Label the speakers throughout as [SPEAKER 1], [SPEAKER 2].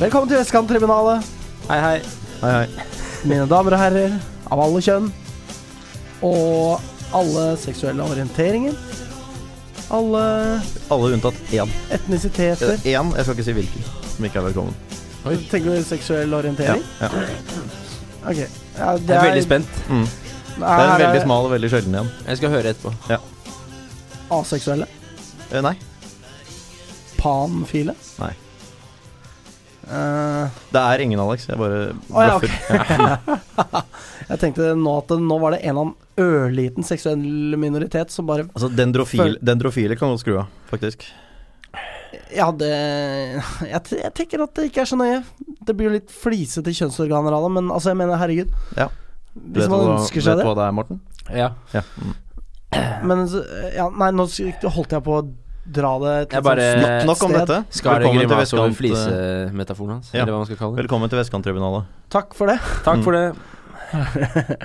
[SPEAKER 1] Velkommen til Vestkanttribunalet,
[SPEAKER 2] Hei, hei.
[SPEAKER 3] Hei, hei.
[SPEAKER 1] mine damer og herrer av alle kjønn. Og alle seksuelle orienteringer. Alle
[SPEAKER 3] Alle unntatt én. Eh,
[SPEAKER 1] etnisiteter.
[SPEAKER 3] Én, jeg skal ikke si hvilken, som ikke er velkommen.
[SPEAKER 1] Tenker du seksuell
[SPEAKER 3] Ja,
[SPEAKER 1] orientering?
[SPEAKER 3] ja.
[SPEAKER 1] Ok. Ja, det
[SPEAKER 2] Jeg er veldig spent.
[SPEAKER 3] Mm. Det er
[SPEAKER 1] her
[SPEAKER 3] en veldig smal og veldig sjelden igjen.
[SPEAKER 2] Jeg skal høre etterpå.
[SPEAKER 1] Aseksuelle.
[SPEAKER 3] Eh, Nei.
[SPEAKER 1] Panfile.
[SPEAKER 3] Nei.
[SPEAKER 1] Eh,
[SPEAKER 3] Det er ingen, Alex. Jeg bare
[SPEAKER 1] Å, ja,
[SPEAKER 3] bløffer.
[SPEAKER 1] jeg tenkte nå at det, nå var det en eller annen ørliten seksuell minoritet som bare
[SPEAKER 3] Altså, dendrofil,
[SPEAKER 1] Føl-
[SPEAKER 3] dendrofile kan godt skru av, faktisk.
[SPEAKER 1] Ja, det jeg, t- jeg tenker at det ikke er så nøye. Det blir jo litt flisete kjønnsorganer av det, men altså, jeg mener, herregud.
[SPEAKER 3] Ja.
[SPEAKER 1] Hvis man
[SPEAKER 3] hva-
[SPEAKER 1] ønsker seg
[SPEAKER 3] vet
[SPEAKER 1] det.
[SPEAKER 3] du hva det er, Morten?
[SPEAKER 2] Ja.
[SPEAKER 3] Ja. Mm.
[SPEAKER 1] Men så- ja, nei, nå s- holdt jeg på å dra det til
[SPEAKER 2] Jeg bare-
[SPEAKER 1] sånn
[SPEAKER 3] Nok, nok om
[SPEAKER 1] sted.
[SPEAKER 3] dette.
[SPEAKER 2] Skar en
[SPEAKER 3] Velkommen til,
[SPEAKER 2] grimase over
[SPEAKER 3] vestkant, eh,
[SPEAKER 2] flisemetaforen hans,
[SPEAKER 3] ja.
[SPEAKER 2] eller hva man skal kalle det.
[SPEAKER 3] velkommen til Vestkanttribunalet.
[SPEAKER 1] Takk for det.
[SPEAKER 2] Takk for det.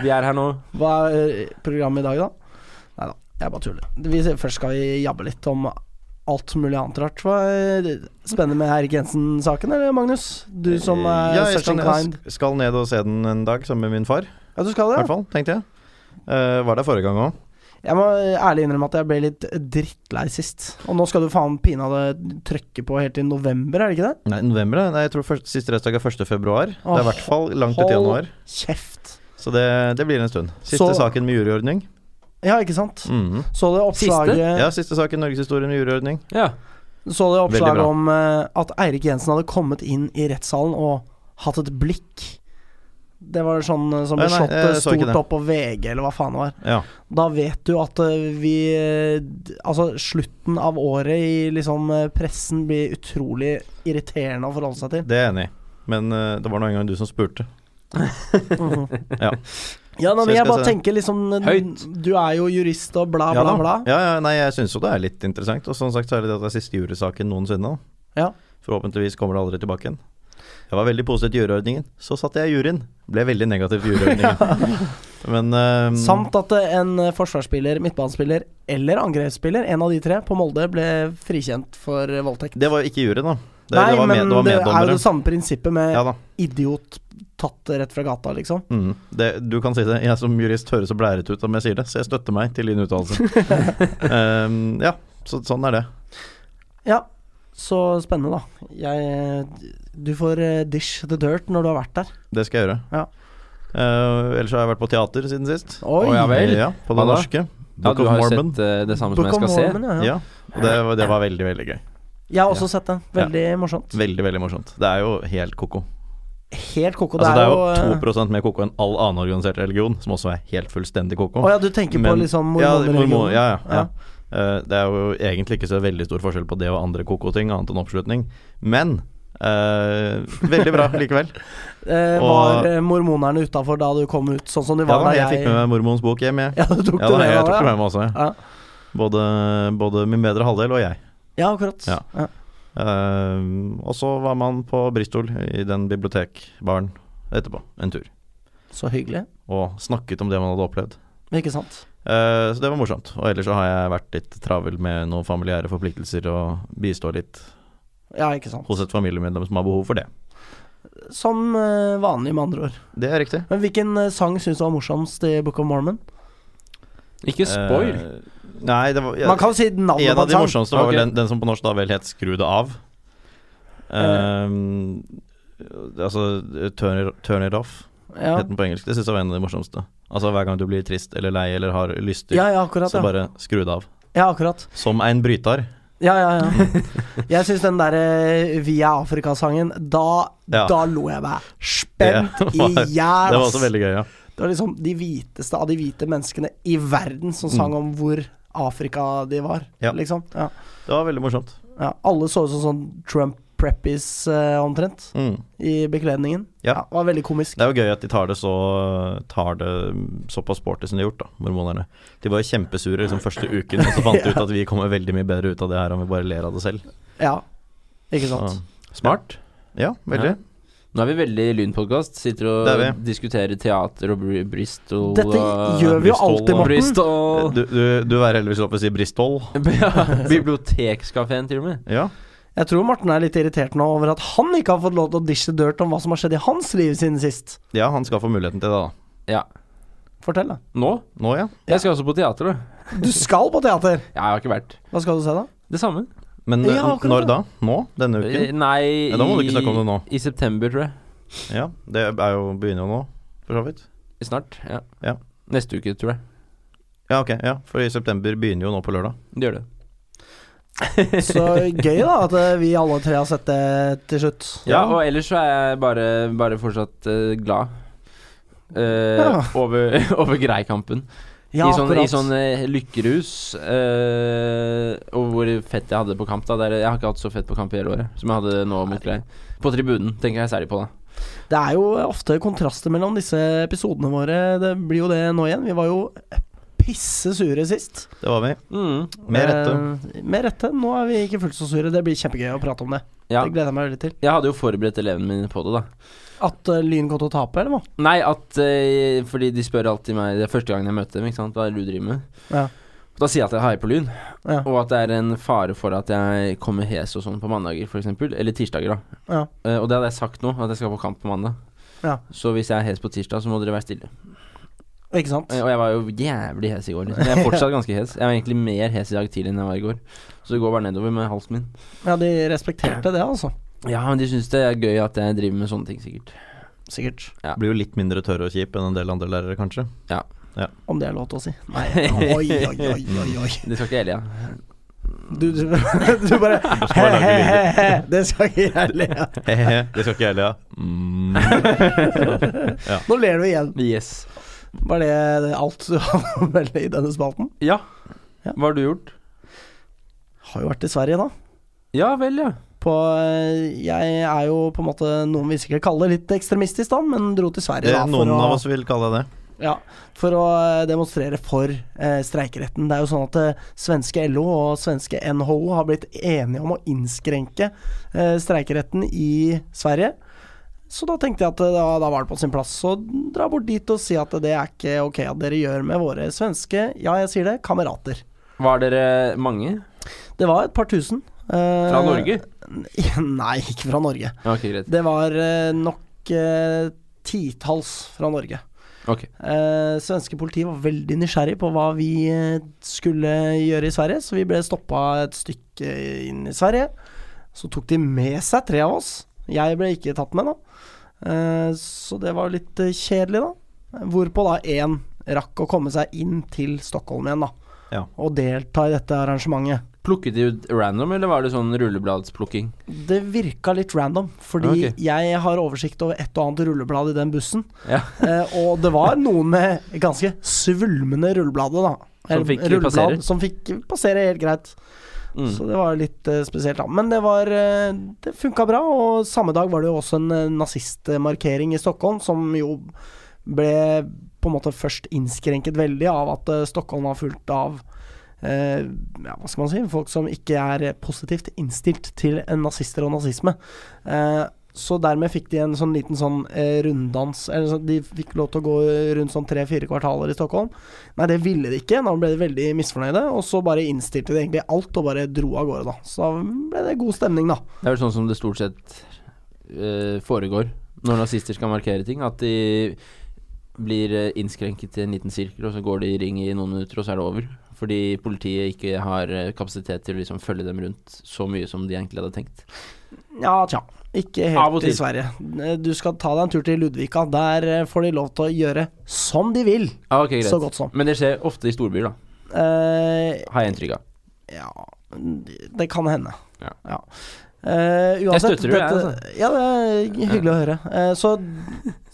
[SPEAKER 2] Vi er her nå.
[SPEAKER 1] Hva er eh, programmet i dag, da? Nei da, jeg bare tuller. Vi, først skal vi jabbe litt om alt mulig annet rart. Hva er spennende med Erik Jensen-saken, eller Magnus? Du som eh, er
[SPEAKER 3] Eh, Ja, jeg
[SPEAKER 1] such
[SPEAKER 3] skal,
[SPEAKER 1] inclined.
[SPEAKER 3] jeg skal ned og se den en dag, sammen med min far.
[SPEAKER 1] Ja, du skal
[SPEAKER 3] I
[SPEAKER 1] det?
[SPEAKER 3] hvert
[SPEAKER 1] ja.
[SPEAKER 3] fall, tenkte jeg. Eh, var der forrige gang òg.
[SPEAKER 1] Jeg må ærlig innrømme at jeg ble litt drittlei sist. Og nå skal du faen pinadø trykke på helt til november, er det ikke det?
[SPEAKER 3] Nei, november, da? Nei, jeg tror først, siste restdag er 1. februar. det er i
[SPEAKER 1] Åh,
[SPEAKER 3] hvert fall langt ut i
[SPEAKER 1] hold-
[SPEAKER 3] januar.
[SPEAKER 1] Kjeft.
[SPEAKER 3] Så det, det blir en stund. Siste
[SPEAKER 1] Så-
[SPEAKER 3] saken med juryordning.
[SPEAKER 1] Ja, ikke sant?
[SPEAKER 3] Mhm.
[SPEAKER 1] Så det oppslaget,
[SPEAKER 3] Ja, siste saken norgeshistorien med juryordning.
[SPEAKER 2] Ja.
[SPEAKER 1] så det
[SPEAKER 3] Veldig
[SPEAKER 1] oppslaget
[SPEAKER 3] bra.
[SPEAKER 1] om eh, at Eirik Jensen hadde kommet inn i rettssalen og hatt et blikk. Det var sånn eh, som
[SPEAKER 3] Nei,
[SPEAKER 1] ble
[SPEAKER 3] nei,
[SPEAKER 1] slått eh,
[SPEAKER 3] jeg så ikke
[SPEAKER 1] stort
[SPEAKER 3] det.
[SPEAKER 1] opp på VG, eller hva faen det var.
[SPEAKER 3] Ja.
[SPEAKER 1] Da vet du at eh, vi eh, d- Altså, slutten av året i liksom eh, pressen blir utrolig irriterende å forholde seg til.
[SPEAKER 3] Det er jeg enig i. Men eh, det var nå en gang du som spurte.
[SPEAKER 1] ja.
[SPEAKER 2] Mhm.
[SPEAKER 3] Ja.
[SPEAKER 1] ja nei,
[SPEAKER 3] Så
[SPEAKER 1] men
[SPEAKER 3] jeg
[SPEAKER 1] jeg
[SPEAKER 3] skal
[SPEAKER 1] bare
[SPEAKER 3] se-
[SPEAKER 1] tenker liksom
[SPEAKER 2] Høyt.
[SPEAKER 1] Du er jo jurist og bla,
[SPEAKER 3] Ja
[SPEAKER 1] bla,
[SPEAKER 3] da.
[SPEAKER 1] bla.
[SPEAKER 3] Ja, ja, nei, jeg syns jo det er litt interessant. Og som sagt så er det det at det er siste jurysaken noensinne. da.
[SPEAKER 1] Ja.
[SPEAKER 3] Forhåpentligvis kommer det aldri tilbake igjen. Jeg var veldig positiv til juryordningen. Så satt jeg i juryen. Ble veldig negativ til juryordningen. Men eh,
[SPEAKER 1] Samt at eh, en eh, forsvarsspiller, midtbanespiller eller angrepsspiller, en av de tre, på Molde ble frikjent for eh, voldtekt.
[SPEAKER 3] det var jo ikke juryen, da. Det,
[SPEAKER 1] nei,
[SPEAKER 3] det var,
[SPEAKER 1] men
[SPEAKER 3] med, det var
[SPEAKER 1] det er jo
[SPEAKER 3] meddommere.
[SPEAKER 1] det samme prinsippet med
[SPEAKER 3] ja da.
[SPEAKER 1] idiot tatt rett fra gata, liksom.
[SPEAKER 3] Mm. Det, du kan si det. Jeg som jurist høres så blæret ut om jeg sier det, så jeg støtter meg til din uttalelse. Eh, ja, så, sånn er det.
[SPEAKER 1] Ja, så spennende, da. Jeg eh, Du får eh, dish the dirt når du har vært der.
[SPEAKER 3] Det skal jeg gjøre.
[SPEAKER 1] Ja.
[SPEAKER 3] Eh, ellers har jeg vært på teater siden sist.
[SPEAKER 1] Oi!
[SPEAKER 2] Å, ja vel.
[SPEAKER 3] Ja, på
[SPEAKER 2] Hva
[SPEAKER 3] Det
[SPEAKER 2] da?
[SPEAKER 3] Norske.
[SPEAKER 2] ja,
[SPEAKER 3] Book
[SPEAKER 2] du
[SPEAKER 3] of
[SPEAKER 2] har jo
[SPEAKER 3] Mormon.
[SPEAKER 2] sett eh, det samme som
[SPEAKER 1] Book
[SPEAKER 2] jeg
[SPEAKER 1] of
[SPEAKER 2] skal se.
[SPEAKER 1] Mormon, ja, ja.
[SPEAKER 3] Ja, og det, var- det var veldig, veldig gøy.
[SPEAKER 1] Jeg har også sett den. Veldig morsomt.
[SPEAKER 3] Veldig, veldig morsomt. Det er jo helt ko-ko.
[SPEAKER 1] Helt koko.
[SPEAKER 3] Altså, det er
[SPEAKER 1] eh,
[SPEAKER 3] jo 2 mer ko-ko enn all annen organisert religion, som også er helt fullstendig ko-ko.
[SPEAKER 1] Å ja, du tenker på
[SPEAKER 3] Men-
[SPEAKER 1] liksom
[SPEAKER 3] Ja,
[SPEAKER 1] mormoner?
[SPEAKER 3] mormon- ja, ja, ja. Eh, det er jo egentlig ikke så veldig stor forskjell på det og andre ko-ko-ting, annet enn oppslutning. Men eh, veldig bra likevel.
[SPEAKER 1] Eh,
[SPEAKER 3] Og-
[SPEAKER 1] var eh, mormonerne utafor da du kom ut, sånn som de
[SPEAKER 3] Ja
[SPEAKER 1] var
[SPEAKER 3] da,
[SPEAKER 1] da
[SPEAKER 3] jeg fikk med meg Mormons bok hjem, jeg.
[SPEAKER 1] Ja, du tok
[SPEAKER 3] Ja
[SPEAKER 1] det
[SPEAKER 3] da,
[SPEAKER 1] med
[SPEAKER 3] jeg
[SPEAKER 1] deg,
[SPEAKER 3] tok det
[SPEAKER 1] ja.
[SPEAKER 3] med meg også.
[SPEAKER 1] Ja.
[SPEAKER 3] jeg. Både, både min bedre halvdel og jeg.
[SPEAKER 1] Ja, akkurat.
[SPEAKER 3] Ja.
[SPEAKER 1] Ja.
[SPEAKER 3] Eh, og så var man på Bristol, i den bibliotekbaren, etterpå. En tur.
[SPEAKER 1] Så hyggelig.
[SPEAKER 3] Og snakket om det man hadde opplevd.
[SPEAKER 1] Ikke sant.
[SPEAKER 3] Eh, så det var morsomt. Og ellers så har jeg vært litt travel med noen familiære forpliktelser og bistå litt
[SPEAKER 1] Ja, ikke sant.
[SPEAKER 3] hos et familiemedlem som har behov for det.
[SPEAKER 1] Som eh, vanlig, med andre ord.
[SPEAKER 3] Det er riktig.
[SPEAKER 1] Men hvilken eh, sang syns du var morsomst i Book of Mormon?
[SPEAKER 2] Ikke spoil.
[SPEAKER 3] Eh, nei, det var ja,
[SPEAKER 1] Man kan jo si navnet
[SPEAKER 3] En
[SPEAKER 1] på
[SPEAKER 3] av
[SPEAKER 1] en
[SPEAKER 3] de
[SPEAKER 1] sang.
[SPEAKER 3] morsomste var
[SPEAKER 2] Ok.
[SPEAKER 3] vel den, den som på norsk da vel het 'Skru det av'. Eh, altså turn it, 'Turn it off'
[SPEAKER 1] Ja.
[SPEAKER 3] het den på engelsk. Det syns jeg var en av de morsomste. Altså hver gang du blir trist eller lei eller har lyster,
[SPEAKER 1] ja, ja, akkurat.
[SPEAKER 3] så
[SPEAKER 1] Ja,
[SPEAKER 3] bare skru det av.
[SPEAKER 1] ja akkurat.
[SPEAKER 3] Som en brytar.
[SPEAKER 1] Ja, ja, ja. Jeg syns den derre Vi er Afrika-sangen, da,
[SPEAKER 3] Ja.
[SPEAKER 1] da lo jeg meg spent
[SPEAKER 3] Det
[SPEAKER 1] i
[SPEAKER 3] var-
[SPEAKER 1] hjel.
[SPEAKER 3] Det var
[SPEAKER 1] ass.
[SPEAKER 3] også veldig gøy, ja.
[SPEAKER 1] Det var liksom de hviteste av de hvite menneskene i verden som sang om hvor Afrika de var,
[SPEAKER 3] Mm. Ja.
[SPEAKER 1] liksom. Ja.
[SPEAKER 3] Det var veldig morsomt.
[SPEAKER 1] Ja. Alle så ut som sånn Trump preppies eh, omtrent,
[SPEAKER 3] Mm.
[SPEAKER 1] i bekledningen.
[SPEAKER 3] Ja.
[SPEAKER 1] det var veldig komisk.
[SPEAKER 3] Det er jo gøy at de tar det så Tar det såpass sporty som de har gjort, da, mormonerne. De var jo kjempesure liksom første uken, og så fant de ut at vi kommer veldig mye bedre ut av det her om vi bare ler av det selv.
[SPEAKER 1] Ja, ikke
[SPEAKER 3] Så,
[SPEAKER 1] sant.
[SPEAKER 2] Smart.
[SPEAKER 3] ja, veldig.
[SPEAKER 2] Nå er vi veldig lynpodkast. Sitter og
[SPEAKER 3] Det er
[SPEAKER 2] diskuterer teater og Br- Bristol
[SPEAKER 1] Dette
[SPEAKER 2] og
[SPEAKER 1] gjør vi jo
[SPEAKER 3] eh, Bristol
[SPEAKER 1] alltid,
[SPEAKER 3] og
[SPEAKER 1] Morten.
[SPEAKER 3] Eh,
[SPEAKER 2] Bristol
[SPEAKER 3] Du, du, du er heldigvis oppe å si Bristol.
[SPEAKER 2] Ja, Bibliotekskafeen, til og med.
[SPEAKER 3] Ja.
[SPEAKER 1] Jeg tror Morten er litt irritert nå over at han ikke har fått lov til å dishe dirt om hva som har skjedd i hans liv siden sist.
[SPEAKER 3] Ja, han skal få muligheten til det, da.
[SPEAKER 2] Ja.
[SPEAKER 1] Fortell, da.
[SPEAKER 2] Nå?
[SPEAKER 3] Nå, ja.
[SPEAKER 2] Jeg skal også på teater, da.
[SPEAKER 1] Du skal på teater!
[SPEAKER 2] Jeg har ikke vært.
[SPEAKER 1] Hva skal du se, da?
[SPEAKER 2] Det samme.
[SPEAKER 3] Men
[SPEAKER 1] Ja,
[SPEAKER 3] eh,
[SPEAKER 1] akkurat
[SPEAKER 3] når
[SPEAKER 1] det.
[SPEAKER 3] da? Nå? Denne
[SPEAKER 2] Eh,
[SPEAKER 3] uken?
[SPEAKER 2] Nei,
[SPEAKER 3] Ja, da må du ikke snakke om det nå.
[SPEAKER 2] i september, tror jeg.
[SPEAKER 3] Ja, det er jo, begynner jo nå, for så vidt.
[SPEAKER 2] Snart. Ja.
[SPEAKER 3] Ja.
[SPEAKER 2] Neste uke, tror jeg.
[SPEAKER 3] Ja, ok, ja, for i september begynner jo nå på lørdag.
[SPEAKER 2] Det gjør det.
[SPEAKER 1] Så gøy, da, at eh, vi alle tre har sett det til slutt.
[SPEAKER 2] Ja,
[SPEAKER 3] Ja.
[SPEAKER 2] og ellers så er jeg bare, bare fortsatt eh, glad eh,
[SPEAKER 1] Ja.
[SPEAKER 2] over, over Greikampen.
[SPEAKER 1] Ja,
[SPEAKER 2] I sånn, i
[SPEAKER 1] akkurat.
[SPEAKER 2] sånn eh, lykkerus, eh, og hvor fett jeg hadde på kamp. da Der, Jeg har ikke hatt så fett på kamp i hele året som jeg hadde nå mot Grei. På tribunen, tenker jeg særlig på. da
[SPEAKER 1] Det er jo ofte kontraster mellom disse episodene våre. Det blir jo det nå igjen. Vi var jo pisse sure sist.
[SPEAKER 3] Det var vi.
[SPEAKER 2] mm.
[SPEAKER 3] Med rette.
[SPEAKER 1] Eh, med rette. Nå er vi ikke fullt så sure. Det blir kjempegøy å prate om det.
[SPEAKER 2] ja.
[SPEAKER 1] Det gleder jeg meg veldig til.
[SPEAKER 2] Jeg hadde jo forberedt elevene mine på det, da.
[SPEAKER 1] At eh, Lyn kom til å tape, eller hva?
[SPEAKER 2] Nei, at eh, Fordi de spør alltid meg Det er første gangen jeg møter dem, ikke sant. Hva er det du driver med?
[SPEAKER 1] Ja.
[SPEAKER 2] Da sier jeg at jeg heier på Lyn.
[SPEAKER 1] Ja.
[SPEAKER 2] Og at det er en fare for at jeg kommer hes og sånn på mandager, f.eks. Eller tirsdager, da.
[SPEAKER 1] ja.
[SPEAKER 2] Eh, og det hadde jeg sagt nå, at jeg skal på kamp på mandag.
[SPEAKER 1] Ja.
[SPEAKER 2] Så hvis jeg er hes på tirsdag, så må dere være stille.
[SPEAKER 1] Ikke sant?
[SPEAKER 2] Eh, og jeg var jo jævlig hes i går. Liksom. Jeg er fortsatt ganske hes. Jeg var egentlig mer hes i dag tidlig enn jeg var i går. Så det går bare nedover med halsen min.
[SPEAKER 1] Ja, de respekterte det, altså.
[SPEAKER 2] Ja, men de syns det er gøy at jeg driver med sånne ting, sikkert.
[SPEAKER 1] Sikkert.
[SPEAKER 2] Eh,
[SPEAKER 3] Blir jo litt mindre tørr og kjip enn en del andre lærere, kanskje.
[SPEAKER 1] Om det er lov til å si. Nei, oi, oi, oi, oi, oi.
[SPEAKER 2] Det skal ikke Elia.
[SPEAKER 1] Du, du, du bare he,
[SPEAKER 3] lage
[SPEAKER 1] he, he, he. Det skal ikke jeg le av.
[SPEAKER 3] Hehe, det skal ikke jeg le av. Mm.
[SPEAKER 1] Nå ler du igjen.
[SPEAKER 2] Yes.
[SPEAKER 1] Var det det er alt du hadde å melde i denne spalten?
[SPEAKER 2] Ja.
[SPEAKER 1] Ja.
[SPEAKER 2] Hva har du gjort?
[SPEAKER 1] Har jo vært i Sverige, da.
[SPEAKER 2] Ja vel, ja.
[SPEAKER 1] På, eh, jeg er jo på en måte noen vi sikkert kaller litt ekstremistisk, da, men dro til
[SPEAKER 3] Det,
[SPEAKER 1] Sverige da,
[SPEAKER 3] Eh, noen
[SPEAKER 1] for, å,
[SPEAKER 3] av oss vil kalle det det.
[SPEAKER 1] Ja, for å eh, demonstrere for eh, streikeretten. Det er jo sånn at eh, svenske LO og svenske NHO har blitt enige om å innskrenke eh, streikeretten i Sverige. Så da tenkte jeg at eh, da, da var det på sin plass å dra bort dit og si at det er ikke ok at dere gjør med våre svenske, ja jeg sier det, kamerater.
[SPEAKER 2] Var dere mange?
[SPEAKER 1] Det var et par tusen. eh,
[SPEAKER 2] Fra Norge?
[SPEAKER 1] Nei, ikke fra Norge.
[SPEAKER 2] Ja, ok, greit.
[SPEAKER 1] Det var eh, nok eh, titalls fra Norge.
[SPEAKER 2] Ok.
[SPEAKER 1] Eh, svenske politi var veldig nysgjerrig på hva vi eh, skulle gjøre i Sverige, så vi ble stoppa et stykke inn i Sverige. Så tok de med seg tre av oss. Jeg ble ikke tatt med, da. Eh, så det var litt eh, kjedelig, da. Hvorpå da én rakk å komme seg inn til Stockholm igjen, da.
[SPEAKER 3] Ja.
[SPEAKER 1] Og delta i dette arrangementet.
[SPEAKER 2] Plukket de ut random, eller var det sånn rullebladsplukking?
[SPEAKER 1] Det virka litt random, fordi
[SPEAKER 2] Ok.
[SPEAKER 1] jeg har oversikt over et og annet rulleblad i den bussen.
[SPEAKER 2] Ja.
[SPEAKER 1] Eh, og det var noen med ganske svulmende rulleblader, da.
[SPEAKER 2] Som
[SPEAKER 1] Eller
[SPEAKER 2] fikk passere.
[SPEAKER 1] som fikk passere helt greit.
[SPEAKER 2] Mm.
[SPEAKER 1] Så det var litt eh, spesielt, da. Men det var eh, Det funka bra, og samme dag var det jo også en eh, nazistmarkering i Stockholm, som jo ble på en måte først innskrenket veldig av at eh, Stockholm var fullt av eh, ja, hva skal man si folk som ikke er positivt innstilt til eh, nazister og nazisme. Eh, så dermed fikk de en sånn liten sånn eh, runddans Eller så de fikk lov til å gå rundt sånn tre-fire kvartaler i Stockholm. Nei, det ville de ikke. Da ble de veldig misfornøyde. Og så bare innstilte de egentlig alt og bare dro av gårde, da. Så da ble det god stemning, da.
[SPEAKER 2] Det er vel sånn som det stort sett eh, foregår når nazister skal markere ting. At de blir eh, innskrenket i en liten sirkel, og så går de i ring i noen minutter, og så er det over. Fordi politiet ikke har eh, kapasitet til å liksom følge dem rundt så mye som de egentlig hadde tenkt.
[SPEAKER 1] Ja, tja. Ikke
[SPEAKER 2] Av og
[SPEAKER 1] helt i
[SPEAKER 2] til.
[SPEAKER 1] Sverige. Eh, Du skal ta deg en tur til Ludvika. Der eh, får de lov til å gjøre som de vil.
[SPEAKER 2] Ah, ok, greit.
[SPEAKER 1] Så godt som.
[SPEAKER 2] Men det skjer ofte i storbyer, da.
[SPEAKER 1] Eh,
[SPEAKER 2] Har jeg inntrykk av.
[SPEAKER 1] ja Det kan hende.
[SPEAKER 2] Ja.
[SPEAKER 1] Eh, uansett,
[SPEAKER 2] støtter det, jeg, altså.
[SPEAKER 1] dette- Ja, det er hyggelig å høre. Eh, så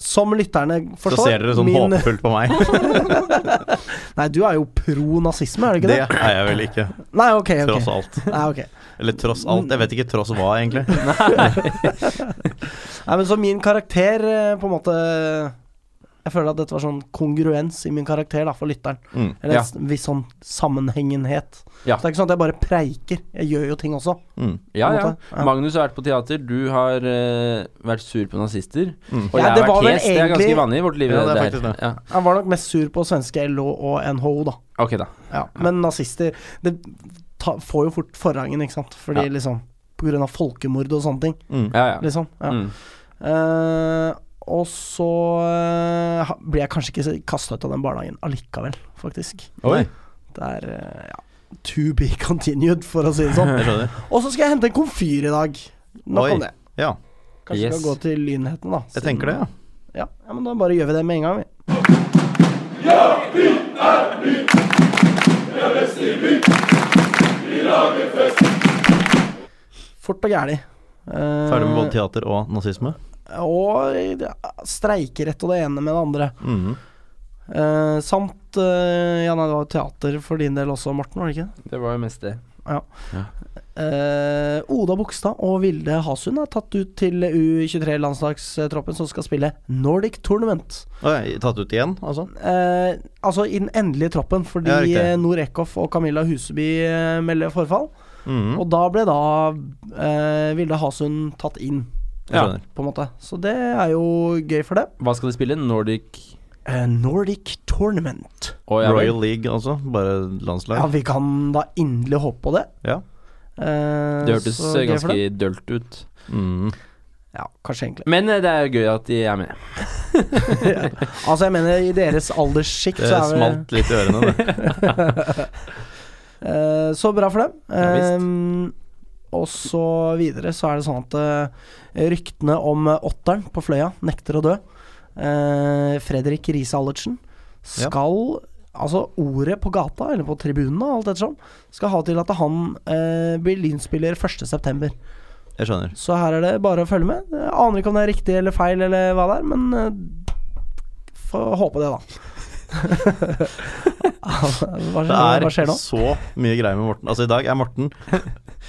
[SPEAKER 1] som lytterne
[SPEAKER 3] Så
[SPEAKER 1] forstår
[SPEAKER 3] ser dere sånn
[SPEAKER 1] min-
[SPEAKER 3] håpefullt på meg.
[SPEAKER 1] Nei, du er jo pro nazisme, er du ikke
[SPEAKER 3] Det
[SPEAKER 1] det?
[SPEAKER 3] er jeg vel ikke.
[SPEAKER 1] Nei, ok. ok.
[SPEAKER 3] Tross alt.
[SPEAKER 1] Nei, ok.
[SPEAKER 3] Eller tross alt. Jeg vet ikke tross hva, egentlig.
[SPEAKER 1] Nei, men så min karakter eh, på en måte Jeg føler at dette var sånn kongruens i min karakter da, for lytteren.
[SPEAKER 3] Mm.
[SPEAKER 1] Eller
[SPEAKER 2] Ja.
[SPEAKER 1] en s- viss sånn sammenhengenhet.
[SPEAKER 2] Ja.
[SPEAKER 1] Så det er ikke sånn at jeg bare preiker. Jeg gjør jo ting også.
[SPEAKER 3] Mm.
[SPEAKER 2] Ja,
[SPEAKER 1] På en
[SPEAKER 2] ja.
[SPEAKER 1] måte, ja.
[SPEAKER 2] Magnus har vært på teater, du har eh, vært sur på nazister.
[SPEAKER 3] Mm.
[SPEAKER 2] Og
[SPEAKER 1] Ja,
[SPEAKER 2] jeg
[SPEAKER 1] det
[SPEAKER 2] har
[SPEAKER 1] var
[SPEAKER 2] vært
[SPEAKER 1] vel
[SPEAKER 2] hes. Det
[SPEAKER 1] egentlig-
[SPEAKER 2] er ganske vanlig i vårt liv.
[SPEAKER 3] Ja, det er
[SPEAKER 2] der.
[SPEAKER 3] faktisk det.
[SPEAKER 2] Ja.
[SPEAKER 1] Jeg var nok mest sur på svenske LO og NHO, da.
[SPEAKER 2] Ok, da.
[SPEAKER 1] Ja. Men nazister Det ta, får jo fort forrangen, ikke sant. Fordi
[SPEAKER 2] Ja.
[SPEAKER 1] liksom pga. folkemord og sånne ting.
[SPEAKER 3] Mm.
[SPEAKER 2] Ja, ja.
[SPEAKER 1] Liksom. Ja.
[SPEAKER 2] Mm.
[SPEAKER 1] Eh, og så eh, ha- blir jeg kanskje ikke kasta ut av den barnehagen allikevel, faktisk.
[SPEAKER 3] Oi,
[SPEAKER 1] Det er eh, ja, to be continued, for å si det sånn.
[SPEAKER 3] jeg skjønner.
[SPEAKER 1] Og så skal jeg hente en komfyr i dag. Nok
[SPEAKER 3] Oi.
[SPEAKER 1] om det.
[SPEAKER 3] Ja,
[SPEAKER 1] Kanskje vi
[SPEAKER 2] Yes.
[SPEAKER 1] skal gå til lynheten, da.
[SPEAKER 3] jeg tenker det, ja.
[SPEAKER 1] Ja, ja, men da bare gjør vi det med en gang, vi. Fort og gæli. Eh,
[SPEAKER 3] Ferdig med både teater og nazisme.
[SPEAKER 1] Og ja, streikerett og det ene med det andre.
[SPEAKER 3] Mhm.
[SPEAKER 1] Eh, samt eh, Ja, nei, det var teater for din del også, Morten, var det ikke? det?
[SPEAKER 2] Det var jo mest det.
[SPEAKER 1] Eh, Oda Bogstad og Vilde Hasund er tatt ut til U23-landslagstroppen som skal spille Nordic Tournament.
[SPEAKER 3] Oi, tatt ut igjen, altså?
[SPEAKER 1] Eh, altså i den endelige troppen, fordi
[SPEAKER 3] Ja, riktig.
[SPEAKER 1] eh, Noor Eckhoff og Camilla Huseby eh, melder forfall.
[SPEAKER 3] Mhm.
[SPEAKER 1] Og da ble da eh, Vilde Hasund tatt inn,
[SPEAKER 3] Jeg skjønner.
[SPEAKER 1] på en måte. Så det er jo gøy for det.
[SPEAKER 2] Hva skal de spille? Nordic
[SPEAKER 1] Eh, Nordic Tournament.
[SPEAKER 2] Å, ja vel.
[SPEAKER 3] Royal League, altså. Bare
[SPEAKER 1] Ja,
[SPEAKER 3] landslag.
[SPEAKER 1] vi kan da inderlig håpe på det.
[SPEAKER 3] Ja.
[SPEAKER 1] Eh,
[SPEAKER 2] Det hørtes
[SPEAKER 1] så gøy for
[SPEAKER 2] ganske
[SPEAKER 1] det.
[SPEAKER 2] dølt ut.
[SPEAKER 3] Mhm.
[SPEAKER 1] Ja, kanskje egentlig.
[SPEAKER 2] Men eh, det er jo gøy at de er med.
[SPEAKER 1] Altså, jeg mener, i deres alderssjikt
[SPEAKER 3] Det
[SPEAKER 1] så er vi
[SPEAKER 3] smalt litt i ørene, det.
[SPEAKER 1] Eh, Så bra for dem.
[SPEAKER 2] Ja, visst.
[SPEAKER 1] Ehm, og så videre så er det sånn at eh, ryktene om eh, åtteren på Fløya nekter å dø. Eh, Fredrik Riise Allertsen
[SPEAKER 3] Ja.
[SPEAKER 1] skal Altså, ordet på gata, eller på tribunene, alt ettersom, skal ha til at han eh, blir Lynspiller 1.9.
[SPEAKER 3] Jeg skjønner.
[SPEAKER 1] Så her er det bare å følge med. Jeg aner ikke om det er riktig eller feil, eller hva det er, men eh, får håpe det, da. hva,
[SPEAKER 3] Det
[SPEAKER 1] skjer,
[SPEAKER 3] er
[SPEAKER 1] hva skjer nå?
[SPEAKER 3] så mye greier med Morten. Altså, i dag er Morten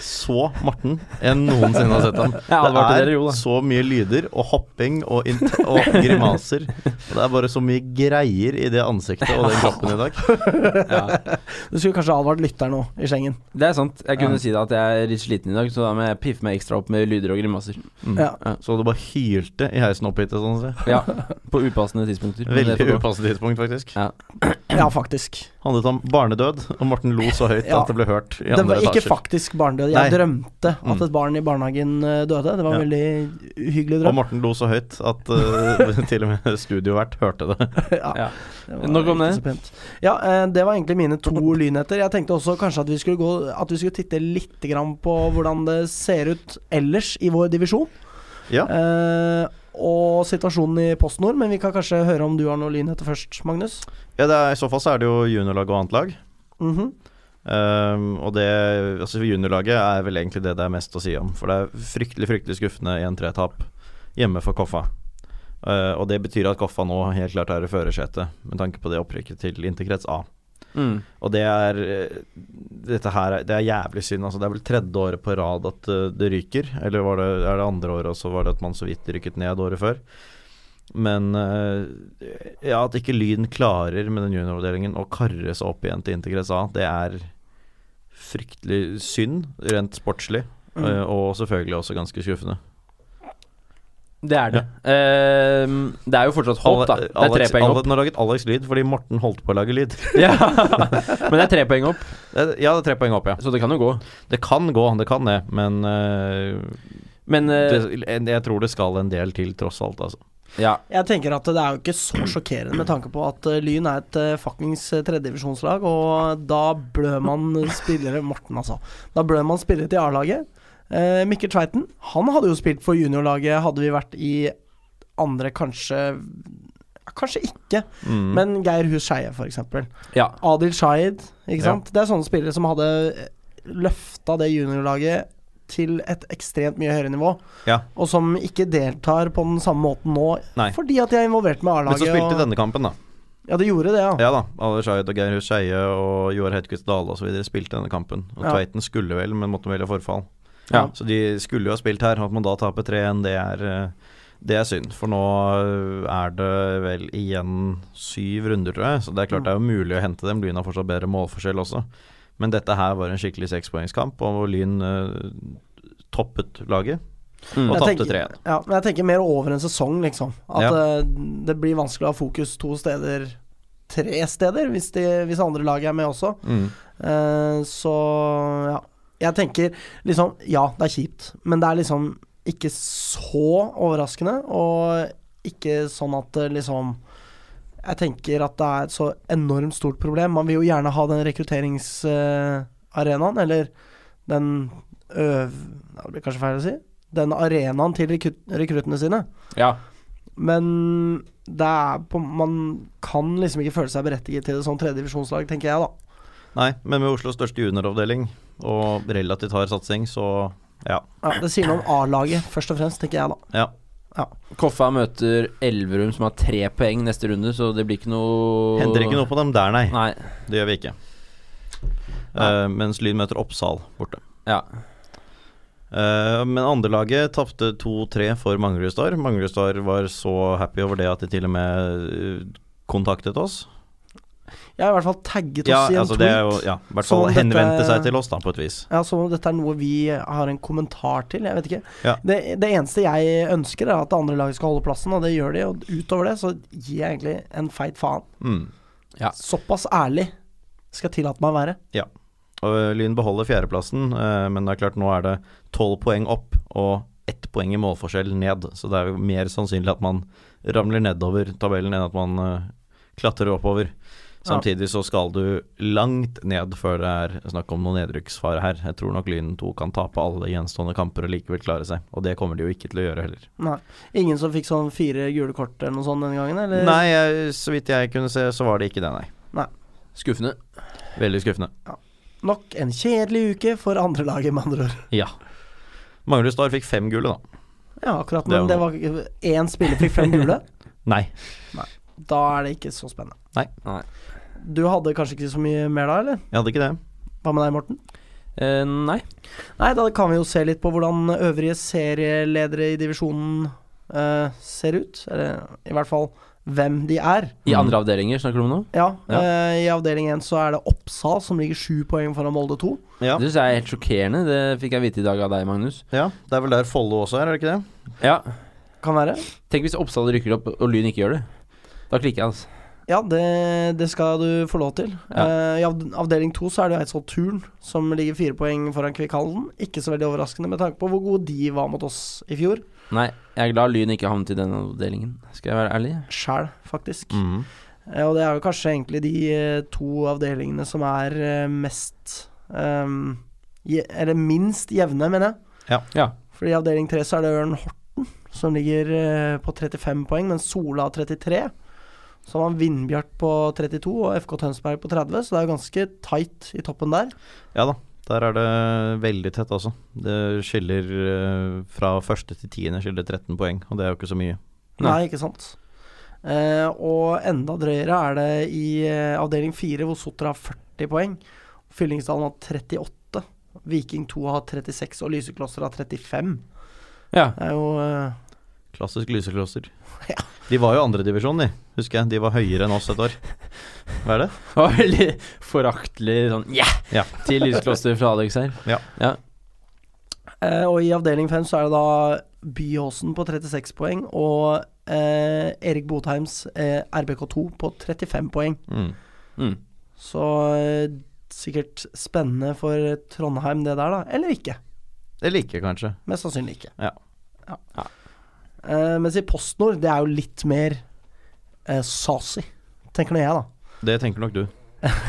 [SPEAKER 3] så Morten enn noensinne har sett ham. Det
[SPEAKER 2] advarte
[SPEAKER 3] er
[SPEAKER 2] dere jo, da.
[SPEAKER 3] så mye lyder og hopping og, int- og grimaser. Og det er bare så mye greier i det ansiktet og den kroppen i dag.
[SPEAKER 1] Du skulle kanskje advart lytteren nå i Schengen.
[SPEAKER 2] Det er sant. Jeg kunne si det at jeg er litt sliten i dag, så da må jeg piffe meg ekstra opp med lyder og grimaser.
[SPEAKER 1] Ja.
[SPEAKER 3] Mm. Så du bare hylte i heisen opp hit. Sånn, å si.
[SPEAKER 2] Ja, På upassende tidspunkter. men det
[SPEAKER 3] Veldig
[SPEAKER 2] får gå.
[SPEAKER 3] upassende tidspunkt, faktisk.
[SPEAKER 1] ja, faktisk.
[SPEAKER 3] Handlet om barnedød, og Morten lo så høyt
[SPEAKER 1] Ja.
[SPEAKER 3] at det ble hørt i
[SPEAKER 1] Det
[SPEAKER 3] andre
[SPEAKER 1] var ikke
[SPEAKER 3] etasjer.
[SPEAKER 1] faktisk barnedød. Jeg
[SPEAKER 3] Nei.
[SPEAKER 1] drømte at
[SPEAKER 3] Mm.
[SPEAKER 1] et barn i barnehagen eh, døde. Det var en
[SPEAKER 3] Ja.
[SPEAKER 1] veldig uhyggelig
[SPEAKER 3] Og
[SPEAKER 1] drøm.
[SPEAKER 3] Morten lo så høyt at eh, til og med studiovert hørte det.
[SPEAKER 1] ja,
[SPEAKER 2] Ja.
[SPEAKER 1] det var
[SPEAKER 2] Nok om
[SPEAKER 1] ikke
[SPEAKER 2] det.
[SPEAKER 1] så pent. Ja, eh, det var egentlig mine to lynheter. Jeg tenkte også kanskje at vi skulle, gå, at vi skulle titte litt grann på hvordan det ser ut ellers i vår divisjon.
[SPEAKER 3] Ja.
[SPEAKER 1] Eh, og situasjonen i Post Nord, men vi kan kanskje høre om du har noen lynheter først, Magnus.
[SPEAKER 3] Ja, det er, I så fall så er det jo juniorlag og annet lag.
[SPEAKER 1] Mhm.
[SPEAKER 3] Ehm, og det altså juniorlaget er vel egentlig det det er mest å si om. For det er fryktelig fryktelig skuffende 1-3-tap hjemme for Koffa. Eh, og det betyr at Koffa nå helt klart er i førersetet med tanke på det opprykket til interkrets A.
[SPEAKER 2] Mm.
[SPEAKER 3] Og det er eh, Dette her er, det er jævlig synd. Altså, det er vel tredje året på rad at eh, det ryker. Eller var det, er det andre året, og så var det at man så vidt rykket ned året før. Men eh, ja, at ikke Lyn klarer med den junioravdelingen å karre seg opp igjen til Intergress A, det er fryktelig synd, rent sportslig.
[SPEAKER 1] Mm.
[SPEAKER 3] eh, Og selvfølgelig også ganske skuffende.
[SPEAKER 2] Det er det. Ehm, det er jo fortsatt håp, da. Det er tre
[SPEAKER 3] Alex,
[SPEAKER 2] poeng opp.
[SPEAKER 3] Alex, nå laget Alex lyd fordi Morten holdt på å lage lyd.
[SPEAKER 2] Ja. Men det er tre poeng opp,
[SPEAKER 3] Ja, det er tre poeng opp, ja.
[SPEAKER 2] så det kan jo gå.
[SPEAKER 3] Det kan gå, det kan det, men eh,
[SPEAKER 2] Men eh,
[SPEAKER 3] det, en- jeg tror det skal en del til, tross alt. Altså.
[SPEAKER 2] ja.
[SPEAKER 1] Jeg tenker at det er jo ikke så sjokkerende med tanke på at eh, Lyn er et eh, fuckings eh, tredjedivisjonslag, og da blør man spillere Morten, altså. Da blør man spillere til A-laget. Eh, Mikkel Tveiten, han hadde jo spilt for juniorlaget, hadde vi vært i andre, kanskje ja, Kanskje ikke,
[SPEAKER 3] Mm.
[SPEAKER 1] men Geir Hus Skeie, f.eks.
[SPEAKER 2] ja.
[SPEAKER 1] Adil Shaid, ikke
[SPEAKER 3] Ja.
[SPEAKER 1] sant. Det er sånne spillere som hadde løfta det juniorlaget til et ekstremt mye høyere nivå,
[SPEAKER 3] Ja.
[SPEAKER 1] og som ikke deltar på den samme måten nå
[SPEAKER 3] Nei.
[SPEAKER 1] fordi at de er involvert med
[SPEAKER 3] Men
[SPEAKER 1] A-laget.
[SPEAKER 3] så spilte
[SPEAKER 1] og-
[SPEAKER 3] denne kampen, da.
[SPEAKER 1] Ja, det gjorde det, ja.
[SPEAKER 3] Ja da. Alle Shahid og Geir Hus Skeie og Joar Hedquist Dale osv. spilte denne kampen. Og
[SPEAKER 1] Ja.
[SPEAKER 3] Tveiten skulle vel, men måtte velge forfall.
[SPEAKER 2] Ja.
[SPEAKER 3] Så de skulle jo ha spilt her. At man da taper 3-1, det er eh, det er synd, for nå eh, er det vel igjen syv runder, tror jeg. Så det er
[SPEAKER 1] Mm.
[SPEAKER 3] klart det er jo mulig å hente dem. Lyn har fortsatt bedre målforskjell også. Men dette her var en skikkelig sekspoengskamp, og Lyn eh, toppet laget
[SPEAKER 2] Mm.
[SPEAKER 3] og
[SPEAKER 1] Jeg
[SPEAKER 3] tapte
[SPEAKER 1] tenker-
[SPEAKER 3] 3-1.
[SPEAKER 1] ja. Men jeg tenker mer over en sesong, liksom. At
[SPEAKER 3] Ja.
[SPEAKER 1] eh, det blir vanskelig å ha fokus to steder, Mm. tre steder, hvis, de, hvis andre lag er med også.
[SPEAKER 3] Mm.
[SPEAKER 1] Eh, så ja. Jeg tenker liksom Ja, det er kjipt, men det er liksom ikke så overraskende, og ikke sånn at det liksom Jeg tenker at det er et så enormt stort problem. Man vil jo gjerne ha den rekrutteringsarenaen, eller den øv... ja, Det blir kanskje feil å si. Den arenaen til rekru- rekruttene sine.
[SPEAKER 2] Ja.
[SPEAKER 1] Men det er på, man kan liksom ikke føle seg berettiget til det som tredjedivisjonslag, tenker jeg, da.
[SPEAKER 3] Nei, men med Oslos største junioravdeling og relativt hard satsing, så ja.
[SPEAKER 1] Ja, det sier noe om A-laget, først og fremst, tenker jeg da.
[SPEAKER 3] ja.
[SPEAKER 2] Koffa møter Elverum, som har tre poeng neste runde, så det blir ikke noe
[SPEAKER 3] Henter ikke noe på dem der, nei.
[SPEAKER 2] Nei.
[SPEAKER 3] Det gjør vi ikke.
[SPEAKER 2] Nei.
[SPEAKER 3] Eh, mens Lyn møter Oppsal borte.
[SPEAKER 2] Ja.
[SPEAKER 3] Eh, men andrelaget tapte 2-3 for Manglerud Star. Manglerud Star var så happy over det at de til og med eh, kontaktet oss.
[SPEAKER 1] Jeg har i hvert fall tagget oss
[SPEAKER 3] Ja,
[SPEAKER 1] i en
[SPEAKER 3] altså det
[SPEAKER 1] tweet.
[SPEAKER 3] er jo ja, i hvert
[SPEAKER 1] Så
[SPEAKER 3] fall
[SPEAKER 1] dette-
[SPEAKER 3] henvendte seg til oss, da, på et vis.
[SPEAKER 1] Ja, Som om dette er noe vi har en kommentar til, jeg vet ikke.
[SPEAKER 3] Ja.
[SPEAKER 1] Det, det eneste jeg ønsker, er at det andre laget skal holde plassen, og det gjør de. Og utover det så gir jeg egentlig en feit faen.
[SPEAKER 3] Mm.
[SPEAKER 2] ja.
[SPEAKER 1] Såpass ærlig skal jeg tillate meg å være.
[SPEAKER 3] Og eh, Lyn beholder fjerdeplassen, eh, men det er klart nå er det tolv poeng opp og ett poeng i målforskjell ned. Så det er jo mer sannsynlig at man ramler nedover tabellen enn at man eh, klatrer oppover.
[SPEAKER 1] Ja.
[SPEAKER 3] Samtidig så skal du langt ned før det er snakk om noen nedrykksfare her. Jeg tror nok Lyn 2 kan tape alle gjenstående kamper og likevel klare seg. Og det kommer de jo ikke til å gjøre heller.
[SPEAKER 1] Nei. Ingen som fikk sånn fire gule kort eller noe sånt denne gangen, eller?
[SPEAKER 3] Nei, jeg, så vidt jeg kunne se, så var det ikke det, nei.
[SPEAKER 2] Skuffende.
[SPEAKER 3] Veldig skuffende.
[SPEAKER 1] Nok en kjedelig uke for andre laget, med andre ord.
[SPEAKER 3] Ja. Manglerud Star fikk fem gule, da.
[SPEAKER 1] Ja, akkurat.
[SPEAKER 3] Det er
[SPEAKER 1] Men det
[SPEAKER 3] jo
[SPEAKER 1] var én spiller fikk fem gule.
[SPEAKER 3] Nei.
[SPEAKER 1] Da er det ikke så spennende.
[SPEAKER 3] Nei.
[SPEAKER 2] Nei.
[SPEAKER 1] Du hadde kanskje ikke så mye mer da, eller?
[SPEAKER 3] Jeg hadde ikke det.
[SPEAKER 1] Hva med deg, Morten?
[SPEAKER 2] Eh, nei.
[SPEAKER 1] Nei, da kan vi jo se litt på hvordan øvrige serieledere i divisjonen eh, ser ut. Eller i hvert fall hvem de er.
[SPEAKER 2] I andre avdelinger snakker du om nå?
[SPEAKER 1] Ja,
[SPEAKER 2] Ja.
[SPEAKER 1] eh, I avdeling 1 så er det Oppsal som ligger sju poeng foran Molde 2.
[SPEAKER 3] Ja.
[SPEAKER 2] Det syns jeg er helt sjokkerende. Det fikk jeg vite i dag av deg, Magnus.
[SPEAKER 3] Ja, det er vel der Follo også er, er det ikke det?
[SPEAKER 2] Ja.
[SPEAKER 1] Kan være.
[SPEAKER 2] Tenk hvis Oppsal rykker opp, og Lyn ikke gjør det. Da klikker jeg, altså.
[SPEAKER 1] Ja, det, det skal du få lov til.
[SPEAKER 2] Ja.
[SPEAKER 1] Eh, I avd- avdeling 2 så er det Eidsvoll Turn som ligger fire poeng foran Kvikkhallen. Ikke så veldig overraskende med tanke på hvor gode de var mot oss i fjor.
[SPEAKER 2] Nei, jeg er glad Lyn ikke havnet i den avdelingen. Skal jeg være ærlig?
[SPEAKER 1] Sjæl, faktisk.
[SPEAKER 3] Mhm.
[SPEAKER 1] Eh, Og det er jo kanskje egentlig de eh, to avdelingene som er eh, mest ehm, je, Eller minst jevne, mener jeg.
[SPEAKER 2] Ja.
[SPEAKER 1] For i avdeling 3 så er det Ørn Horten som ligger eh, på 35 poeng, mens Sola har 33. Så har man Vindbjart på 32 og FK Tønsberg på 30, så det er jo ganske tight i toppen der.
[SPEAKER 3] Ja da, der er det veldig tett altså. Det skiller eh, fra første til tiende skiller det 13 poeng, og det er jo ikke så mye.
[SPEAKER 2] Nei.
[SPEAKER 1] Nei, ikke sant. Eh, og enda drøyere er det i eh, avdeling 4, hvor Sotra har 40 poeng. Fyllingsdalen har 38. Viking 2 har 36, og Lyseklosser har 35.
[SPEAKER 2] ja.
[SPEAKER 1] Det er jo eh,
[SPEAKER 3] Klassisk lyseklosser.
[SPEAKER 1] Ja.
[SPEAKER 3] De var jo andredivisjon, de, husker jeg. De var høyere enn oss et år. Hva er det?
[SPEAKER 2] Det var veldig foraktelig sånn yeah!
[SPEAKER 3] Ja.
[SPEAKER 2] til Lyskloster fra Alex her.
[SPEAKER 1] eh, Og i avdeling 5 så er det da Byåsen på 36 poeng og eh, Erik Botheims eh, RBK2 på 35 poeng.
[SPEAKER 3] Mm.
[SPEAKER 2] Mm.
[SPEAKER 1] Så eh, sikkert spennende for Trondheim det der, da. Eller ikke.
[SPEAKER 3] Eller ikke, kanskje.
[SPEAKER 1] Mest sannsynlig ikke.
[SPEAKER 3] Ja.
[SPEAKER 1] Ja.
[SPEAKER 2] Ja.
[SPEAKER 1] Eh, mens i PostNord, det er jo litt mer uh, sassy, tenker nå jeg, da.
[SPEAKER 3] Det tenker nok du.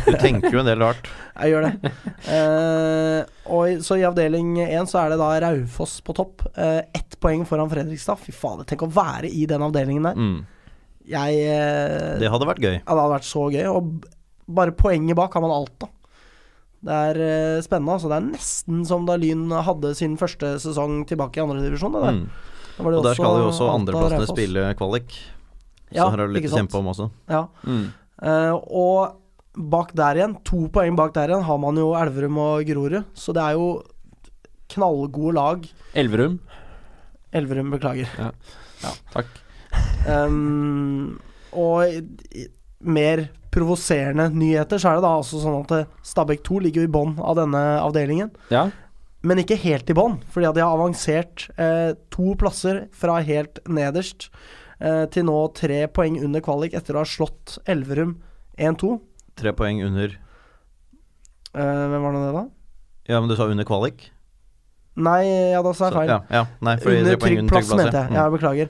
[SPEAKER 3] Du tenker jo en del rart.
[SPEAKER 1] Jeg gjør det. Eh, og i, så i avdeling én så er det da Raufoss på topp. Eh, ett poeng foran Fredrikstad. Fy fader, tenk å være i den avdelingen der.
[SPEAKER 3] Mm.
[SPEAKER 1] Jeg eh,
[SPEAKER 3] Det hadde vært gøy.
[SPEAKER 1] Ja, det hadde vært så gøy. Og b- bare poenget bak har man alt, da. Det er eh, spennende. altså Det er nesten som da Lyn hadde sin første sesong tilbake i andredivisjon.
[SPEAKER 3] Mm. Og der skal jo også andreplassene spille kvalik, så her er det litt å kjempe om også.
[SPEAKER 1] Ja.
[SPEAKER 2] Mm.
[SPEAKER 1] Eh, og bak der igjen, to poeng bak der igjen, har man jo Elverum og Grorud. Så det er jo knallgode lag.
[SPEAKER 2] Elverum.
[SPEAKER 1] Elverum, beklager.
[SPEAKER 2] Takk.
[SPEAKER 1] Ehm, og i- i- mer provoserende nyheter, så er det da altså sånn at eh, Stabæk 2 ligger jo i bånn av denne avdelingen.
[SPEAKER 2] Ja.
[SPEAKER 1] Men ikke helt i bånn, fordi at de har avansert eh, to plasser fra helt nederst eh, til nå tre poeng under kvalik etter å ha slått Elverum 1-2.
[SPEAKER 3] Tre poeng under
[SPEAKER 1] Eh, hvem var nå det, da?
[SPEAKER 3] Ja, men du sa under kvalik?
[SPEAKER 1] Nei, ja, da sa jeg
[SPEAKER 3] Så-
[SPEAKER 1] feil.
[SPEAKER 3] Ja, ja, nei, fordi
[SPEAKER 1] Under
[SPEAKER 3] det er poeng
[SPEAKER 1] trygg plass, mente
[SPEAKER 3] ja.
[SPEAKER 1] jeg. Ja, beklager.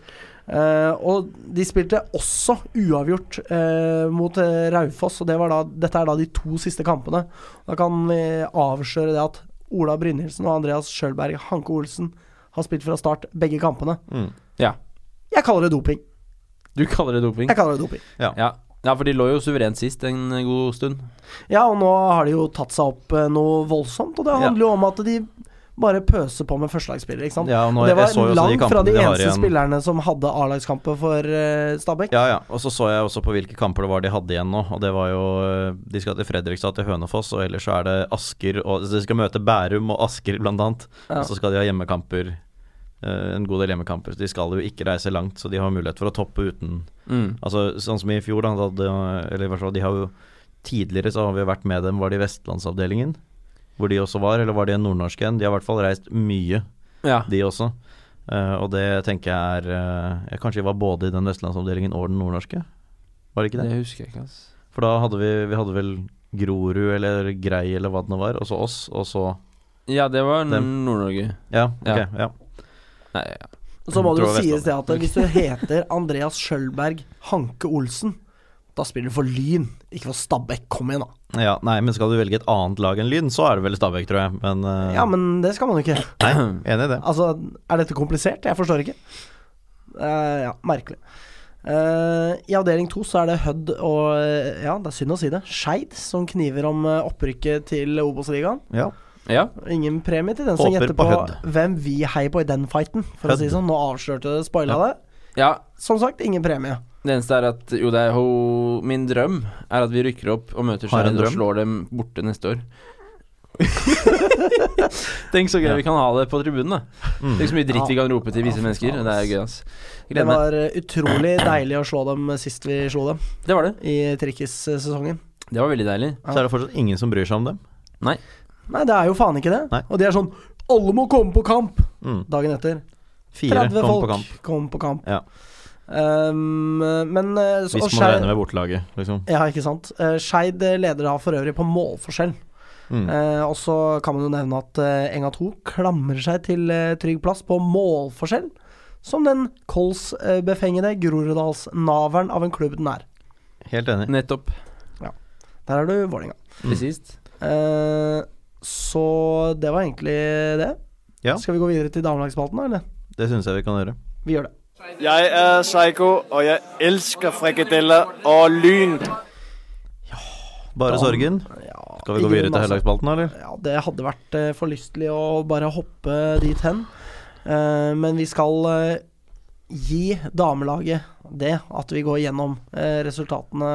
[SPEAKER 1] Eh, og de spilte også uavgjort eh, mot eh, Raufoss, og det var da, dette er da de to siste kampene. Da kan vi avsløre det at Ola Brynildsen og Andreas Schjølberg Hanke Olsen har spilt fra start begge kampene.
[SPEAKER 3] Mm. Mm.
[SPEAKER 2] Ja.
[SPEAKER 1] Jeg kaller det doping.
[SPEAKER 2] Du kaller det doping?
[SPEAKER 1] Jeg kaller det doping.
[SPEAKER 2] Ja. ja, for de lå jo suverent sist en god stund.
[SPEAKER 1] Ja, og nå har de jo tatt seg opp eh, noe voldsomt, og det
[SPEAKER 3] Ja.
[SPEAKER 1] handler jo om at de bare pøser på med førstelagsspillere, ikke sant.
[SPEAKER 3] Ja, og nå,
[SPEAKER 1] det
[SPEAKER 3] jeg
[SPEAKER 1] var
[SPEAKER 3] så jo også
[SPEAKER 1] langt fra
[SPEAKER 3] kampene
[SPEAKER 1] de
[SPEAKER 3] har
[SPEAKER 1] eneste
[SPEAKER 3] igjen.
[SPEAKER 1] spillerne som hadde A-lagskamper for eh, Stabæk.
[SPEAKER 3] Ja, ja. Og så så jeg også på hvilke kamper det var de hadde igjen nå. Og det var jo eh, De skal til Fredrikstad, til Hønefoss, og ellers så er det Asker og så De skal møte Bærum og Asker, blant annet.
[SPEAKER 1] Ja.
[SPEAKER 2] Altså,
[SPEAKER 3] Og så skal de ha hjemmekamper. eh, En god del hjemmekamper. Så de skal jo ikke reise langt, så de har mulighet for å toppe uten
[SPEAKER 2] Mm.
[SPEAKER 3] Altså sånn som i fjor, da. da hadde- eller i hvert fall de har jo Tidligere så har vi vært med dem, var det i Vestlandsavdelingen? Hvor de også var, eller var de en nordnorsk en? De har i hvert fall reist mye
[SPEAKER 2] Ja.
[SPEAKER 3] de også. Eh, og det tenker jeg er eh, jeg Kanskje vi var både i den vestlandsavdelingen og den nordnorske? Var det ikke det?
[SPEAKER 2] Det husker jeg ikke, altså.
[SPEAKER 3] For da hadde vi, vi hadde vel Grorud eller Grei eller hva det nå var, og så oss, og så
[SPEAKER 2] Ja, det var
[SPEAKER 3] Dem.
[SPEAKER 2] Nord-Norge.
[SPEAKER 3] Ja, ok.
[SPEAKER 2] Ja.
[SPEAKER 3] Ja.
[SPEAKER 2] Nei, ja.
[SPEAKER 1] Så må det jo
[SPEAKER 3] Tror jeg
[SPEAKER 1] sies det at hvis du heter Andreas Schjølberg Hanke Olsen, da spiller du for Lyn, ikke for Stabæk. Kom igjen, da.
[SPEAKER 3] ja. Nei, men skal du velge et annet lag enn Lyn, så er det vel Stabæk, tror jeg. Men, eh,
[SPEAKER 1] Ja, men det skal man jo ikke.
[SPEAKER 3] Nei, enig i det.
[SPEAKER 1] Altså, er dette komplisert? Jeg forstår ikke. Eh, ja, merkelig. Eh, I avdeling to så er det Hødd og eh, Ja, det er synd å si det. Skeid som kniver om eh, opprykket til Obos-ligaen.
[SPEAKER 3] Ja.
[SPEAKER 2] ja.
[SPEAKER 1] Ingen premie til den som
[SPEAKER 3] Håper
[SPEAKER 1] gjetter på,
[SPEAKER 3] på Hødd.
[SPEAKER 1] hvem vi heier på i den fighten, for å
[SPEAKER 3] Hødd.
[SPEAKER 1] si det sånn. Nå avslørte det, spoila
[SPEAKER 3] Ja.
[SPEAKER 1] det.
[SPEAKER 2] Ja,
[SPEAKER 1] Som sagt, ingen premie.
[SPEAKER 2] det eneste er at Jo, det er ho, min drøm er at vi rykker opp og møter
[SPEAKER 3] Har en
[SPEAKER 2] Skeid og
[SPEAKER 3] drøm?
[SPEAKER 2] slår dem borte neste år. Tenk så gøy
[SPEAKER 3] Ja.
[SPEAKER 2] vi kan ha det på tribunen, da.
[SPEAKER 3] Mm.
[SPEAKER 1] Liksom,
[SPEAKER 2] Tenk så mye dritt vi kan rope til
[SPEAKER 1] Ja,
[SPEAKER 2] visse
[SPEAKER 1] fy
[SPEAKER 2] mennesker.
[SPEAKER 1] faen,
[SPEAKER 2] Det er
[SPEAKER 1] ass.
[SPEAKER 2] gøy, ass.
[SPEAKER 1] Det
[SPEAKER 2] Gleder meg.
[SPEAKER 1] var eh, utrolig deilig å slå dem sist vi slo dem,
[SPEAKER 2] Det var det.
[SPEAKER 1] i trikkis-sesongen.
[SPEAKER 2] Det var veldig deilig.
[SPEAKER 3] Så er det fortsatt ingen som bryr seg om dem.
[SPEAKER 2] Nei.
[SPEAKER 1] Nei, det er jo faen ikke det.
[SPEAKER 3] Nei.
[SPEAKER 1] Og de er sånn Alle må komme på kamp!
[SPEAKER 3] Mm.
[SPEAKER 1] Dagen etter.
[SPEAKER 3] Fire
[SPEAKER 1] 30
[SPEAKER 3] kom
[SPEAKER 1] folk
[SPEAKER 3] på kamp.
[SPEAKER 1] kom på kamp.
[SPEAKER 3] Ja.
[SPEAKER 1] Um, men eh, så,
[SPEAKER 3] Hvis
[SPEAKER 1] og
[SPEAKER 3] man
[SPEAKER 1] Skeid-
[SPEAKER 3] regner med bortelaget, liksom.
[SPEAKER 1] Ja, ikke sant. Eh, Skeid eh, leder da for øvrig på målforskjell.
[SPEAKER 3] Mm.
[SPEAKER 1] Eh, og så kan man jo nevne at eh, Enga 2 klamrer seg til eh, trygg plass på målforskjell, som den kolsbefengede Groruddalsnaveren av en klubb den er.
[SPEAKER 3] Helt enig.
[SPEAKER 2] Nettopp.
[SPEAKER 1] Der er du Vålerenga.
[SPEAKER 2] Presist.
[SPEAKER 1] Eh, så det var egentlig det.
[SPEAKER 3] Ja.
[SPEAKER 1] Skal vi gå videre til damelagsspalten, da, eller?
[SPEAKER 3] Det syns jeg vi kan gjøre.
[SPEAKER 1] Vi gjør det.
[SPEAKER 4] Jeg er Psycho, og jeg elsker frikadeller og lyn.
[SPEAKER 3] Bare
[SPEAKER 1] Da-
[SPEAKER 3] sorgen.
[SPEAKER 1] Ja,
[SPEAKER 3] Skal vi gå videre
[SPEAKER 1] i grunnen,
[SPEAKER 3] til
[SPEAKER 1] altså.
[SPEAKER 3] Heldagsspalten, eller?
[SPEAKER 1] Ja, det hadde vært eh, for lystelig å bare hoppe dit hen. Eh, men vi skal eh, gi damelaget det at vi går gjennom eh, resultatene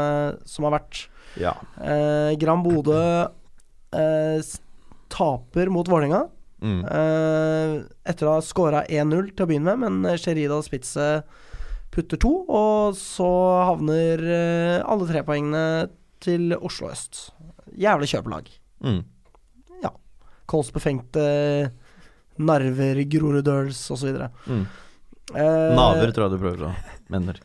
[SPEAKER 1] som har vært.
[SPEAKER 3] Ja.
[SPEAKER 1] Eh, Gran Bodø eh, s- taper mot Vålerenga.
[SPEAKER 3] Mm.
[SPEAKER 1] Eh, etter å ha skåra 1-0 til å begynne med, men eh, Sherida Spitze putter to. Og så havner eh, alle tre poengene til Oslo øst. Jævlig kjøpelag.
[SPEAKER 3] Mm.
[SPEAKER 1] Kols befengte Narver, Groruddøls osv.
[SPEAKER 3] Mm.
[SPEAKER 1] Eh,
[SPEAKER 3] Naver tror jeg du prøver å mener.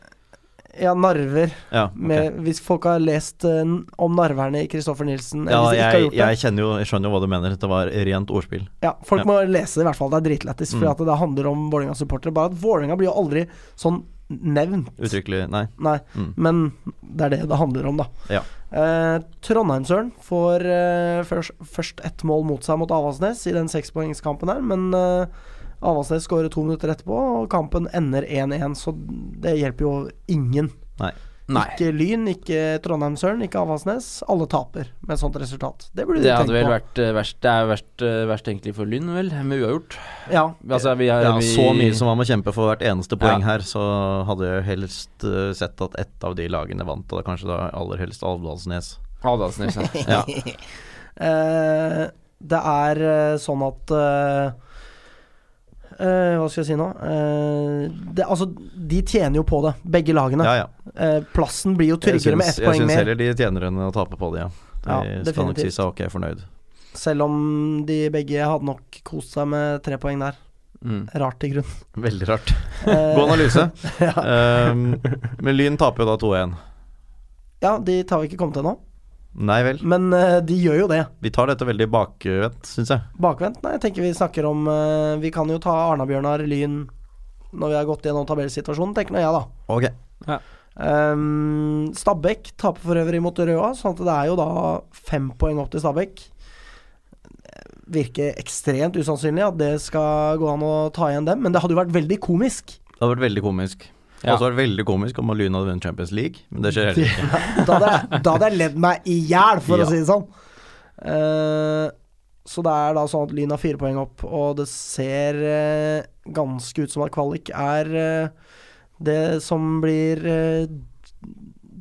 [SPEAKER 1] Ja, Narver.
[SPEAKER 3] Ja, ok.
[SPEAKER 1] Med, Hvis folk har lest eh, om narverne i Kristoffer Nilsen eller
[SPEAKER 3] ja
[SPEAKER 1] hvis de ikke har
[SPEAKER 3] jeg,
[SPEAKER 1] gjort det,
[SPEAKER 3] jeg kjenner jo Jeg skjønner jo hva du mener. Det var rent ordspill.
[SPEAKER 1] ja, Folk
[SPEAKER 3] ja.
[SPEAKER 1] må lese det, i hvert fall. Det er dritlættis.
[SPEAKER 3] Mm.
[SPEAKER 1] For at det handler om Vålerenga-supportere. Bare at Vålerenga blir jo aldri sånn nevnt.
[SPEAKER 3] Uttrykkelig Nei.
[SPEAKER 1] Nei,
[SPEAKER 3] Mm.
[SPEAKER 1] men det er det det handler om, da.
[SPEAKER 3] Ja.
[SPEAKER 1] Eh, Trondheimsøren får eh, først, først ett mål mot seg mot Avaldsnes i den sekspoengskampen her, men eh, Avaldsnes skårer to minutter etterpå, og kampen ender 1-1, så det hjelper jo ingen.
[SPEAKER 2] Nei.
[SPEAKER 1] Ikke Lyn, ikke Trondheimsøren, ikke Avaldsnes. Alle taper med et sånt resultat. Det burde du
[SPEAKER 2] Det
[SPEAKER 1] tenkt
[SPEAKER 2] hadde vel
[SPEAKER 1] på.
[SPEAKER 2] vært eh, verst. Det er verst, eh, verst egentlig for Lyn, vel, med uavgjort.
[SPEAKER 1] Ja.
[SPEAKER 2] Altså, vi er
[SPEAKER 3] Ja,
[SPEAKER 2] vi,
[SPEAKER 3] så mye som man må kjempe for hvert eneste poeng
[SPEAKER 2] Ja.
[SPEAKER 3] her, så hadde jeg helst eh, sett at ett av de lagene vant, og da kanskje da aller helst Alvdalsnes.
[SPEAKER 2] Adalsnes, ja.
[SPEAKER 3] Ja.
[SPEAKER 1] Eh, det er eh, sånn at eh, eh, Hva skal jeg si nå? Eh, det, altså, de tjener jo på det, begge lagene.
[SPEAKER 3] ja, ja.
[SPEAKER 1] Eh, plassen blir jo
[SPEAKER 3] Jeg
[SPEAKER 1] tryggere med
[SPEAKER 3] syns-
[SPEAKER 1] ett poeng
[SPEAKER 3] Jeg syns
[SPEAKER 1] mer,
[SPEAKER 3] heller de tjener enn å tape på det, ja. De
[SPEAKER 1] Ja,
[SPEAKER 3] skal nok si
[SPEAKER 1] definitivt.
[SPEAKER 3] seg ok fornøyd.
[SPEAKER 1] selv om de begge hadde nok kost seg med tre poeng der.
[SPEAKER 2] Mm.
[SPEAKER 1] Rart i grunnen.
[SPEAKER 3] Veldig rart.
[SPEAKER 1] Eh,
[SPEAKER 3] God analyse. um, men Lyn taper jo da 2-1.
[SPEAKER 1] ja, dit har vi ikke kommet ennå.
[SPEAKER 3] Nei vel.
[SPEAKER 1] Men eh, de gjør jo det.
[SPEAKER 3] Vi tar dette veldig bakvendt, syns jeg.
[SPEAKER 1] Bakvendt? Nei, jeg tenker vi snakker om eh, Vi kan jo ta Arna-Bjørnar Lyn når vi har gått gjennom tabellsituasjonen, tenker nå jeg, da.
[SPEAKER 3] Ok.
[SPEAKER 1] Ehm, Stabæk taper for øvrig mot Røa, sånn at det er jo da fem poeng opp til Stabæk. Virker ekstremt usannsynlig at det skal gå an å ta igjen dem, men det hadde jo vært veldig komisk.
[SPEAKER 3] Det hadde vært veldig komisk. Det
[SPEAKER 2] Ja.
[SPEAKER 3] hadde også vært veldig komisk om Lyn hadde vunnet Champions League, men det skjer heller ikke.
[SPEAKER 1] Da hadde jeg, da hadde jeg ledd meg i hjel, for
[SPEAKER 3] Ja.
[SPEAKER 1] å si det sånn. Eh, så det er da sånn at Lyn har fire poeng opp, og det ser eh, ganske ut som at kvalik er eh, det som blir eh,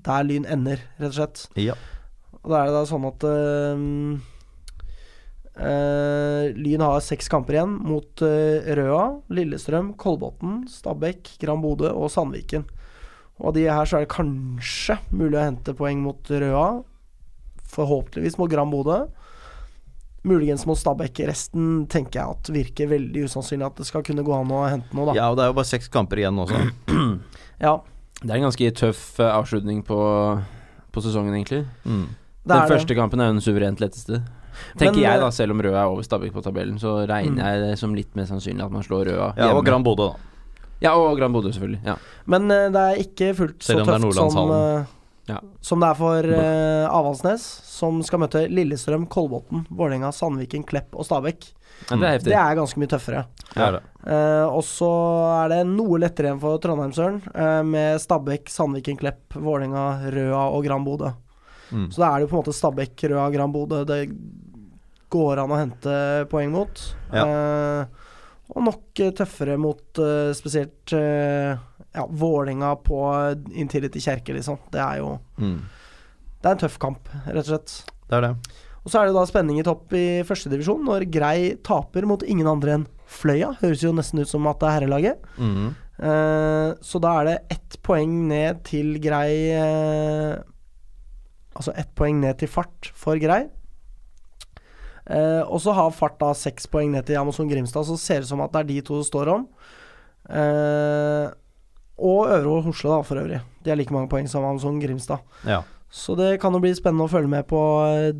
[SPEAKER 1] der Lyn ender, rett og slett.
[SPEAKER 3] Ja.
[SPEAKER 1] Og da er det da sånn at eh, eh, Lyn har seks kamper igjen mot eh, Røa, Lillestrøm, Kolbotn, Stabæk, Gran Bodø og Sandviken. Og av de her så er det kanskje mulig å hente poeng mot Røa. Forhåpentligvis mot Gran Bodø. Muligens mot Stabæk. Resten tenker jeg at virker veldig usannsynlig at det skal kunne gå an å hente noe, da.
[SPEAKER 3] ja, og det er jo bare seks kamper igjen også.
[SPEAKER 1] Ja,
[SPEAKER 2] Det er en ganske tøff eh, avslutning på, på sesongen, egentlig.
[SPEAKER 3] Mm.
[SPEAKER 1] det
[SPEAKER 2] Den
[SPEAKER 1] er
[SPEAKER 2] første kampen er jo den suverent letteste. Tenker
[SPEAKER 1] Men,
[SPEAKER 2] jeg,
[SPEAKER 1] eh, Mm.
[SPEAKER 2] da, selv om Røa er over Stabæk på tabellen, så regner jeg det som litt mer sannsynlig at man slår Røa.
[SPEAKER 3] Ja, og
[SPEAKER 2] hjemme.
[SPEAKER 3] Gran Bodø, da.
[SPEAKER 2] ja, og Gran Bodø, selvfølgelig. Ja.
[SPEAKER 1] det. Men eh, det er ikke fullt så
[SPEAKER 3] Selv om det er
[SPEAKER 1] tøft som,
[SPEAKER 3] Nordlandshallen.
[SPEAKER 1] eh,
[SPEAKER 2] Ja.
[SPEAKER 1] som det er for eh, Avaldsnes, som skal møte Lillestrøm, Kolbotn, Vålerenga, Sandviken, Klepp og Stabæk.
[SPEAKER 2] Ja, det er
[SPEAKER 1] Mm.
[SPEAKER 2] heftig.
[SPEAKER 1] Det er ganske mye tøffere.
[SPEAKER 3] Det er det.
[SPEAKER 1] Eh, og så er det noe lettere igjen for Trondheimsøren, eh, med Stabæk, Sandviken, Klepp, Vålerenga, Røa og Gran Bodø.
[SPEAKER 3] Mm.
[SPEAKER 1] Så da er det jo på en måte Stabæk, Røa, Gran Bodø det går an å hente poeng mot. Eh, og nok eh, tøffere mot eh, spesielt eh, ja, Vålerenga på Intility Kjerke, liksom. Det er jo
[SPEAKER 3] Mm.
[SPEAKER 1] Det er en tøff kamp, rett og slett.
[SPEAKER 3] Det er det.
[SPEAKER 1] Og så er det da spenning i topp i førstedivisjon når Grei taper mot ingen andre enn Fløya. Høres jo nesten ut som at det er herrelaget.
[SPEAKER 3] Mhm.
[SPEAKER 1] Eh, så da er det ett poeng ned til grei eh, Altså ett poeng ned til fart for grei. Eh, og så har fart da seks poeng ned til Amazon Grimstad, så ser det ut som at det er de to det står om. Eh, og Øvre Hosle, da, for øvrig. De har like mange poeng som Amazon Grimstad.
[SPEAKER 3] Ja.
[SPEAKER 1] Så det kan jo bli spennende å følge med på eh,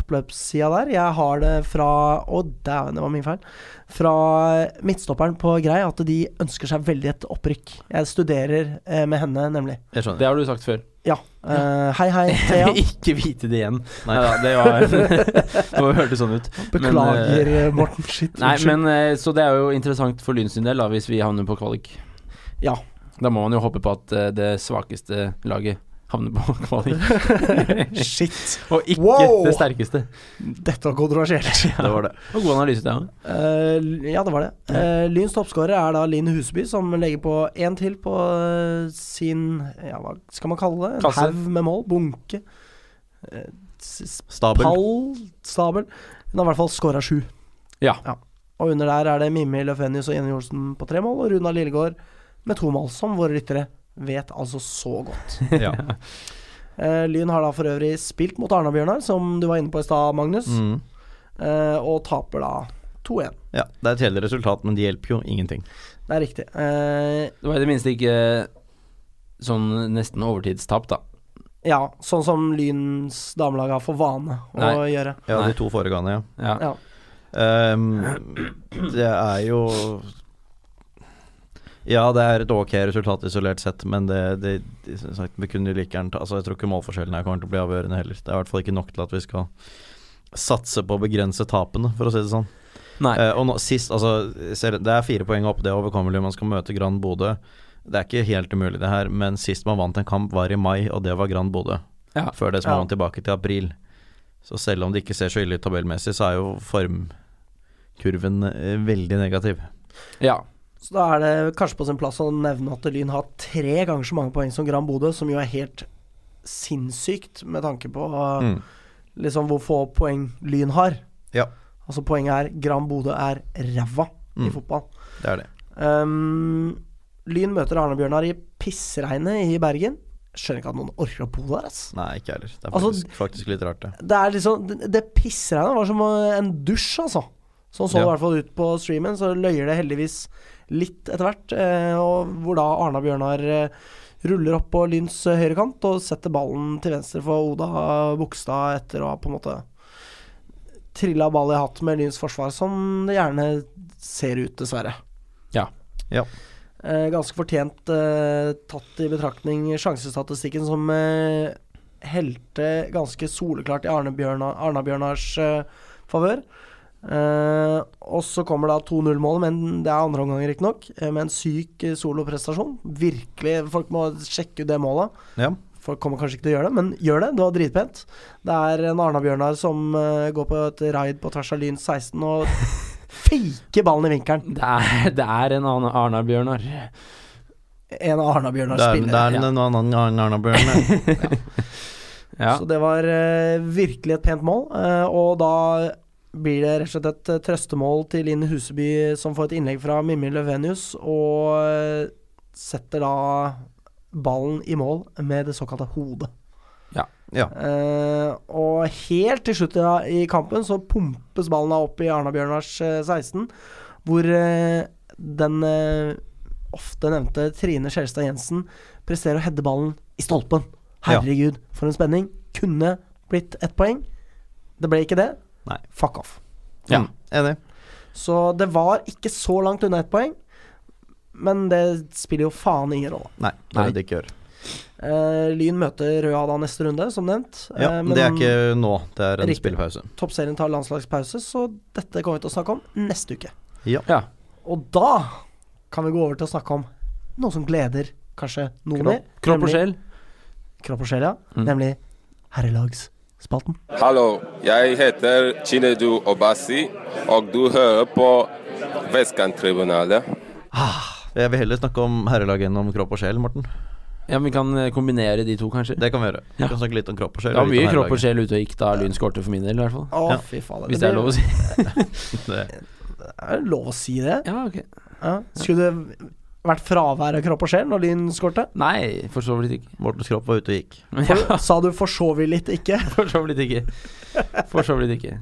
[SPEAKER 1] oppløpssida der. Jeg har det fra Å, dæven, det var min feil. Fra eh, midtstopperen på Grei at de ønsker seg veldig et opprykk. Jeg studerer eh, med henne, nemlig.
[SPEAKER 3] Jeg skjønner.
[SPEAKER 2] Det har du sagt før.
[SPEAKER 1] Ja. Eh, hei, hei, Thea.
[SPEAKER 2] Ikke vite det igjen.
[SPEAKER 3] Nei.
[SPEAKER 2] Nei da, det var Det hørtes sånn ut.
[SPEAKER 1] Beklager, eh, Morten. Shit.
[SPEAKER 2] Nei,
[SPEAKER 1] unnskyld.
[SPEAKER 2] men eh, Så det er jo interessant for Lyn sin del, da, hvis vi havner på kvalik.
[SPEAKER 1] Ja.
[SPEAKER 2] Da må man jo håpe på at eh, det svakeste laget havner på kvalik,
[SPEAKER 1] Shit.
[SPEAKER 2] og ikke
[SPEAKER 1] Wow!
[SPEAKER 2] det sterkeste.
[SPEAKER 1] Dette var kontroversielt.
[SPEAKER 3] Det var det.
[SPEAKER 2] Og god analyse der òg.
[SPEAKER 1] Eh, ja, det var det. Eh, Lyns toppskårer er da Linn Huseby, som legger på én til på eh, sin Ja, hva skal man kalle det? En
[SPEAKER 2] Kasse.
[SPEAKER 1] haug med mål. Bunke. Eh, s-
[SPEAKER 3] Stabel.
[SPEAKER 1] pall Stabel. Hun har i hvert fall skåra sju.
[SPEAKER 2] Ja.
[SPEAKER 1] Og under der er det Mimmi Løfenius og Jenny Olsen på tre mål, og Runa Lillegård med to mål, som våre lyttere vet altså så godt.
[SPEAKER 3] Ja.
[SPEAKER 1] Eh, Lyn har da for øvrig spilt mot Arna-Bjørnar, som du var inne på i stad, Magnus,
[SPEAKER 3] Mm.
[SPEAKER 1] eh, og taper da 2-1.
[SPEAKER 3] ja. Det er et kjedelig resultat, men det hjelper jo ingenting.
[SPEAKER 1] Det er riktig. Eh,
[SPEAKER 2] Det var i det minste ikke sånn nesten overtidstap, da.
[SPEAKER 1] Ja, sånn som Lyns damelag har for vane å
[SPEAKER 2] Nei.
[SPEAKER 1] gjøre.
[SPEAKER 3] Ja,
[SPEAKER 2] Nei.
[SPEAKER 3] de to foregående, ja.
[SPEAKER 2] Ja.
[SPEAKER 1] Ja.
[SPEAKER 3] Ehm, det er jo Ja, det er et ok resultat isolert sett, men det, det, det som sagt, vi kunne jo like gjerne ta altså, Jeg tror ikke målforskjellen her kommer til å bli avgjørende heller. Det er i hvert fall ikke nok til at vi skal satse på å begrense tapene, for å si det sånn.
[SPEAKER 2] Nei.
[SPEAKER 3] Eh, og nå, sist, altså ser, Det er fire poeng opp, det er overkommelig. Man skal møte Grand Bodø. Det er ikke helt umulig, det her, men sist man vant en kamp, var i mai, og det var Grand Bodø.
[SPEAKER 2] Ja.
[SPEAKER 3] Før det så må
[SPEAKER 1] Ja.
[SPEAKER 3] man tilbake til april. Så selv om det ikke ser så ille ut tabellmessig, så er jo formkurven eh, veldig negativ.
[SPEAKER 2] ja.
[SPEAKER 1] Så da er det kanskje på sin plass å nevne at Lyn har tre ganger så mange poeng som Gran Bodø, som jo er helt sinnssykt med tanke på uh,
[SPEAKER 3] Mm.
[SPEAKER 1] liksom hvor få poeng Lyn har.
[SPEAKER 3] Ja.
[SPEAKER 1] Altså poenget er Gran Bodø er ræva i
[SPEAKER 3] Mm.
[SPEAKER 1] fotball.
[SPEAKER 3] Det er det.
[SPEAKER 1] Um, lyn møter Arne-Bjørnar i pissregnet i Bergen. Skjønner ikke at noen orker å bo der, ass.
[SPEAKER 3] Nei, ikke jeg heller. Det er
[SPEAKER 1] Altså,
[SPEAKER 3] faktisk, faktisk litt rart, det.
[SPEAKER 1] Det er liksom Det, det pissregnet var som eh, en dusj, altså. Sånn så det
[SPEAKER 3] Ja.
[SPEAKER 1] i hvert fall ut på streamen. Så løyer det heldigvis litt etter hvert. Eh, og hvor da Arna Bjørnar eh, ruller opp på Lyns eh, høyrekant og setter ballen til venstre for Oda Bogstad etter å ha på en måte trilla ball i hatt med Lyns forsvar, som det gjerne ser ut, dessverre.
[SPEAKER 2] Ja.
[SPEAKER 3] Ja.
[SPEAKER 1] Eh, ganske fortjent eh, tatt i betraktning sjansestatistikken som eh, helte ganske soleklart i Arne Bjørna- Arna-Bjørnars eh, favør. Eh, og så kommer da 2-0-målet, men det er andre omgang riktignok, eh, med en syk eh, soloprestasjon. Virkelig, folk må sjekke ut det målet.
[SPEAKER 3] Ja.
[SPEAKER 1] Folk kommer kanskje ikke til å gjøre det, men gjør det. Det var dritpent. Det er en Arna-Bjørnar som eh, går på et raid på tvers av Lyn 16 og faker ballen i vinkelen.
[SPEAKER 2] Det er, det er en annen Arnar-Bjørnar.
[SPEAKER 1] En av
[SPEAKER 3] Det
[SPEAKER 1] Arna-Bjørnars
[SPEAKER 3] er, det
[SPEAKER 1] spillere.
[SPEAKER 3] er en annen Arna-Bjørn.
[SPEAKER 2] Ja.
[SPEAKER 1] Så det var eh, virkelig et pent mål. eh, og da blir det rett og slett et eh, trøstemål til Linn Huseby, som får et innlegg fra Mimmi Løvenius, og eh, setter da ballen i mål med det såkalte hodet.
[SPEAKER 3] Ja.
[SPEAKER 1] Eh, og helt til slutt i- i kampen så pumpes ballen da opp i Arna-Bjørnars eh, 16, hvor eh, den eh, ofte nevnte Trine Skjelstad Jensen presterer å heade ballen i stolpen.
[SPEAKER 3] Ja.
[SPEAKER 1] Herregud, for en spenning. Kunne blitt ett poeng. Det ble ikke det.
[SPEAKER 3] Nei.
[SPEAKER 1] Fuck off.
[SPEAKER 2] Ja.
[SPEAKER 3] Mm, Enig.
[SPEAKER 1] Så det var ikke så langt unna ett poeng, men det spiller jo faen ingen rolle.
[SPEAKER 3] Nei, det
[SPEAKER 2] Nei.
[SPEAKER 3] vil det ikke gjøre.
[SPEAKER 1] Eh, Lyn møter Røa da neste runde, som nevnt.
[SPEAKER 3] Ja,
[SPEAKER 1] Eh,
[SPEAKER 3] men det er ikke nå, det er en
[SPEAKER 1] Riktig.
[SPEAKER 3] spillepause.
[SPEAKER 1] Toppserien tar landslagspause, så dette kommer vi til å snakke om neste uke.
[SPEAKER 2] ja.
[SPEAKER 1] Og da kan vi gå over til å snakke om noe som gleder kanskje noen mer.
[SPEAKER 2] Kropp og
[SPEAKER 1] nemlig-
[SPEAKER 2] sjel.
[SPEAKER 1] Kropp og sjel, ja.
[SPEAKER 2] Mm.
[SPEAKER 1] Nemlig herrelagsspalten.
[SPEAKER 5] Hallo, jeg heter Chinedu Obasi, og du hører på Vestkanttribunalet.
[SPEAKER 3] Jeg vil heller snakke om herrelaget enn om kropp og sjel, Morten.
[SPEAKER 2] Ja, men vi kan eh, kombinere de to, kanskje. Det,
[SPEAKER 3] Det kan vi gjøre. Vi
[SPEAKER 2] Ja.
[SPEAKER 3] kan snakke litt om kropp og sjel.
[SPEAKER 2] var mye
[SPEAKER 3] litt om
[SPEAKER 2] kropp og
[SPEAKER 3] herrelaget.
[SPEAKER 2] sjel ute og gikk da Lyn skårte, for min del i hvert fall.
[SPEAKER 1] Å,
[SPEAKER 3] Ja.
[SPEAKER 1] fy faen.
[SPEAKER 2] Hvis Ah, det er lov å si.
[SPEAKER 3] Det-
[SPEAKER 1] er det lov å si det?
[SPEAKER 2] Ja, ok.
[SPEAKER 1] Ja. Skulle det vært fravær av kropp og sjel når Lyn skårte?
[SPEAKER 2] Nei, for så vidt ikke.
[SPEAKER 3] Mortens kropp var ute og gikk.
[SPEAKER 1] For- Sa du 'for så vidt litt ikke'?
[SPEAKER 2] For så vidt ikke. For så vidt ikke.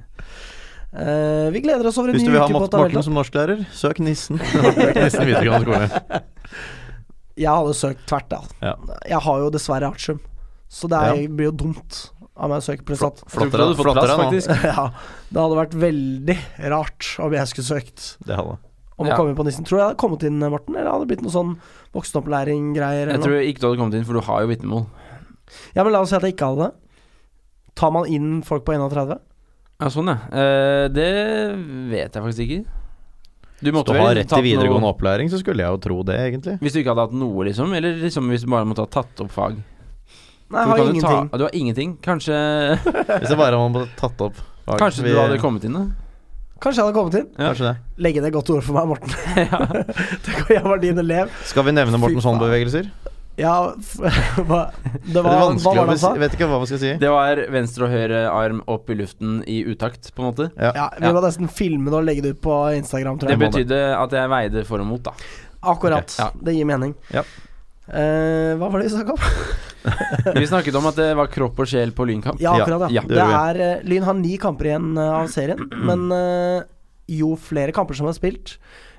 [SPEAKER 1] Eh, vi gleder oss over en
[SPEAKER 3] Hvis
[SPEAKER 1] ny
[SPEAKER 3] du vil ha
[SPEAKER 1] uke på
[SPEAKER 3] Mort- Morten
[SPEAKER 1] Tabelltopp.
[SPEAKER 3] som norsklærer, søk Nissen. Nissen videregående skole.
[SPEAKER 1] Jeg hadde søkt tvert, da.
[SPEAKER 3] Ja.
[SPEAKER 1] Jeg har jo dessverre artium, så det er,
[SPEAKER 3] Ja.
[SPEAKER 1] blir jo dumt av meg å søke prestat.
[SPEAKER 2] Jeg tror
[SPEAKER 3] Flottere,
[SPEAKER 2] ikke du hadde fått plass,
[SPEAKER 3] flottere nå.
[SPEAKER 2] faktisk.
[SPEAKER 1] ja, det hadde vært veldig rart om jeg skulle søkt
[SPEAKER 3] Det hadde
[SPEAKER 1] om
[SPEAKER 2] Ja.
[SPEAKER 1] å komme inn på nissen. Tror du jeg hadde kommet inn, Morten? Eller hadde det blitt noe sånn voksenopplæring-greier?
[SPEAKER 2] Jeg
[SPEAKER 1] eller noe?
[SPEAKER 2] tror ikke du hadde kommet inn, for du har jo vitnemål.
[SPEAKER 1] Ja, men la oss si at jeg ikke hadde det. Tar man inn folk på 31?
[SPEAKER 2] Ja, sånn, ja. Eh, det vet jeg faktisk ikke. Du
[SPEAKER 3] Hvis
[SPEAKER 2] måtte
[SPEAKER 3] du har
[SPEAKER 2] vel
[SPEAKER 3] rett
[SPEAKER 2] tatt
[SPEAKER 3] til videregående
[SPEAKER 2] noe-
[SPEAKER 3] opplæring, så skulle jeg jo tro det, egentlig.
[SPEAKER 2] Hvis du ikke hadde hatt noe, liksom? Eller liksom hvis du bare måtte ha tatt opp fag?
[SPEAKER 1] Nei,
[SPEAKER 2] Så
[SPEAKER 1] jeg har
[SPEAKER 2] kan du ta-
[SPEAKER 1] ingenting.
[SPEAKER 2] Ah, du har ingenting? Kanskje
[SPEAKER 3] Hvis det bare man hadde tatt opp fag.
[SPEAKER 2] Kanskje
[SPEAKER 3] Vi-
[SPEAKER 2] du hadde kommet inn, da?
[SPEAKER 1] Kanskje jeg hadde kommet inn.
[SPEAKER 2] Ja.
[SPEAKER 3] Kanskje det.
[SPEAKER 1] Legge ned godt ord for meg, Morten. Tenk om jeg var din elev.
[SPEAKER 3] Skal vi nevne Morten
[SPEAKER 1] Fy faen.
[SPEAKER 3] Sonn-bevegelser?
[SPEAKER 1] Ja, f hva, det
[SPEAKER 3] Det er
[SPEAKER 1] var, hva
[SPEAKER 3] vanskelig
[SPEAKER 1] var
[SPEAKER 3] å
[SPEAKER 1] det han sa?
[SPEAKER 3] bes- Vet ikke hva man skal si.
[SPEAKER 2] Det var venstre og høyre arm opp i luften i utakt, på en måte.
[SPEAKER 1] Ja, Vi
[SPEAKER 2] Ja.
[SPEAKER 1] må nesten filme det og legge det ut på Instagram, tror jeg.
[SPEAKER 2] Det betydde at jeg veide for og mot, da.
[SPEAKER 1] Akkurat.
[SPEAKER 2] Ja.
[SPEAKER 1] Det gir mening.
[SPEAKER 3] Ja.
[SPEAKER 1] Eh, hva var det vi snakka om?
[SPEAKER 2] Vi snakket om at det var kropp og sjel på lynkamp.
[SPEAKER 1] Ja, akkurat, ja.
[SPEAKER 2] Ja,
[SPEAKER 1] Det
[SPEAKER 3] det gjør
[SPEAKER 1] er, eh, Lyn har ni kamper igjen eh, av serien, men eh, jo flere kamper som er spilt,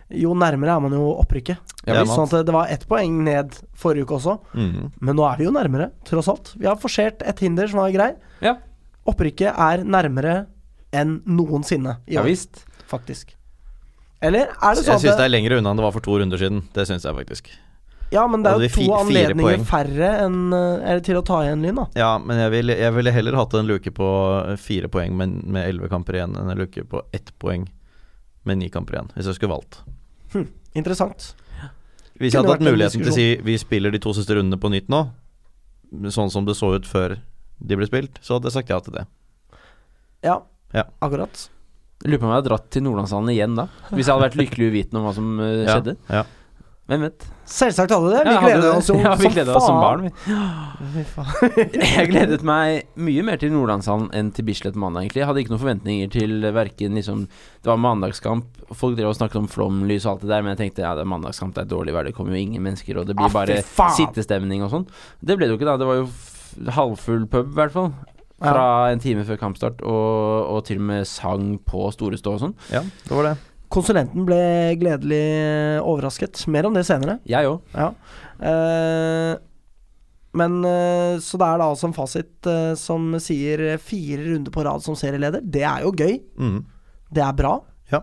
[SPEAKER 1] jo nærmere er man jo opprykket.
[SPEAKER 2] Ja,
[SPEAKER 1] Det er
[SPEAKER 3] visst.
[SPEAKER 1] sånn at det- det var ett poeng ned forrige uke også,
[SPEAKER 3] Mhm.
[SPEAKER 1] men nå er vi jo nærmere, tross alt. Vi har forsert et hinder som var grei.
[SPEAKER 2] Ja.
[SPEAKER 1] Opprykket er nærmere enn noensinne i
[SPEAKER 2] Ja
[SPEAKER 1] år,
[SPEAKER 2] visst.
[SPEAKER 1] faktisk. Eller er det sånn
[SPEAKER 3] Jeg
[SPEAKER 1] at
[SPEAKER 3] syns det er lenger unna enn det var for to runder siden. Det syns jeg faktisk.
[SPEAKER 1] Ja, men det er jo
[SPEAKER 3] Hadde vi fi-
[SPEAKER 1] to
[SPEAKER 3] fire
[SPEAKER 1] anledninger
[SPEAKER 3] poeng?
[SPEAKER 1] færre enn, eh, eller til å ta igjen Lyn, da.
[SPEAKER 3] Ja, men jeg ville, jeg ville heller hatt en luke på eh, fire poeng men med elleve kamper igjen, enn en luke på ett poeng med ni kamper igjen, hvis jeg skulle valgt.
[SPEAKER 1] Interessant.
[SPEAKER 3] Hvis jeg
[SPEAKER 1] Kunne
[SPEAKER 3] hadde hatt
[SPEAKER 1] vært en
[SPEAKER 3] muligheten til å si vi spiller de to siste rundene på nytt nå, sånn som det så ut før de ble spilt, så hadde jeg sagt ja til det.
[SPEAKER 1] Ja,
[SPEAKER 3] Ja.
[SPEAKER 1] akkurat.
[SPEAKER 2] Lurer på om jeg hadde dratt til Nordlandshallen igjen da. Hvis jeg hadde vært lykkelig uvitende om hva som eh,
[SPEAKER 3] Ja,
[SPEAKER 2] skjedde.
[SPEAKER 3] ja.
[SPEAKER 2] Hvem vet?
[SPEAKER 1] Selvsagt hadde det. Vi
[SPEAKER 2] Jeg hadde
[SPEAKER 1] gleder
[SPEAKER 2] det.
[SPEAKER 1] oss jo
[SPEAKER 2] ja, vi
[SPEAKER 1] som
[SPEAKER 2] gledet oss som
[SPEAKER 1] faen.
[SPEAKER 2] barn. Vi. Jeg gledet meg mye mer til Nordlandshallen enn til Bislett mandag, egentlig. Jeg hadde ikke noen forventninger til verken liksom Det var mandagskamp, folk drev og snakket om flomlys og alt det der, men jeg tenkte ja, det er mandagskamp, det er dårlig vær, det kommer jo ingen mennesker, og det
[SPEAKER 1] Ah,
[SPEAKER 2] blir
[SPEAKER 1] fy
[SPEAKER 2] bare
[SPEAKER 1] faen.
[SPEAKER 2] sittestemning og sånn. Det ble det jo ikke, da. Det var jo f halvfull pub, i hvert fall. Fra en time før kampstart, og, og til og med sang på Store Stå og sånn.
[SPEAKER 3] Ja, det var det.
[SPEAKER 1] Konsulenten ble gledelig overrasket. Mer om det senere.
[SPEAKER 2] Jeg òg.
[SPEAKER 1] Ja. Eh, Men eh, Så det er da altså en fasit eh, som sier fire runder på rad som serieleder. Det er jo gøy.
[SPEAKER 3] Mm.
[SPEAKER 1] Det er bra.
[SPEAKER 3] Ja.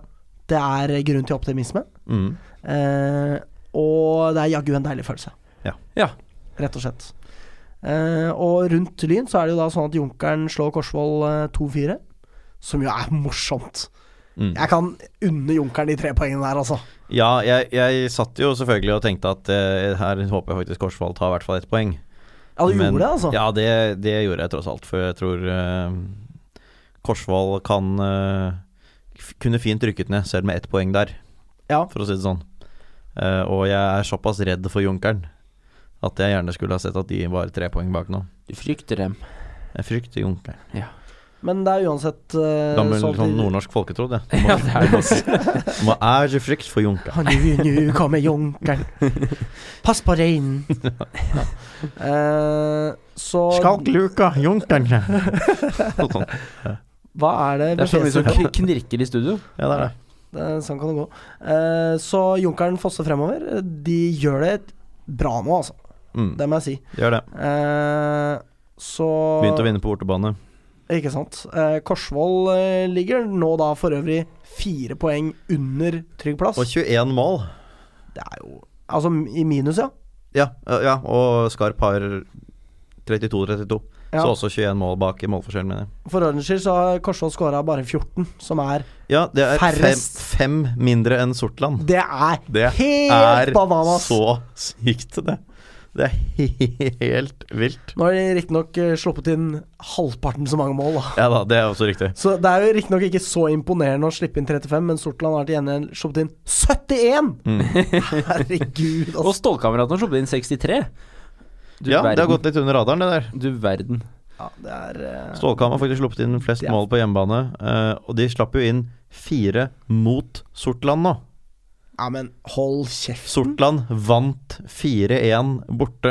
[SPEAKER 1] Det er grunn til optimisme.
[SPEAKER 3] Mm.
[SPEAKER 1] Eh, og det er jaggu en deilig følelse,
[SPEAKER 2] Ja.
[SPEAKER 1] rett og slett. Eh, og rundt Lyn så er det jo da sånn at Junkeren slår Korsvoll eh, 2-4, som jo er morsomt.
[SPEAKER 3] Mm.
[SPEAKER 1] Jeg kan unne Junkeren de tre poengene der, altså.
[SPEAKER 3] Ja, jeg, jeg satt jo selvfølgelig og tenkte at eh, her håper jeg faktisk Korsvoll tar i hvert fall ett poeng.
[SPEAKER 1] Ja, du
[SPEAKER 3] Men-
[SPEAKER 1] gjorde det, altså?
[SPEAKER 3] Ja, det, det gjorde jeg tross alt, for jeg tror eh, Korsvoll kan eh, f- kunne fint rykket ned, selv med ett poeng der,
[SPEAKER 1] Ja.
[SPEAKER 3] for å si det sånn. Eh, og jeg er såpass redd for Junkeren at jeg gjerne skulle ha sett at de var tre poeng bak nå.
[SPEAKER 2] Du frykter dem.
[SPEAKER 3] Jeg frykter Junkeren.
[SPEAKER 1] Men det er uansett eh,
[SPEAKER 3] Gammel
[SPEAKER 1] sånn at
[SPEAKER 3] sånn
[SPEAKER 1] de-
[SPEAKER 3] nordnorsk folketro, det.
[SPEAKER 2] Ja, det er det også.
[SPEAKER 3] Man er ikke frykt for Junkeren.
[SPEAKER 1] Han nu, nu kommer junkeren. Pass på reinen. Eh, så
[SPEAKER 3] Skalk luka, Junkeren! Noe sånt.
[SPEAKER 1] hva er det
[SPEAKER 2] Det er så mye som
[SPEAKER 1] Befeser-
[SPEAKER 2] kn- knirker i studio.
[SPEAKER 3] Ja, det er det.
[SPEAKER 1] Det er- Sånn kan det gå. Eh, så junkeren fosser fremover. De gjør det bra nå, altså.
[SPEAKER 3] Mm,
[SPEAKER 1] Det må jeg si.
[SPEAKER 3] gjør det.
[SPEAKER 1] Eh, så
[SPEAKER 3] Begynte å vinne på bortebane.
[SPEAKER 1] Ikke sant. Eh, Korsvoll eh, ligger nå da for øvrig fire poeng under trygg plass.
[SPEAKER 3] Og 21 mål.
[SPEAKER 1] Det er jo Altså i minus, ja.
[SPEAKER 3] Ja, ja og Skarp har 32-32.
[SPEAKER 1] Ja.
[SPEAKER 3] Så også 21 mål bak i målforskjell, mener jeg.
[SPEAKER 1] For ordens skyld så har Korsvoll skåra bare 14, som er
[SPEAKER 3] Ja, det er fem,
[SPEAKER 1] Færrest.
[SPEAKER 3] fem mindre enn Sortland.
[SPEAKER 1] Det er
[SPEAKER 3] Det
[SPEAKER 1] helt
[SPEAKER 3] er
[SPEAKER 1] bananas!
[SPEAKER 3] så sykt, det. Det er helt vilt.
[SPEAKER 1] Nå har de riktignok eh, sluppet inn halvparten så mange mål, da.
[SPEAKER 3] Ja da, det er også riktig.
[SPEAKER 1] Så det er jo riktignok ikke så imponerende å slippe inn 35, men Sortland har til gjengjeld sluppet inn 71!
[SPEAKER 3] Mm.
[SPEAKER 1] Herregud,
[SPEAKER 2] Og
[SPEAKER 1] altså.
[SPEAKER 2] Stålkameratene har sluppet inn 63. Du
[SPEAKER 3] Ja, det
[SPEAKER 2] verden.
[SPEAKER 3] har gått litt under radaren, det der.
[SPEAKER 2] Du verden.
[SPEAKER 1] Ja, det er eh,
[SPEAKER 3] Stålkam har faktisk sluppet inn flest
[SPEAKER 1] Det er-
[SPEAKER 3] mål på hjemmebane, eh, og de slapp jo inn fire mot Sortland nå.
[SPEAKER 1] Ja, men hold kjeft.
[SPEAKER 3] Sortland vant 4-1 borte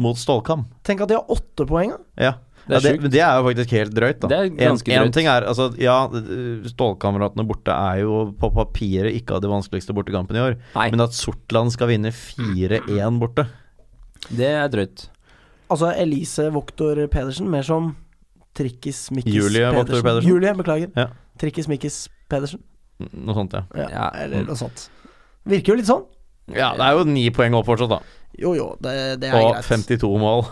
[SPEAKER 3] mot Stålkam.
[SPEAKER 1] Tenk at de har åtte poeng, da.
[SPEAKER 3] Ja.
[SPEAKER 2] Det er
[SPEAKER 3] ja, det,
[SPEAKER 2] sjukt.
[SPEAKER 3] men det er jo faktisk helt drøyt, da.
[SPEAKER 2] Det er ganske
[SPEAKER 3] en, en
[SPEAKER 2] drøyt.
[SPEAKER 3] ting er, altså, ja, Stålkameratene borte er jo på papiret ikke av de vanskeligste bortekampene i år,
[SPEAKER 2] Nei,
[SPEAKER 3] men at Sortland skal vinne 4-1 borte
[SPEAKER 2] det er drøyt.
[SPEAKER 1] Altså Elise Voktor Pedersen, mer som Trikkis Mikkis
[SPEAKER 3] Julie Voktor Pedersen.
[SPEAKER 1] Julie, beklager.
[SPEAKER 3] Ja.
[SPEAKER 1] Trikkis Mikkis Pedersen.
[SPEAKER 3] Noe sånt, ja.
[SPEAKER 1] Ja,
[SPEAKER 2] Ja.
[SPEAKER 1] Eller noe sånt. Virker jo litt sånn.
[SPEAKER 3] Ja, det er jo ni poeng opp fortsatt, da.
[SPEAKER 1] Jo jo, det, det er
[SPEAKER 3] Og
[SPEAKER 1] greit.
[SPEAKER 3] 52 mål.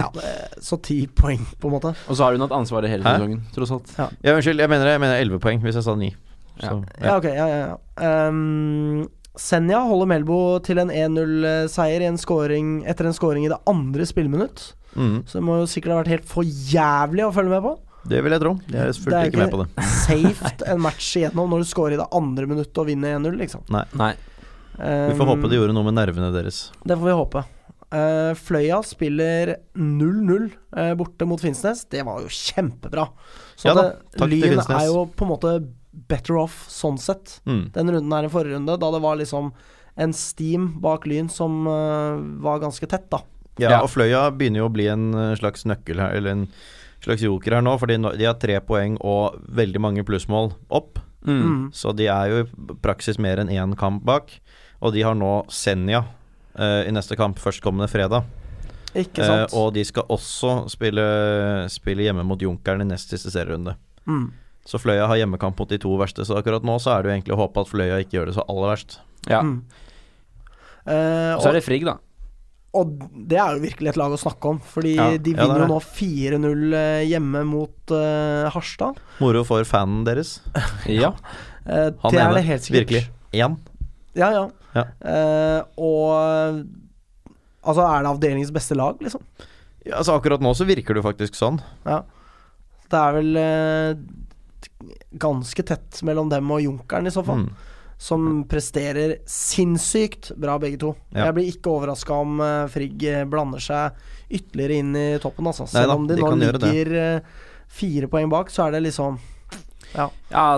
[SPEAKER 1] Ja, det, så ti poeng, på en måte.
[SPEAKER 2] Og så har hun hatt ansvaret hele
[SPEAKER 3] Hæ?
[SPEAKER 2] sesongen, tross alt.
[SPEAKER 3] Ja, unnskyld, jeg mener jeg mener 11 poeng, hvis jeg sa 9. Så, ja.
[SPEAKER 1] Ja, ok. Ja, ja, ja. Ehm, Senja holder Melbo til en 1-0-seier i en scoring- etter en scoring i det andre spillminutt.
[SPEAKER 3] Mm,
[SPEAKER 1] Så det må jo sikkert ha vært helt for jævlig å følge med på.
[SPEAKER 3] det vil jeg tro. Jeg er
[SPEAKER 1] Det
[SPEAKER 3] fullt
[SPEAKER 1] er
[SPEAKER 3] ikke med
[SPEAKER 1] ikke-
[SPEAKER 3] på det.
[SPEAKER 1] Saved en match igjennom når du scorer i det andre minuttet og vinner 1-0, liksom.
[SPEAKER 2] Nei.
[SPEAKER 3] Vi får håpe
[SPEAKER 1] de
[SPEAKER 3] det gjorde noe med nervene deres.
[SPEAKER 1] Um, Det får vi håpe. Eh, Fløya spiller 0-0 eh, borte mot Finnsnes. Det var jo kjempebra. Så
[SPEAKER 3] Ja da,
[SPEAKER 1] det-
[SPEAKER 3] takk til
[SPEAKER 1] Lyn
[SPEAKER 3] Finnsnes.
[SPEAKER 1] er jo på en måte better off sånn sett.
[SPEAKER 3] Mm.
[SPEAKER 1] den runden her i forrige runde, da det var liksom en steam bak Lyn som øh, var ganske tett, da.
[SPEAKER 3] Ja,
[SPEAKER 2] Ja.
[SPEAKER 3] og Fløya begynner jo å bli en eh, slags nøkkel her, eller en slags joker her nå, fordi nå- de har tre poeng og veldig mange plussmål opp.
[SPEAKER 2] Mm.
[SPEAKER 1] Mm.
[SPEAKER 3] Så de er jo i praksis mer enn én kamp bak. Og de har nå Senja eh, i neste kamp førstkommende fredag.
[SPEAKER 1] Ikke
[SPEAKER 3] Eh,
[SPEAKER 1] sant?
[SPEAKER 3] og de skal også spille, spille hjemme mot Junkeren i nest siste serierunde.
[SPEAKER 1] mm.
[SPEAKER 3] Så Fløya har hjemmekamp mot de to verste, så akkurat nå så er det jo egentlig å håpe at Fløya ikke gjør det så aller verst.
[SPEAKER 2] Ja.
[SPEAKER 1] Mm. Eh,
[SPEAKER 2] Og
[SPEAKER 1] og,
[SPEAKER 2] så er det Frigg, da.
[SPEAKER 1] og det er jo virkelig et lag å snakke om, fordi de
[SPEAKER 3] Ja, ja, det
[SPEAKER 1] vinner
[SPEAKER 3] er
[SPEAKER 1] jo nå 4-0 hjemme mot øh, Harstad.
[SPEAKER 3] Moro for fanen deres.
[SPEAKER 2] Ja.
[SPEAKER 1] Eh,
[SPEAKER 3] Han
[SPEAKER 1] det
[SPEAKER 3] ene,
[SPEAKER 1] er det helt sikkert.
[SPEAKER 3] Virkelig. Én.
[SPEAKER 1] Ja, ja.
[SPEAKER 3] Ja.
[SPEAKER 1] Eh, og Altså, er det avdelingens beste lag, liksom?
[SPEAKER 3] Ja, altså akkurat nå så virker det jo faktisk sånn.
[SPEAKER 1] Det er vel eh, ganske tett mellom dem og Junkeren, i så fall.
[SPEAKER 3] Mm.
[SPEAKER 1] som presterer sinnssykt bra, begge to.
[SPEAKER 3] Ja.
[SPEAKER 1] Jeg blir ikke overraska om eh, Frigg eh, blander seg ytterligere inn i toppen, altså. Selv
[SPEAKER 3] da,
[SPEAKER 1] om de,
[SPEAKER 3] de
[SPEAKER 1] nå
[SPEAKER 3] kan gjøre det.
[SPEAKER 1] ligger eh, fire poeng bak, så er det liksom
[SPEAKER 2] ja,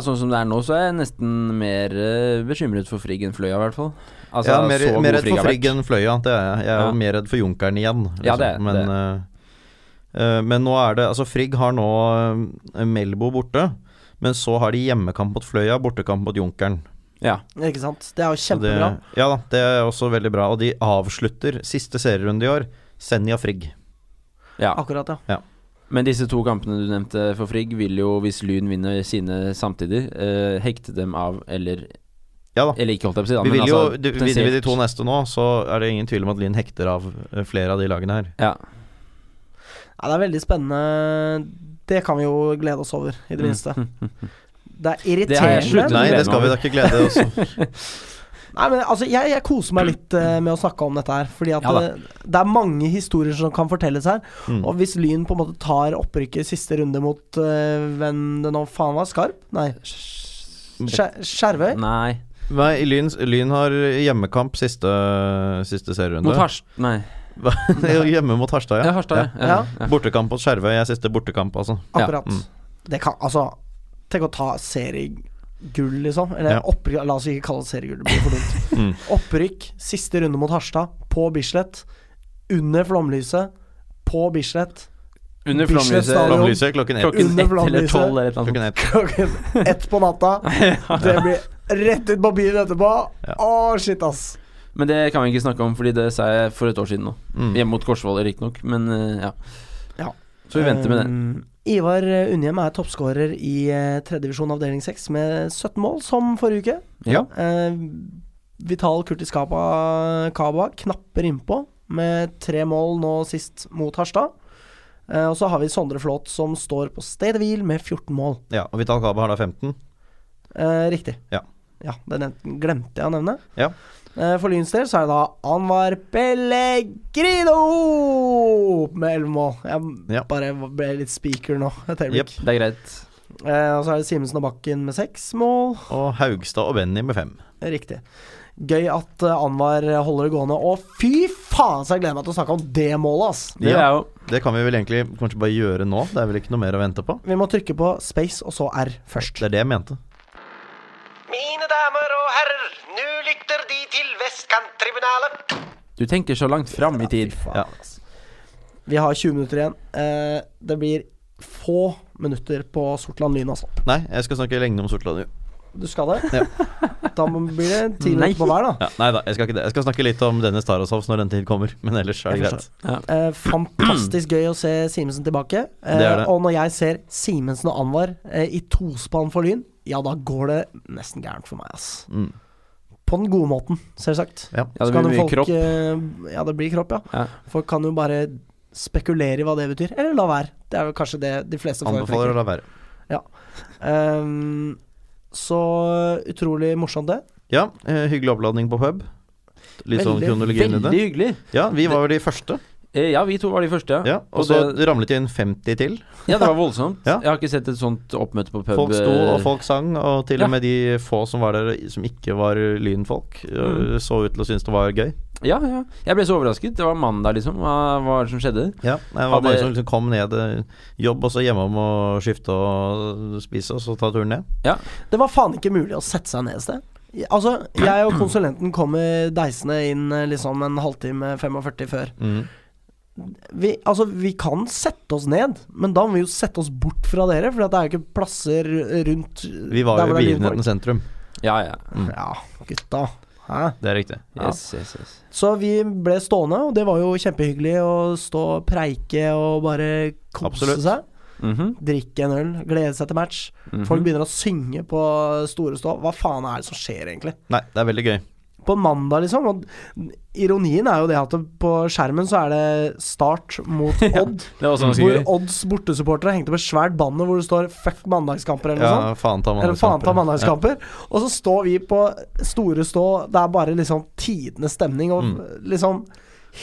[SPEAKER 2] sånn som det er nå, så er jeg nesten mer eh, bekymret for Frigg enn Fløya, i hvert fall. Altså,
[SPEAKER 3] ja, mer,
[SPEAKER 2] så god
[SPEAKER 3] mer redd
[SPEAKER 2] Frigg
[SPEAKER 3] for
[SPEAKER 2] har
[SPEAKER 3] Frigg
[SPEAKER 2] vært.
[SPEAKER 3] enn Fløya. Det er jeg. Jeg er jo
[SPEAKER 2] Ja.
[SPEAKER 3] mer redd for Junkeren igjen. liksom.
[SPEAKER 2] Ja, det er-
[SPEAKER 3] men, eh, eh, men nå er det Altså, Frigg har nå eh, Melbo borte. Men så har de hjemmekamp mot Fløya, bortekamp mot Junkeren.
[SPEAKER 2] Ja.
[SPEAKER 1] Ikke sant? Det er jo
[SPEAKER 3] Så det-
[SPEAKER 1] kjempebra.
[SPEAKER 3] Ja da, det er også veldig bra. Og de avslutter siste serierunde i år Senja Frigg.
[SPEAKER 2] Ja.
[SPEAKER 1] Akkurat, ja.
[SPEAKER 2] Men disse to kampene du nevnte for Frigg, vil jo, hvis Lyn vinner sine samtidig, eh, hekte dem av eller
[SPEAKER 3] Ja da.
[SPEAKER 2] Eller ikke, holdt jeg på å si. da,
[SPEAKER 3] Vi
[SPEAKER 2] men
[SPEAKER 3] vil jo,
[SPEAKER 2] altså,
[SPEAKER 3] du, Vinner vi de to neste nå, så er det ingen tvil om at Lyn hekter av eh, flere av de lagene her.
[SPEAKER 2] Ja.
[SPEAKER 1] ja. Det er veldig spennende. Det kan vi jo glede oss over, i det minste. Det er
[SPEAKER 2] Det har jeg
[SPEAKER 1] irriterende.
[SPEAKER 2] sluttet
[SPEAKER 3] Nei,
[SPEAKER 2] å glede
[SPEAKER 3] det skal
[SPEAKER 2] meg
[SPEAKER 3] vi da ikke glede oss
[SPEAKER 1] Nei, men altså, jeg, jeg koser meg litt eh, med å snakke om dette her. Fordi at
[SPEAKER 2] Ja da.
[SPEAKER 1] eh, det er mange historier som kan fortelles her.
[SPEAKER 3] Mm.
[SPEAKER 1] Og hvis Lyn på en måte tar opprykket i siste runde mot eh, hvem det nå faen var, Skarp? Nei, Skjer- Skjervøy?
[SPEAKER 2] Nei.
[SPEAKER 3] Nei, Lyn, Lyn har hjemmekamp siste, siste serierunde.
[SPEAKER 2] Mot Harst... Nei.
[SPEAKER 3] Hva? Hjemme mot Harstad,
[SPEAKER 2] Ja,
[SPEAKER 3] ja.
[SPEAKER 2] Harstad, ja. ja.
[SPEAKER 1] Ja.
[SPEAKER 2] ja.
[SPEAKER 3] Bortekamp mot Skjervøy er siste bortekamp, altså.
[SPEAKER 1] Akkurat.
[SPEAKER 3] eh, Ja, mm.
[SPEAKER 1] Det kan Altså, tenk å ta seriegull, liksom. Eller
[SPEAKER 3] Ja.
[SPEAKER 1] opprykk La oss ikke kalle det seriegull, det blir for dumt.
[SPEAKER 3] Mm.
[SPEAKER 1] Opprykk, siste runde mot Harstad, på Bislett. Under flomlyset, på Bislett.
[SPEAKER 2] Under
[SPEAKER 1] Bislett
[SPEAKER 2] flomlyset
[SPEAKER 1] stadion.
[SPEAKER 3] Flomlyset klokken ett. altså.
[SPEAKER 2] klokken
[SPEAKER 1] Under
[SPEAKER 2] ett eller
[SPEAKER 1] flomlyset.
[SPEAKER 2] tolv eller et eller
[SPEAKER 3] Klokken
[SPEAKER 2] annet.
[SPEAKER 3] ett.
[SPEAKER 1] Klokken ett på natta. Det blir rett ut på byen etterpå.
[SPEAKER 3] Ja.
[SPEAKER 1] Å, shit, ass.
[SPEAKER 2] Men det kan vi ikke snakke om, Fordi det sa jeg for et år siden nå.
[SPEAKER 3] Mm.
[SPEAKER 2] Hjemme mot Korsvoll, riktignok, men eh, ja.
[SPEAKER 1] Ja.
[SPEAKER 2] Så vi venter med det.
[SPEAKER 1] Um, Ivar eh, Unnhjem er toppskårer i eh, tredje divisjon avdeling 6 med 17 mål, som forrige uke.
[SPEAKER 2] Ja.
[SPEAKER 1] Eh, Vital Kurtis Kaba, Kaba knapper innpå med tre mål nå sist mot Harstad. Eh, og så har vi Sondre Flåt som står på stedet hvil med 14 mål.
[SPEAKER 3] Ja, og Vital Kaba har da 15.
[SPEAKER 1] Eh, riktig.
[SPEAKER 3] Ja.
[SPEAKER 1] Ja, det nevnte, glemte jeg å nevne.
[SPEAKER 3] Ja.
[SPEAKER 1] Eh, for Lyns del så er det da Anwar Pellegrino med 11 mål. Jeg
[SPEAKER 3] Ja.
[SPEAKER 1] bare ble litt speaker nå. Et øyeblikk.
[SPEAKER 2] Det er greit.
[SPEAKER 1] Eh, og så er det Simensen og Bakken med seks mål.
[SPEAKER 3] Og Haugstad og Benny med fem.
[SPEAKER 1] Riktig. Gøy at eh, Anwar holder det gående. Og fy faen, så jeg gleder meg til å snakke om det målet, ass!
[SPEAKER 2] Det er jo
[SPEAKER 3] Det kan vi vel egentlig kanskje bare gjøre nå. Det er vel ikke noe mer å vente på.
[SPEAKER 1] Vi må trykke på space og så R først.
[SPEAKER 3] Det er det jeg mente.
[SPEAKER 6] Mine damer og herrer, nå lytter De til Vestkanttribunalet.
[SPEAKER 2] Du tenker så langt fram i tid.
[SPEAKER 3] Ja.
[SPEAKER 1] Vi har 20 minutter igjen. Eh, det blir få minutter på Sortland Lyn, altså.
[SPEAKER 3] Nei, jeg skal snakke lenge om Sortland. jo.
[SPEAKER 1] Du skal det? Da må- blir det ti
[SPEAKER 2] Nei.
[SPEAKER 1] minutter på hver, da.
[SPEAKER 3] Ja, nei da, jeg skal ikke det. Jeg skal snakke litt om Dennis Tarasovs når den tid kommer. Men ellers er
[SPEAKER 1] Jeg
[SPEAKER 3] det greit.
[SPEAKER 1] Eh, fantastisk gøy å se Simensen tilbake. Eh,
[SPEAKER 3] Det er det.
[SPEAKER 1] Og når jeg ser Simensen og Anwar eh, i tospann for Lyn, ja, da går det nesten gærent for meg, ass.
[SPEAKER 3] Mm.
[SPEAKER 1] På den gode måten, selvsagt.
[SPEAKER 3] Ja.
[SPEAKER 2] Ja,
[SPEAKER 1] Så
[SPEAKER 2] det
[SPEAKER 1] kan
[SPEAKER 2] blir
[SPEAKER 1] jo folk,
[SPEAKER 2] mye kropp.
[SPEAKER 1] eh, Ja, det blir kropp, ja.
[SPEAKER 2] Ja.
[SPEAKER 1] Folk kan jo bare spekulere i hva det betyr, eller la være. Det er vel kanskje det de fleste
[SPEAKER 3] Anbefaler å la være.
[SPEAKER 1] Ehm, så utrolig morsomt, det.
[SPEAKER 3] Ja, eh, hyggelig oppladning på pub. Litt sånn
[SPEAKER 1] Veldig,
[SPEAKER 3] kronologien i
[SPEAKER 2] Veldig
[SPEAKER 3] det.
[SPEAKER 2] hyggelig.
[SPEAKER 3] Ja, vi var vel de første.
[SPEAKER 2] Eh, Ja, vi to var de første,
[SPEAKER 3] Ja, og
[SPEAKER 2] Og
[SPEAKER 3] så
[SPEAKER 2] det-
[SPEAKER 3] ramlet det inn 50 til.
[SPEAKER 2] Ja, det var voldsomt.
[SPEAKER 3] Ja.
[SPEAKER 2] Jeg har ikke sett et sånt oppmøte på pub.
[SPEAKER 3] Folk sto
[SPEAKER 2] eh,
[SPEAKER 3] og folk sang, og til
[SPEAKER 2] Ja.
[SPEAKER 3] og med de få som var der som ikke var lynfolk, øh, så ut til å synes det var gøy.
[SPEAKER 2] Ja, ja. Jeg ble så overrasket. Det var mandag, liksom. Hva hva var det som skjedde?
[SPEAKER 3] Ja, Det var
[SPEAKER 2] Hadde-
[SPEAKER 3] mange som liksom kom ned eh, jobb, og så hjemom og skifte og spise, og så ta turen ned.
[SPEAKER 1] Det var faen ikke mulig å sette seg ned et sted. I- Altså, jeg og konsulenten kommer deisende inn eh, liksom en halvtime 45 før.
[SPEAKER 3] Mhm.
[SPEAKER 1] Vi, altså, vi kan sette oss ned, men da må vi jo sette oss bort fra dere, for det er jo ikke plasser rundt
[SPEAKER 3] Vi var
[SPEAKER 1] der
[SPEAKER 3] jo
[SPEAKER 1] hvor
[SPEAKER 3] i
[SPEAKER 1] det er
[SPEAKER 3] begivenhetens
[SPEAKER 1] lynfolk.
[SPEAKER 3] sentrum.
[SPEAKER 2] Ja, ja.
[SPEAKER 1] Ja, gutta. Hæ?
[SPEAKER 3] Det er riktig.
[SPEAKER 2] Yes, yes, yes.
[SPEAKER 1] Så vi ble stående, og det var jo kjempehyggelig å stå og preike og bare kose
[SPEAKER 3] Absolutt.
[SPEAKER 1] seg.
[SPEAKER 2] Mhm,
[SPEAKER 1] Drikke en øl, glede seg til match.
[SPEAKER 2] mhm.
[SPEAKER 1] Folk begynner å synge på store stå. Hva faen er det som skjer, egentlig?
[SPEAKER 3] Nei, det er veldig gøy.
[SPEAKER 1] På en mandag, liksom. Og ironien er jo det at det- på skjermen så er det Start mot Odd.
[SPEAKER 2] Det var også ganske
[SPEAKER 1] hvor
[SPEAKER 2] gøy.
[SPEAKER 1] Odds bortesupportere hengte på svært banner hvor det står 'fuck mandagskamper' eller noe sånt.
[SPEAKER 3] Ja, faen ta
[SPEAKER 1] Eller faen ta
[SPEAKER 3] mandagskamper.
[SPEAKER 1] mandagskamper. Og så står vi på store stå, det er bare liksom tidenes stemning, og
[SPEAKER 3] Mm.
[SPEAKER 1] liksom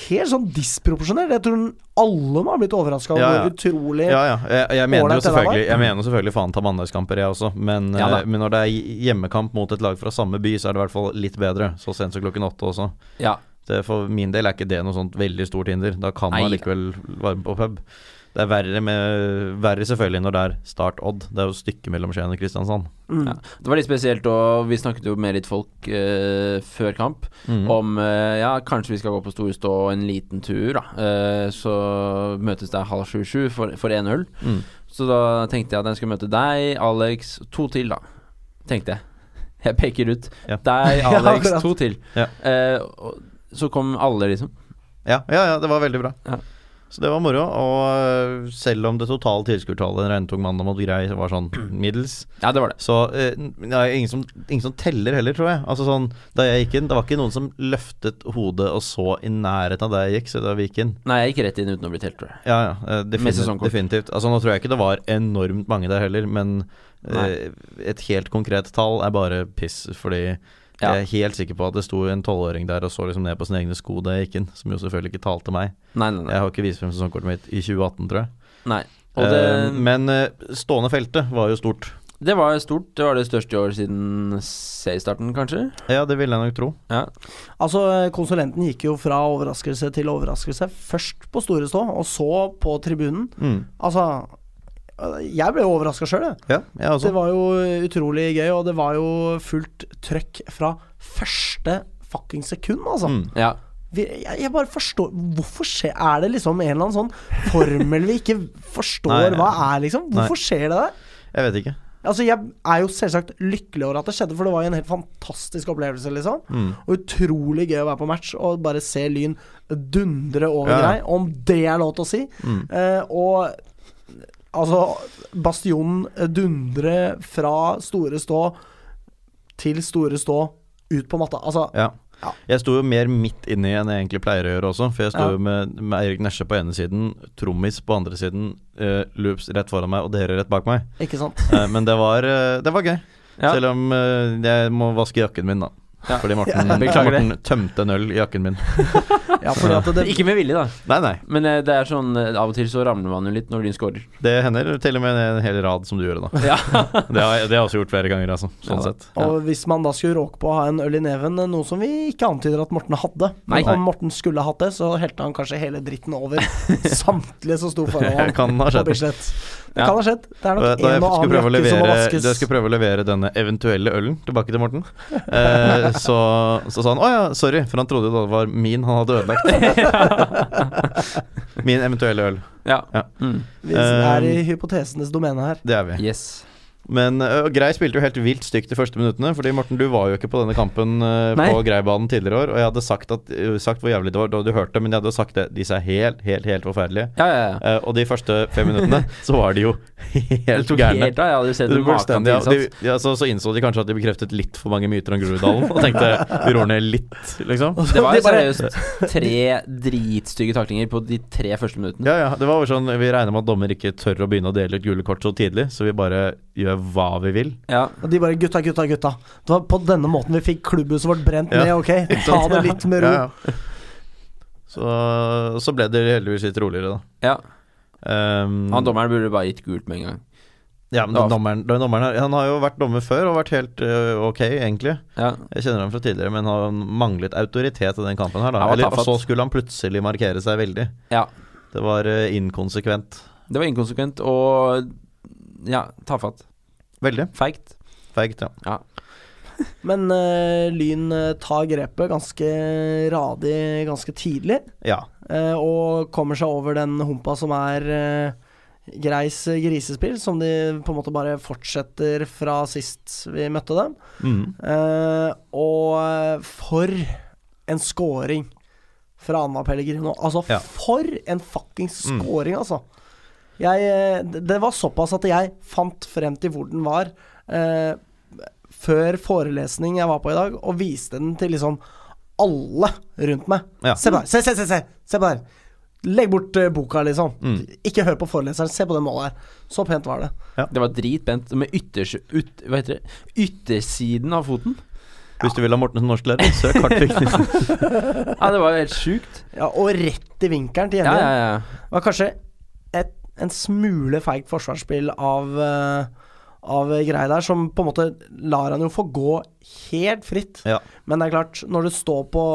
[SPEAKER 1] Helt sånn disproporsjonert. Jeg tror alle må ha blitt overraska over
[SPEAKER 3] Ja, ja.
[SPEAKER 1] hvor utrolig
[SPEAKER 3] Ja, ja. Jeg, jeg mener jo
[SPEAKER 1] Ålreit, det der
[SPEAKER 3] selvfølgelig Jeg mener jo selvfølgelig faen ta mandagskamper, jeg også. Men,
[SPEAKER 2] Ja da.
[SPEAKER 3] eh, men når det er hjemmekamp mot et lag fra samme by, så er det i hvert fall litt bedre. Så sent som klokken åtte også.
[SPEAKER 2] Ja.
[SPEAKER 3] Det, for min del er ikke det noe sånt veldig stort hinder. Da kan man
[SPEAKER 2] Nei.
[SPEAKER 3] likevel være med på pub. Det er verre, med, verre selvfølgelig når det er Start Odd. Det er jo stykket mellom Skien og Kristiansand.
[SPEAKER 2] ja. Det var litt spesielt, og vi snakket jo med litt folk eh, før kamp
[SPEAKER 3] Mm.
[SPEAKER 2] om eh, ja, kanskje vi skal gå på Storestå en liten tur, da. Eh, så møtes det halv sju-sju for, for en øl.
[SPEAKER 3] Mm.
[SPEAKER 2] Så da tenkte jeg at jeg skulle møte deg, Alex, to til, da. Tenkte jeg. Jeg peker ut.
[SPEAKER 3] Ja.
[SPEAKER 2] Deg,
[SPEAKER 1] Ja,
[SPEAKER 2] Alex,
[SPEAKER 1] akkurat.
[SPEAKER 2] to til.
[SPEAKER 3] Ja.
[SPEAKER 2] Eh, og så kom alle, liksom.
[SPEAKER 3] Ja, ja, ja, det var veldig bra.
[SPEAKER 2] Ja.
[SPEAKER 3] Så det var moro. Og øh, selv om det totale tilskuertallet en regntung mandag mot grei var sånn middels,
[SPEAKER 2] Ja, det var det.
[SPEAKER 3] så øh, n- det er ingen som, ingen som teller heller, tror jeg. Altså sånn, Da jeg gikk inn, det var ikke noen som løftet hodet og så i nærheten av der jeg gikk, så da vi gikk inn.
[SPEAKER 2] Nei, jeg gikk rett inn uten å bli telt, tror jeg.
[SPEAKER 3] Ja, ja. eh,
[SPEAKER 2] Med
[SPEAKER 3] Definitivt.
[SPEAKER 2] sesongkort.
[SPEAKER 3] definitivt. Altså, nå tror jeg ikke det var enormt mange der heller, men eh, et helt konkret tall er bare piss, fordi
[SPEAKER 2] Ja.
[SPEAKER 3] jeg er helt sikker på at det sto en tolvåring der og så liksom ned på sine egne sko da jeg gikk inn, som jo selvfølgelig ikke talte meg.
[SPEAKER 2] Nei, nei, nei.
[SPEAKER 3] Jeg har ikke vist frem sesongkortet mitt i 2018, tror jeg.
[SPEAKER 2] nei. Og det,
[SPEAKER 3] Eh, men eh, stående feltet var jo stort.
[SPEAKER 2] det var stort. Det var det største i år siden seriestarten, kanskje.
[SPEAKER 3] Ja, det ville jeg nok tro.
[SPEAKER 2] Ja.
[SPEAKER 1] Altså, konsulenten gikk jo fra overraskelse til overraskelse. Først på Store Stå, og så på tribunen.
[SPEAKER 3] Mm.
[SPEAKER 1] Altså Jeg ble jo overraska sjøl, jeg.
[SPEAKER 3] Ja, jeg også.
[SPEAKER 1] Det var jo utrolig gøy, og det var jo fullt trøkk fra første fucking sekund, altså.
[SPEAKER 3] Mm.
[SPEAKER 2] ja.
[SPEAKER 1] Vi, jeg, jeg bare forstår Hvorfor skjer Er det liksom en eller annen sånn formel vi ikke
[SPEAKER 3] Nei,
[SPEAKER 1] forstår hva er, liksom? Hvorfor skjer det der?
[SPEAKER 3] Jeg vet ikke.
[SPEAKER 1] Altså, jeg er jo selvsagt lykkelig over at det skjedde, for det var jo en helt fantastisk opplevelse, liksom.
[SPEAKER 3] Mm.
[SPEAKER 1] Og utrolig gøy å være på match og bare se Lyn dundre over
[SPEAKER 3] Ja. Mm.
[SPEAKER 1] deg, om det er lov til å si. Eh, og altså Bastionen dundre fra store stå til store stå ut på matta. Altså
[SPEAKER 3] Ja.
[SPEAKER 1] Ja.
[SPEAKER 3] Jeg sto jo mer midt inni enn jeg egentlig pleier å gjøre også, for jeg sto
[SPEAKER 1] Ja.
[SPEAKER 3] jo med, med Eirik Nesje på ene siden, Trommis på andre siden, eh, Loops rett foran meg og dere rett bak meg.
[SPEAKER 1] Ikke sant?
[SPEAKER 3] Eh, men det var, eh, det var gøy.
[SPEAKER 2] Ja.
[SPEAKER 3] Selv om eh, jeg må vaske jakken min, da.
[SPEAKER 2] Ja.
[SPEAKER 3] Fordi Morten,
[SPEAKER 2] Beklager det.
[SPEAKER 3] Morten tømte en øl i jakken min.
[SPEAKER 1] Ja, fordi at det,
[SPEAKER 2] Ikke med vilje, da.
[SPEAKER 3] Nei, nei.
[SPEAKER 2] Men eh, det er sånn eh, av og til så ramler man jo litt når Lyn scorer.
[SPEAKER 3] Det hender til og med en hel rad som du gjorde, da.
[SPEAKER 2] Ja.
[SPEAKER 3] Det har, jeg, det har jeg også gjort flere ganger, altså. Sånn
[SPEAKER 2] Ja.
[SPEAKER 3] sett.
[SPEAKER 1] Og hvis man da skulle råke på å ha en øl i neven, eh, noe som vi ikke antyder at Morten hadde
[SPEAKER 2] Nei.
[SPEAKER 1] Men Om Morten skulle hatt det, så helte han kanskje hele dritten over samtlige som sto foran
[SPEAKER 3] Det
[SPEAKER 1] ham.
[SPEAKER 3] kan
[SPEAKER 1] på
[SPEAKER 3] ha skjedd.
[SPEAKER 1] Bislett. Det
[SPEAKER 2] Ja.
[SPEAKER 1] kan ha skjedd. Det er
[SPEAKER 3] Da
[SPEAKER 1] nok
[SPEAKER 3] da jeg
[SPEAKER 1] en og
[SPEAKER 3] skulle
[SPEAKER 1] annen
[SPEAKER 3] prøve, å
[SPEAKER 1] jakke som må
[SPEAKER 3] levere,
[SPEAKER 1] vaskes.
[SPEAKER 3] da jeg skulle prøve å levere denne eventuelle ølen tilbake til Morten, eh, så, så sa han å ja, sorry, for han trodde jo det var min han hadde ødelagt. min eventuelle øl.
[SPEAKER 2] ja.
[SPEAKER 3] Ja.
[SPEAKER 2] Mm.
[SPEAKER 1] Vi er i
[SPEAKER 3] Eh,
[SPEAKER 1] hypotesenes domene her.
[SPEAKER 3] Det er vi.
[SPEAKER 2] Yes.
[SPEAKER 3] Men ø, og Grei spilte jo helt vilt stygt de første minuttene. Fordi Morten, du var jo ikke på denne kampen ø,
[SPEAKER 2] Nei.
[SPEAKER 3] på Greibanen tidligere år. Og jeg hadde sagt, at, ø, sagt hvor jævlig det var da du hørte, men jeg hadde jo sagt det. Disse er helt, helt, helt forferdelige.
[SPEAKER 2] Ja, ja, ja.
[SPEAKER 3] Eh, og de første fem minuttene så var de jo
[SPEAKER 2] Det
[SPEAKER 3] helt
[SPEAKER 2] tok
[SPEAKER 3] gærne.
[SPEAKER 2] helt av. Jeg hadde jo sett
[SPEAKER 3] Det
[SPEAKER 2] en
[SPEAKER 3] var
[SPEAKER 2] maken
[SPEAKER 3] fullstendig,
[SPEAKER 2] til
[SPEAKER 3] ja,
[SPEAKER 2] innsats.
[SPEAKER 3] de, ja, så, så innså de kanskje at de bekreftet litt for mange myter om Groruddalen. Og tenkte vi rår ned litt, liksom.
[SPEAKER 2] Det var
[SPEAKER 1] De
[SPEAKER 2] jo
[SPEAKER 1] bare-
[SPEAKER 2] seriøst tre dritstygge taklinger på de tre første minuttene.
[SPEAKER 3] Ja, ja, det var jo sånn, Vi regner med at dommer ikke tør å begynne å dele ut gule kort så tidlig, så vi bare gjør hva vi vil.
[SPEAKER 2] Ja.
[SPEAKER 1] Og de bare 'gutta, gutta, gutta'. Det var på denne måten vi fikk klubbhuset vårt brent
[SPEAKER 3] Ja.
[SPEAKER 1] ned, ok? Ta det litt med ro.
[SPEAKER 3] Ja, ja. Så, så ble det heldigvis litt roligere, da.
[SPEAKER 2] ja.
[SPEAKER 3] Ehm,
[SPEAKER 2] Han dommeren burde bare gitt gult med en gang.
[SPEAKER 3] ja, men den dommeren, den dommeren her, Han har jo vært dommer før og vært helt øh, ok, egentlig.
[SPEAKER 2] Ja.
[SPEAKER 3] Jeg kjenner ham fra tidligere, men han manglet autoritet i den kampen her. Da.
[SPEAKER 2] Han var
[SPEAKER 3] Eller, og
[SPEAKER 2] tafatt.
[SPEAKER 3] så skulle han plutselig markere seg veldig.
[SPEAKER 2] ja.
[SPEAKER 3] Det var øh, inkonsekvent.
[SPEAKER 2] Det var inkonsekvent og ja, tafatt.
[SPEAKER 3] Veldig
[SPEAKER 2] Feigt.
[SPEAKER 3] feigt, ja.
[SPEAKER 2] Ja.
[SPEAKER 1] Men eh, Lyn eh, tar grepet ganske radig ganske tidlig.
[SPEAKER 3] ja.
[SPEAKER 1] eh, og kommer seg over den humpa som er eh, Greis eh, grisespill, som de på en måte bare fortsetter fra sist vi møtte dem.
[SPEAKER 3] Mm.
[SPEAKER 1] Eh, og eh, for en scoring fra Anna Pellegrino. Altså,
[SPEAKER 3] Ja. Mm.
[SPEAKER 1] for en fuckings scoring, altså. Jeg, eh, d- det var såpass at jeg fant frem til hvor den var eh, før forelesning jeg var på i dag, og viste den til liksom alle rundt meg.
[SPEAKER 3] Ja.
[SPEAKER 1] Se på der! Se, se, se! se, se på der. Legg bort eh, boka, liksom. Ikke hør på foreleseren. Se på det målet her. Så pent var det.
[SPEAKER 2] Det var dritbent. Med ytters, ut, hva heter det? yttersiden av foten.
[SPEAKER 3] Hvis du vil ha Morten som norsklærer, søk Hartvig Knutsen.
[SPEAKER 2] Ja, det var jo helt sjukt.
[SPEAKER 1] Ja, og rett i vinkelen til
[SPEAKER 2] Ja,
[SPEAKER 1] hjemme.
[SPEAKER 2] ja, ja.
[SPEAKER 1] Det var kanskje et, en smule feigt forsvarsspill av, eh, av greia der, som på en måte lar han jo få gå helt fritt.
[SPEAKER 3] Ja.
[SPEAKER 1] Men det er klart, når du står på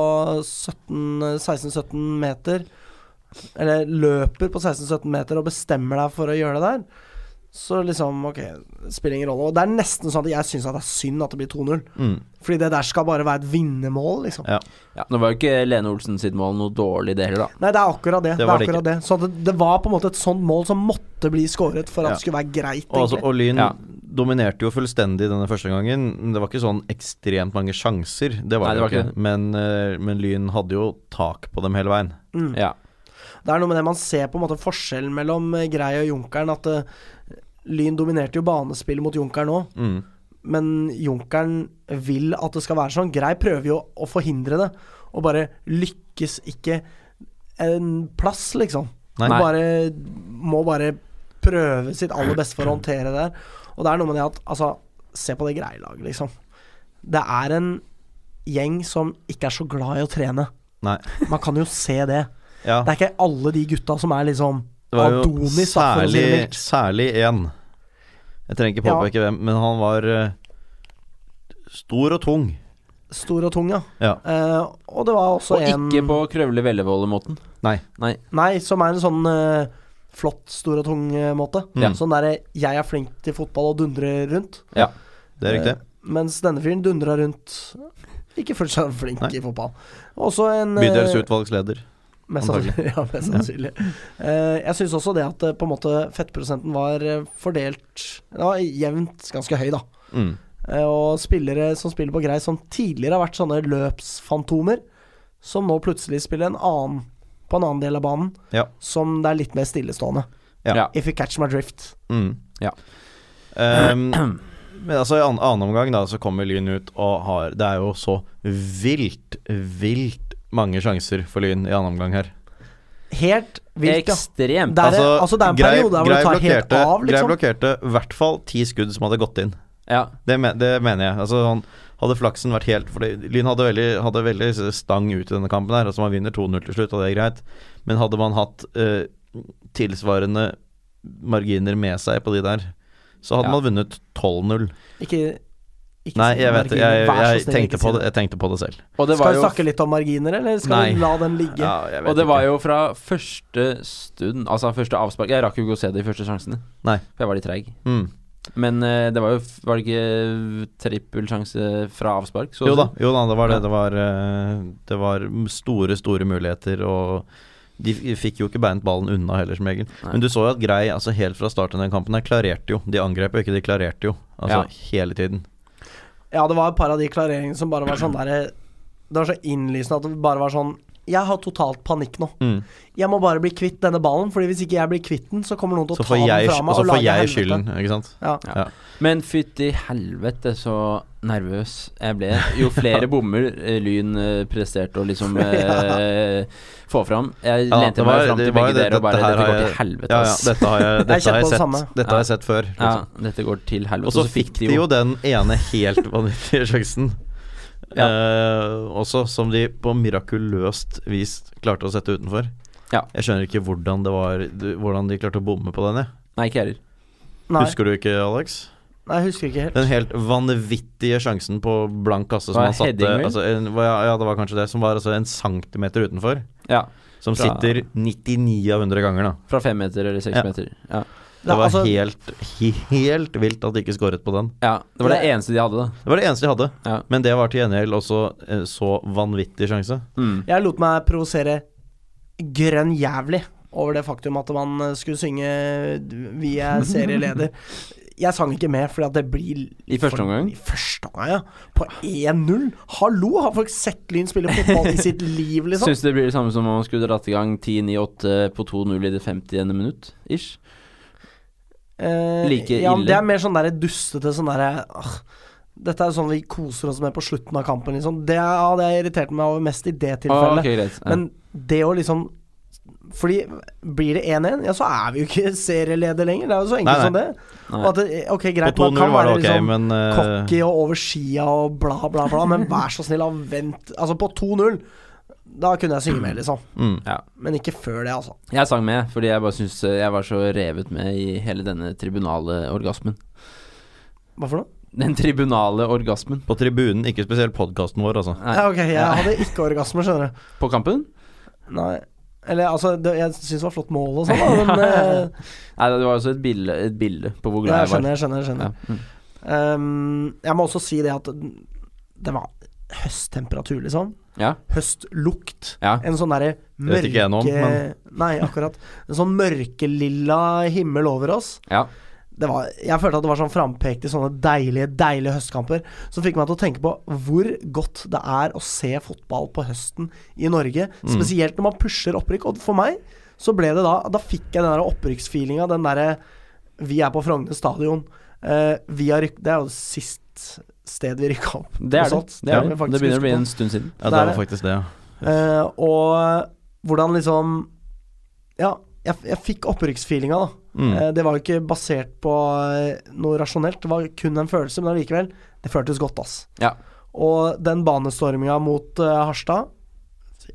[SPEAKER 1] 17 16-17 meter, eller løper på 16-17 meter og bestemmer deg for å gjøre det der, så liksom Ok, spiller ingen rolle. Og det er nesten sånn at jeg syns det er synd at det blir 2-0. Fordi det der skal bare være et vinnermål, liksom.
[SPEAKER 3] Mm. ja.
[SPEAKER 2] Ja, nå var jo ikke Lene Olsen sitt mål noe dårlig, det heller, da.
[SPEAKER 1] Nei, det er akkurat det.
[SPEAKER 3] Det
[SPEAKER 1] det,
[SPEAKER 3] var
[SPEAKER 1] er
[SPEAKER 3] det
[SPEAKER 1] akkurat det. Så det, det var på en måte et sånt mål som måtte bli skåret for at
[SPEAKER 3] Ja.
[SPEAKER 1] det skulle være greit.
[SPEAKER 3] Og, altså,
[SPEAKER 1] egentlig.
[SPEAKER 3] og Lyn
[SPEAKER 2] Ja.
[SPEAKER 3] dominerte jo fullstendig denne første gangen. men Det var ikke sånn ekstremt mange sjanser, det var
[SPEAKER 2] Nei,
[SPEAKER 3] det
[SPEAKER 2] det
[SPEAKER 3] jo
[SPEAKER 2] var
[SPEAKER 3] ikke.
[SPEAKER 2] ikke det.
[SPEAKER 3] Men, eh, men Lyn hadde jo tak på dem hele veien.
[SPEAKER 1] Mm.
[SPEAKER 2] Ja.
[SPEAKER 1] Det er noe med det man ser på en måte forskjellen mellom eh, Grei og Junkeren, at eh, Lyn dominerte jo banespillet mot Junkeren òg,
[SPEAKER 3] Mm.
[SPEAKER 1] men Junkeren vil at det skal være sånn. Grei prøver jo å forhindre det, og bare lykkes ikke en plass, liksom.
[SPEAKER 3] Nei.
[SPEAKER 1] Du bare, må bare prøve sitt aller beste for å håndtere det der. Og det er noe med det at Altså, se på det Grei-laget, liksom. Det er en gjeng som ikke er så glad i å trene.
[SPEAKER 3] Nei.
[SPEAKER 1] Man kan jo se det.
[SPEAKER 3] Ja.
[SPEAKER 1] Det er ikke alle de gutta som er liksom
[SPEAKER 3] Det var jo
[SPEAKER 1] Adonis, da, for å si det
[SPEAKER 3] særlig,
[SPEAKER 1] mildt.
[SPEAKER 3] særlig én. Jeg trenger ikke påpeke hvem, men han var eh, stor og tung.
[SPEAKER 1] Stor og tung, ja.
[SPEAKER 3] Ja.
[SPEAKER 1] Eh, og det var også
[SPEAKER 2] Og
[SPEAKER 1] en
[SPEAKER 2] ikke på Krøvle Vellevolle-måten.
[SPEAKER 3] Nei.
[SPEAKER 2] Nei.
[SPEAKER 1] Nei, som er en sånn eh, flott, stor og tung eh, måte.
[SPEAKER 3] Ja.
[SPEAKER 2] Mm.
[SPEAKER 1] Sånn derre 'jeg er flink til fotball' og dundrer rundt. Eh,
[SPEAKER 2] Ja.
[SPEAKER 3] Det er riktig.
[SPEAKER 1] Mens denne fyren dundra rundt ikke fullt så flink
[SPEAKER 3] Nei.
[SPEAKER 1] i fotball. Også en eh,
[SPEAKER 3] Bydelsutvalgsleder.
[SPEAKER 1] Mest sannsynlig.
[SPEAKER 3] Antagelig.
[SPEAKER 1] Ja, mest sannsynlig. Eh, jeg syns også det at eh, på en måte fettprosenten var eh, fordelt Den var jevnt ganske høy, da.
[SPEAKER 3] Mm.
[SPEAKER 1] Eh, og spillere som spiller på grei, som tidligere har vært sånne løpsfantomer, som nå plutselig spiller en annen på en annen del av banen,
[SPEAKER 3] Ja.
[SPEAKER 1] som det er litt mer stillestående.
[SPEAKER 3] Ja.
[SPEAKER 2] Ja.
[SPEAKER 1] If you catch my drift.
[SPEAKER 3] Mm.
[SPEAKER 2] Ja.
[SPEAKER 3] Ehm, men altså i an annen omgang da så kommer Lyn ut og har Det er jo så vilt, vilt mange sjanser for Lyn i annen omgang her.
[SPEAKER 1] Helt vilt, ja.
[SPEAKER 2] Ekstremt.
[SPEAKER 1] Det er, altså, det er en periode der hvor det tar helt av,
[SPEAKER 3] Grei
[SPEAKER 1] liksom.
[SPEAKER 3] blokkerte i hvert fall ti skudd som hadde gått inn.
[SPEAKER 2] Ja.
[SPEAKER 3] Det, me det mener jeg. Altså han hadde flaksen vært helt For det- Lyn hadde veldig, hadde veldig stang ut i denne kampen her. Altså man vinner 2-0 til slutt, og det er greit. Men hadde man hatt eh, tilsvarende marginer med seg på de der, så hadde
[SPEAKER 2] Ja.
[SPEAKER 3] man vunnet 12-0.
[SPEAKER 1] Ikke, ikke
[SPEAKER 3] Nei,
[SPEAKER 1] si
[SPEAKER 3] jeg vet det. Jeg,
[SPEAKER 1] marginer. Vær så
[SPEAKER 3] jeg,
[SPEAKER 1] snill,
[SPEAKER 3] tenkte
[SPEAKER 1] ikke si
[SPEAKER 3] på det, jeg tenkte på det selv.
[SPEAKER 2] Og det
[SPEAKER 1] Skal
[SPEAKER 2] var
[SPEAKER 1] vi
[SPEAKER 2] jo
[SPEAKER 1] snakke litt om marginer, eller skal vi
[SPEAKER 3] Nei.
[SPEAKER 1] la den ligge?
[SPEAKER 3] jeg
[SPEAKER 2] Og det var jo fra første stund, altså første avspark Jeg rakk jo ikke å se de første sjansene,
[SPEAKER 3] Nei.
[SPEAKER 2] for jeg var litt treig.
[SPEAKER 3] Mm.
[SPEAKER 2] Men eh, det var jo Var det ikke trippelsjanse fra avspark? Så
[SPEAKER 3] Jo da, jo da, det var det.
[SPEAKER 2] Ja.
[SPEAKER 3] Det var, eh, det var store, store muligheter, og de f- fikk jo ikke beinet ballen unna heller, som regel.
[SPEAKER 2] Nei.
[SPEAKER 3] Men du så jo at Grei altså helt fra starten av den kampen her klarerte jo. De angrep jo ikke, de klarerte jo. Altså
[SPEAKER 2] Ja.
[SPEAKER 3] hele tiden.
[SPEAKER 1] Ja, det var et par av de klareringene som bare var sånn der Det var så innlysende at det bare var sånn Jeg har totalt panikk nå.
[SPEAKER 3] Mm.
[SPEAKER 1] Jeg må bare bli kvitt denne ballen, Fordi hvis ikke jeg blir kvitt den, så kommer noen til å
[SPEAKER 3] Så
[SPEAKER 1] ta
[SPEAKER 3] får
[SPEAKER 1] den
[SPEAKER 3] jeg,
[SPEAKER 1] fra meg
[SPEAKER 3] og så
[SPEAKER 1] og
[SPEAKER 3] får
[SPEAKER 1] lage
[SPEAKER 3] jeg
[SPEAKER 1] helvete.
[SPEAKER 3] skylden, ikke sant.
[SPEAKER 1] Ja.
[SPEAKER 3] Ja.
[SPEAKER 2] Men fytti helvete så nervøs jeg ble. Jo flere bommer eh, Lyn eh, presterte å liksom eh, få fram. Jeg
[SPEAKER 3] Ja,
[SPEAKER 2] lente
[SPEAKER 3] det var-
[SPEAKER 2] meg fram
[SPEAKER 3] det
[SPEAKER 2] til
[SPEAKER 3] var
[SPEAKER 2] begge
[SPEAKER 3] jo det-
[SPEAKER 2] dere og bare
[SPEAKER 3] dette her
[SPEAKER 2] Dette
[SPEAKER 3] har
[SPEAKER 2] går til
[SPEAKER 3] jeg-
[SPEAKER 2] helvete,
[SPEAKER 3] Ja, ja,
[SPEAKER 2] ass.
[SPEAKER 3] dette har jeg, dette har
[SPEAKER 1] kjente
[SPEAKER 3] jeg
[SPEAKER 1] på det
[SPEAKER 3] sett.
[SPEAKER 1] samme.
[SPEAKER 3] Dette har jeg sett før.
[SPEAKER 2] Ja,
[SPEAKER 3] Liksom.
[SPEAKER 2] dette går til helvete.
[SPEAKER 3] Og så fikk de jo den ene helt vanvittige sjansen.
[SPEAKER 2] Ja.
[SPEAKER 3] Eh, også som de på mirakuløst vis klarte å sette utenfor.
[SPEAKER 2] Ja.
[SPEAKER 3] Jeg skjønner ikke hvordan, det var, du- hvordan de klarte å bomme på den. jeg.
[SPEAKER 2] Nei, ikke jeg heller.
[SPEAKER 1] Nei,
[SPEAKER 3] Husker du ikke, Alex?
[SPEAKER 1] nei, jeg husker ikke helt.
[SPEAKER 3] Den helt vanvittige sjansen på blank kasse som
[SPEAKER 2] Var
[SPEAKER 3] han
[SPEAKER 2] det
[SPEAKER 3] satte
[SPEAKER 2] heading, vel?
[SPEAKER 3] altså, en, ja, ja, det var kanskje det. Som var altså en centimeter utenfor.
[SPEAKER 2] Ja.
[SPEAKER 3] Som
[SPEAKER 2] Fra-
[SPEAKER 3] sitter 99 av 100 ganger, da.
[SPEAKER 2] Fra fem meter eller seks
[SPEAKER 3] Ja.
[SPEAKER 2] meter. Ja.
[SPEAKER 3] Det var
[SPEAKER 1] altså,
[SPEAKER 3] helt, helt vilt at de ikke skåret på den.
[SPEAKER 2] ja. Det var det eneste de hadde, da.
[SPEAKER 3] Det var det eneste de hadde.
[SPEAKER 2] Ja.
[SPEAKER 3] Men det var til gjengjeld også eh, så vanvittig sjanse.
[SPEAKER 2] Mm.
[SPEAKER 1] jeg lot meg provosere grønn jævlig over det faktum at man eh, skulle synge 'Vi er serieleder'. Jeg sang ikke med, fordi at det blir
[SPEAKER 2] I første
[SPEAKER 1] for-
[SPEAKER 2] omgang?
[SPEAKER 1] I første omgang, ja. På 1-0! Hallo! Har folk sett Lyn spille fotball i sitt liv, liksom?
[SPEAKER 2] Syns det blir det samme som om man skulle dratt i gang 10-9-8 på 2-0 i det 50. minutt, ish.
[SPEAKER 1] Eh,
[SPEAKER 2] Like
[SPEAKER 1] ja, men
[SPEAKER 2] ille.
[SPEAKER 1] Det er mer sånn der dustete sånn derre «Åh, Dette er jo sånn vi koser oss med på slutten av kampen, liksom. Det er- hadde jeg irritert meg over mest i
[SPEAKER 3] Ah,
[SPEAKER 1] det tilfellet.
[SPEAKER 2] Å, ok, greit. Ja.
[SPEAKER 1] Men det å liksom Fordi blir det 1-1, ja, så er vi jo ikke serieleder lenger. Det er jo så enkelt
[SPEAKER 3] Nei, nei.
[SPEAKER 1] som det.
[SPEAKER 2] Nei.
[SPEAKER 1] Og at det. Ok, greit,
[SPEAKER 3] På
[SPEAKER 1] man kan
[SPEAKER 3] 2-0 var det
[SPEAKER 1] være
[SPEAKER 3] ok,
[SPEAKER 1] liksom
[SPEAKER 3] men eh,
[SPEAKER 1] cocky og over skia og bla, bla, bla, men vær så snill, og vent. Altså, på 2-0, da kunne jeg synge med, liksom.
[SPEAKER 3] mm.
[SPEAKER 1] Men ikke før det, altså.
[SPEAKER 2] Jeg sang med, fordi jeg bare syns eh, jeg var så revet med i hele denne tribunale orgasmen.
[SPEAKER 1] Hva for noe?
[SPEAKER 2] Den tribunale orgasmen.
[SPEAKER 3] På tribunen, ikke spesielt podkasten vår, altså.
[SPEAKER 2] Nei,
[SPEAKER 1] Ja, ok, jeg hadde ikke orgasme, skjønner du.
[SPEAKER 2] På kampen?
[SPEAKER 1] Nei. Eller altså, det, jeg syns det var flott mål og sånn, da, men eh,
[SPEAKER 2] Nei, det var også et bilde, et bilde på hvor
[SPEAKER 1] ja, jeg
[SPEAKER 2] glad jeg var.
[SPEAKER 1] skjønner, jeg skjønner. Jeg,
[SPEAKER 2] Ja.
[SPEAKER 1] skjønner.
[SPEAKER 2] Mm.
[SPEAKER 1] Ehm, jeg må også si det at den- det var høsttemperatur, liksom.
[SPEAKER 2] ja.
[SPEAKER 1] Høstlukt.
[SPEAKER 2] ja.
[SPEAKER 1] En sånn derre
[SPEAKER 3] vet ikke jeg noe om,
[SPEAKER 1] mørke Nei, akkurat. En sånn mørkelilla himmel over oss.
[SPEAKER 2] ja.
[SPEAKER 1] det var, jeg følte at det var sånn frampekt i sånne deilige deilige høstkamper. Som fikk meg til å tenke på hvor godt det er å se fotball på høsten i Norge.
[SPEAKER 2] Mm.
[SPEAKER 1] Spesielt når man pusher opprykk. Og for meg så ble det da Da fikk jeg den der opprykksfeelinga. Den derre Vi er på Frogner stadion. eh, vi har rykk... Det er jo sist sted vi rykka opp.
[SPEAKER 2] Det er
[SPEAKER 1] noe
[SPEAKER 2] det.
[SPEAKER 1] sånt.
[SPEAKER 2] Det, er
[SPEAKER 1] må
[SPEAKER 2] det.
[SPEAKER 1] vi faktisk
[SPEAKER 2] det begynner å
[SPEAKER 1] huske
[SPEAKER 2] bli
[SPEAKER 1] på.
[SPEAKER 2] en stund siden.
[SPEAKER 3] Ja,
[SPEAKER 1] Det
[SPEAKER 3] det
[SPEAKER 1] er
[SPEAKER 3] var
[SPEAKER 1] det.
[SPEAKER 3] faktisk det, ja.
[SPEAKER 1] Eh, og hvordan liksom Ja, jeg, jeg fikk opprykksfeelinga, da. Eh, det var jo ikke basert på eh, noe rasjonelt, det var kun en følelse, men allikevel. Det føltes godt, ass.
[SPEAKER 2] Ja.
[SPEAKER 1] Og den banestorminga mot eh, Harstad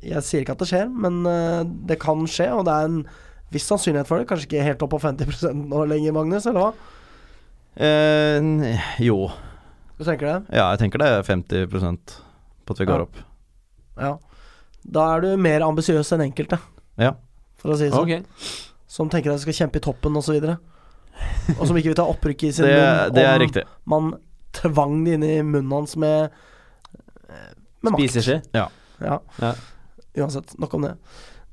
[SPEAKER 1] Jeg sier ikke at det skjer, men eh, det kan skje, og det er en viss sannsynlighet for det. Kanskje ikke helt opp på 50 nå lenger, Magnus, eller hva?
[SPEAKER 3] Eh, n- jo.
[SPEAKER 1] Du tenker det?
[SPEAKER 3] Ja, jeg tenker det er 50 på at vi
[SPEAKER 1] Ja.
[SPEAKER 3] går opp.
[SPEAKER 1] Ja. Da er du mer ambisiøs enn enkelte,
[SPEAKER 3] Ja.
[SPEAKER 1] for å si det sånn.
[SPEAKER 2] Ok.
[SPEAKER 1] Som tenker at de skal kjempe i toppen osv. Og, så videre. og som ikke vil ta opprykk i sin
[SPEAKER 3] Det,
[SPEAKER 1] munn.
[SPEAKER 3] det er
[SPEAKER 1] om
[SPEAKER 3] riktig.
[SPEAKER 1] Man tvang det inn i munnen hans med, eh, med makt.
[SPEAKER 2] Spiseskje.
[SPEAKER 1] Ja.
[SPEAKER 2] Ja.
[SPEAKER 1] Uansett, nok om det.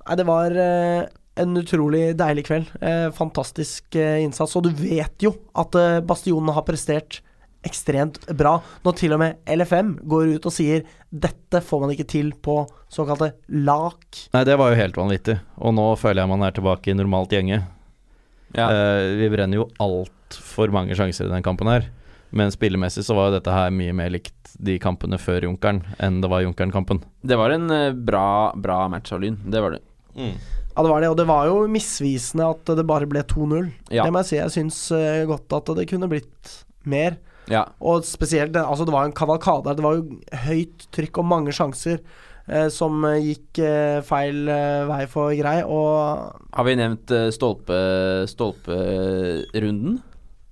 [SPEAKER 1] Nei, det var eh, en utrolig deilig kveld. Eh, fantastisk eh, innsats. Og du vet jo at eh, Bastionen har prestert ekstremt bra. Når til og med LFM går ut og sier 'dette får man ikke til på såkalte LAK'.
[SPEAKER 3] Nei, det var jo helt vanvittig. Og nå føler jeg man er tilbake i normalt gjenge.
[SPEAKER 2] Ja.
[SPEAKER 3] Eh, vi brenner jo altfor mange sjanser i den kampen her. Men spillemessig så var jo dette her mye mer likt de kampene før Junkeren enn det var Junkeren-kampen.
[SPEAKER 2] Det var en eh, bra, bra match av Lyn. Det var det.
[SPEAKER 1] Ja, det var det. Og det var jo misvisende at det bare ble 2-0.
[SPEAKER 2] Ja.
[SPEAKER 1] Det må jeg si. Jeg syns eh, godt at det kunne blitt mer.
[SPEAKER 2] ja.
[SPEAKER 1] Og spesielt det- Altså, det var en kavalkade her. Det var jo høyt trykk og mange sjanser eh, som eh, gikk eh, feil eh, vei for Grei. Og
[SPEAKER 2] Har vi nevnt eh, stolpe stolperunden?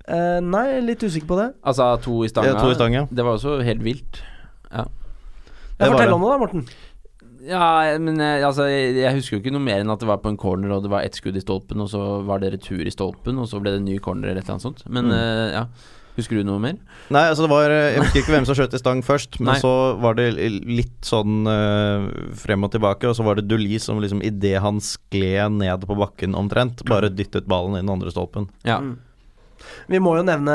[SPEAKER 1] eh, Nei, jeg er litt usikker på det.
[SPEAKER 2] Altså to i stanga.
[SPEAKER 3] Ja, to i stanga.
[SPEAKER 2] Det var også helt vilt. Ja,
[SPEAKER 1] Ja,
[SPEAKER 3] Det var
[SPEAKER 1] fortell
[SPEAKER 3] det.
[SPEAKER 1] om det, da, Morten.
[SPEAKER 2] ja men eh, altså, jeg, jeg husker jo ikke noe mer enn at det var på en corner, og det var ett skudd i stolpen, og så var det retur i stolpen, og så ble det en ny corner eller et eller annet sånt. Men
[SPEAKER 3] Mm.
[SPEAKER 2] eh, ja. Husker du noe mer?
[SPEAKER 3] Nei, altså det var Jeg husker ikke hvem som skjøt i stang først, men
[SPEAKER 2] Nei.
[SPEAKER 3] så var det litt sånn eh, frem og tilbake, og så var det Duli som liksom idet han skled ned på bakken omtrent, bare dyttet ballen inn den andre stolpen.
[SPEAKER 2] Ja.
[SPEAKER 1] Mm. Vi må jo nevne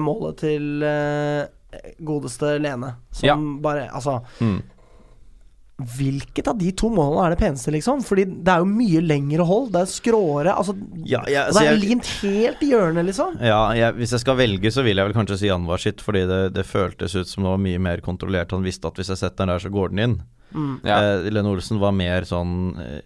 [SPEAKER 1] målet til eh, godeste Lene, som
[SPEAKER 2] Ja.
[SPEAKER 1] bare Altså.
[SPEAKER 3] Mm.
[SPEAKER 1] Hvilket av de to målene er det peneste, liksom? Fordi det er jo mye lengre hold. Det er skråere. Altså,
[SPEAKER 3] Ja, jeg-
[SPEAKER 1] og det
[SPEAKER 3] så
[SPEAKER 1] er
[SPEAKER 3] jeg-
[SPEAKER 1] limt helt i hjørnet, liksom.
[SPEAKER 3] Ja, jeg, hvis jeg skal velge, så vil jeg vel kanskje si Anwar sitt, fordi det, det føltes ut som det var mye mer kontrollert. Han visste at hvis jeg setter den der, så går den inn.
[SPEAKER 2] Ja.
[SPEAKER 3] Eh, Lene Olsen var mer sånn eh,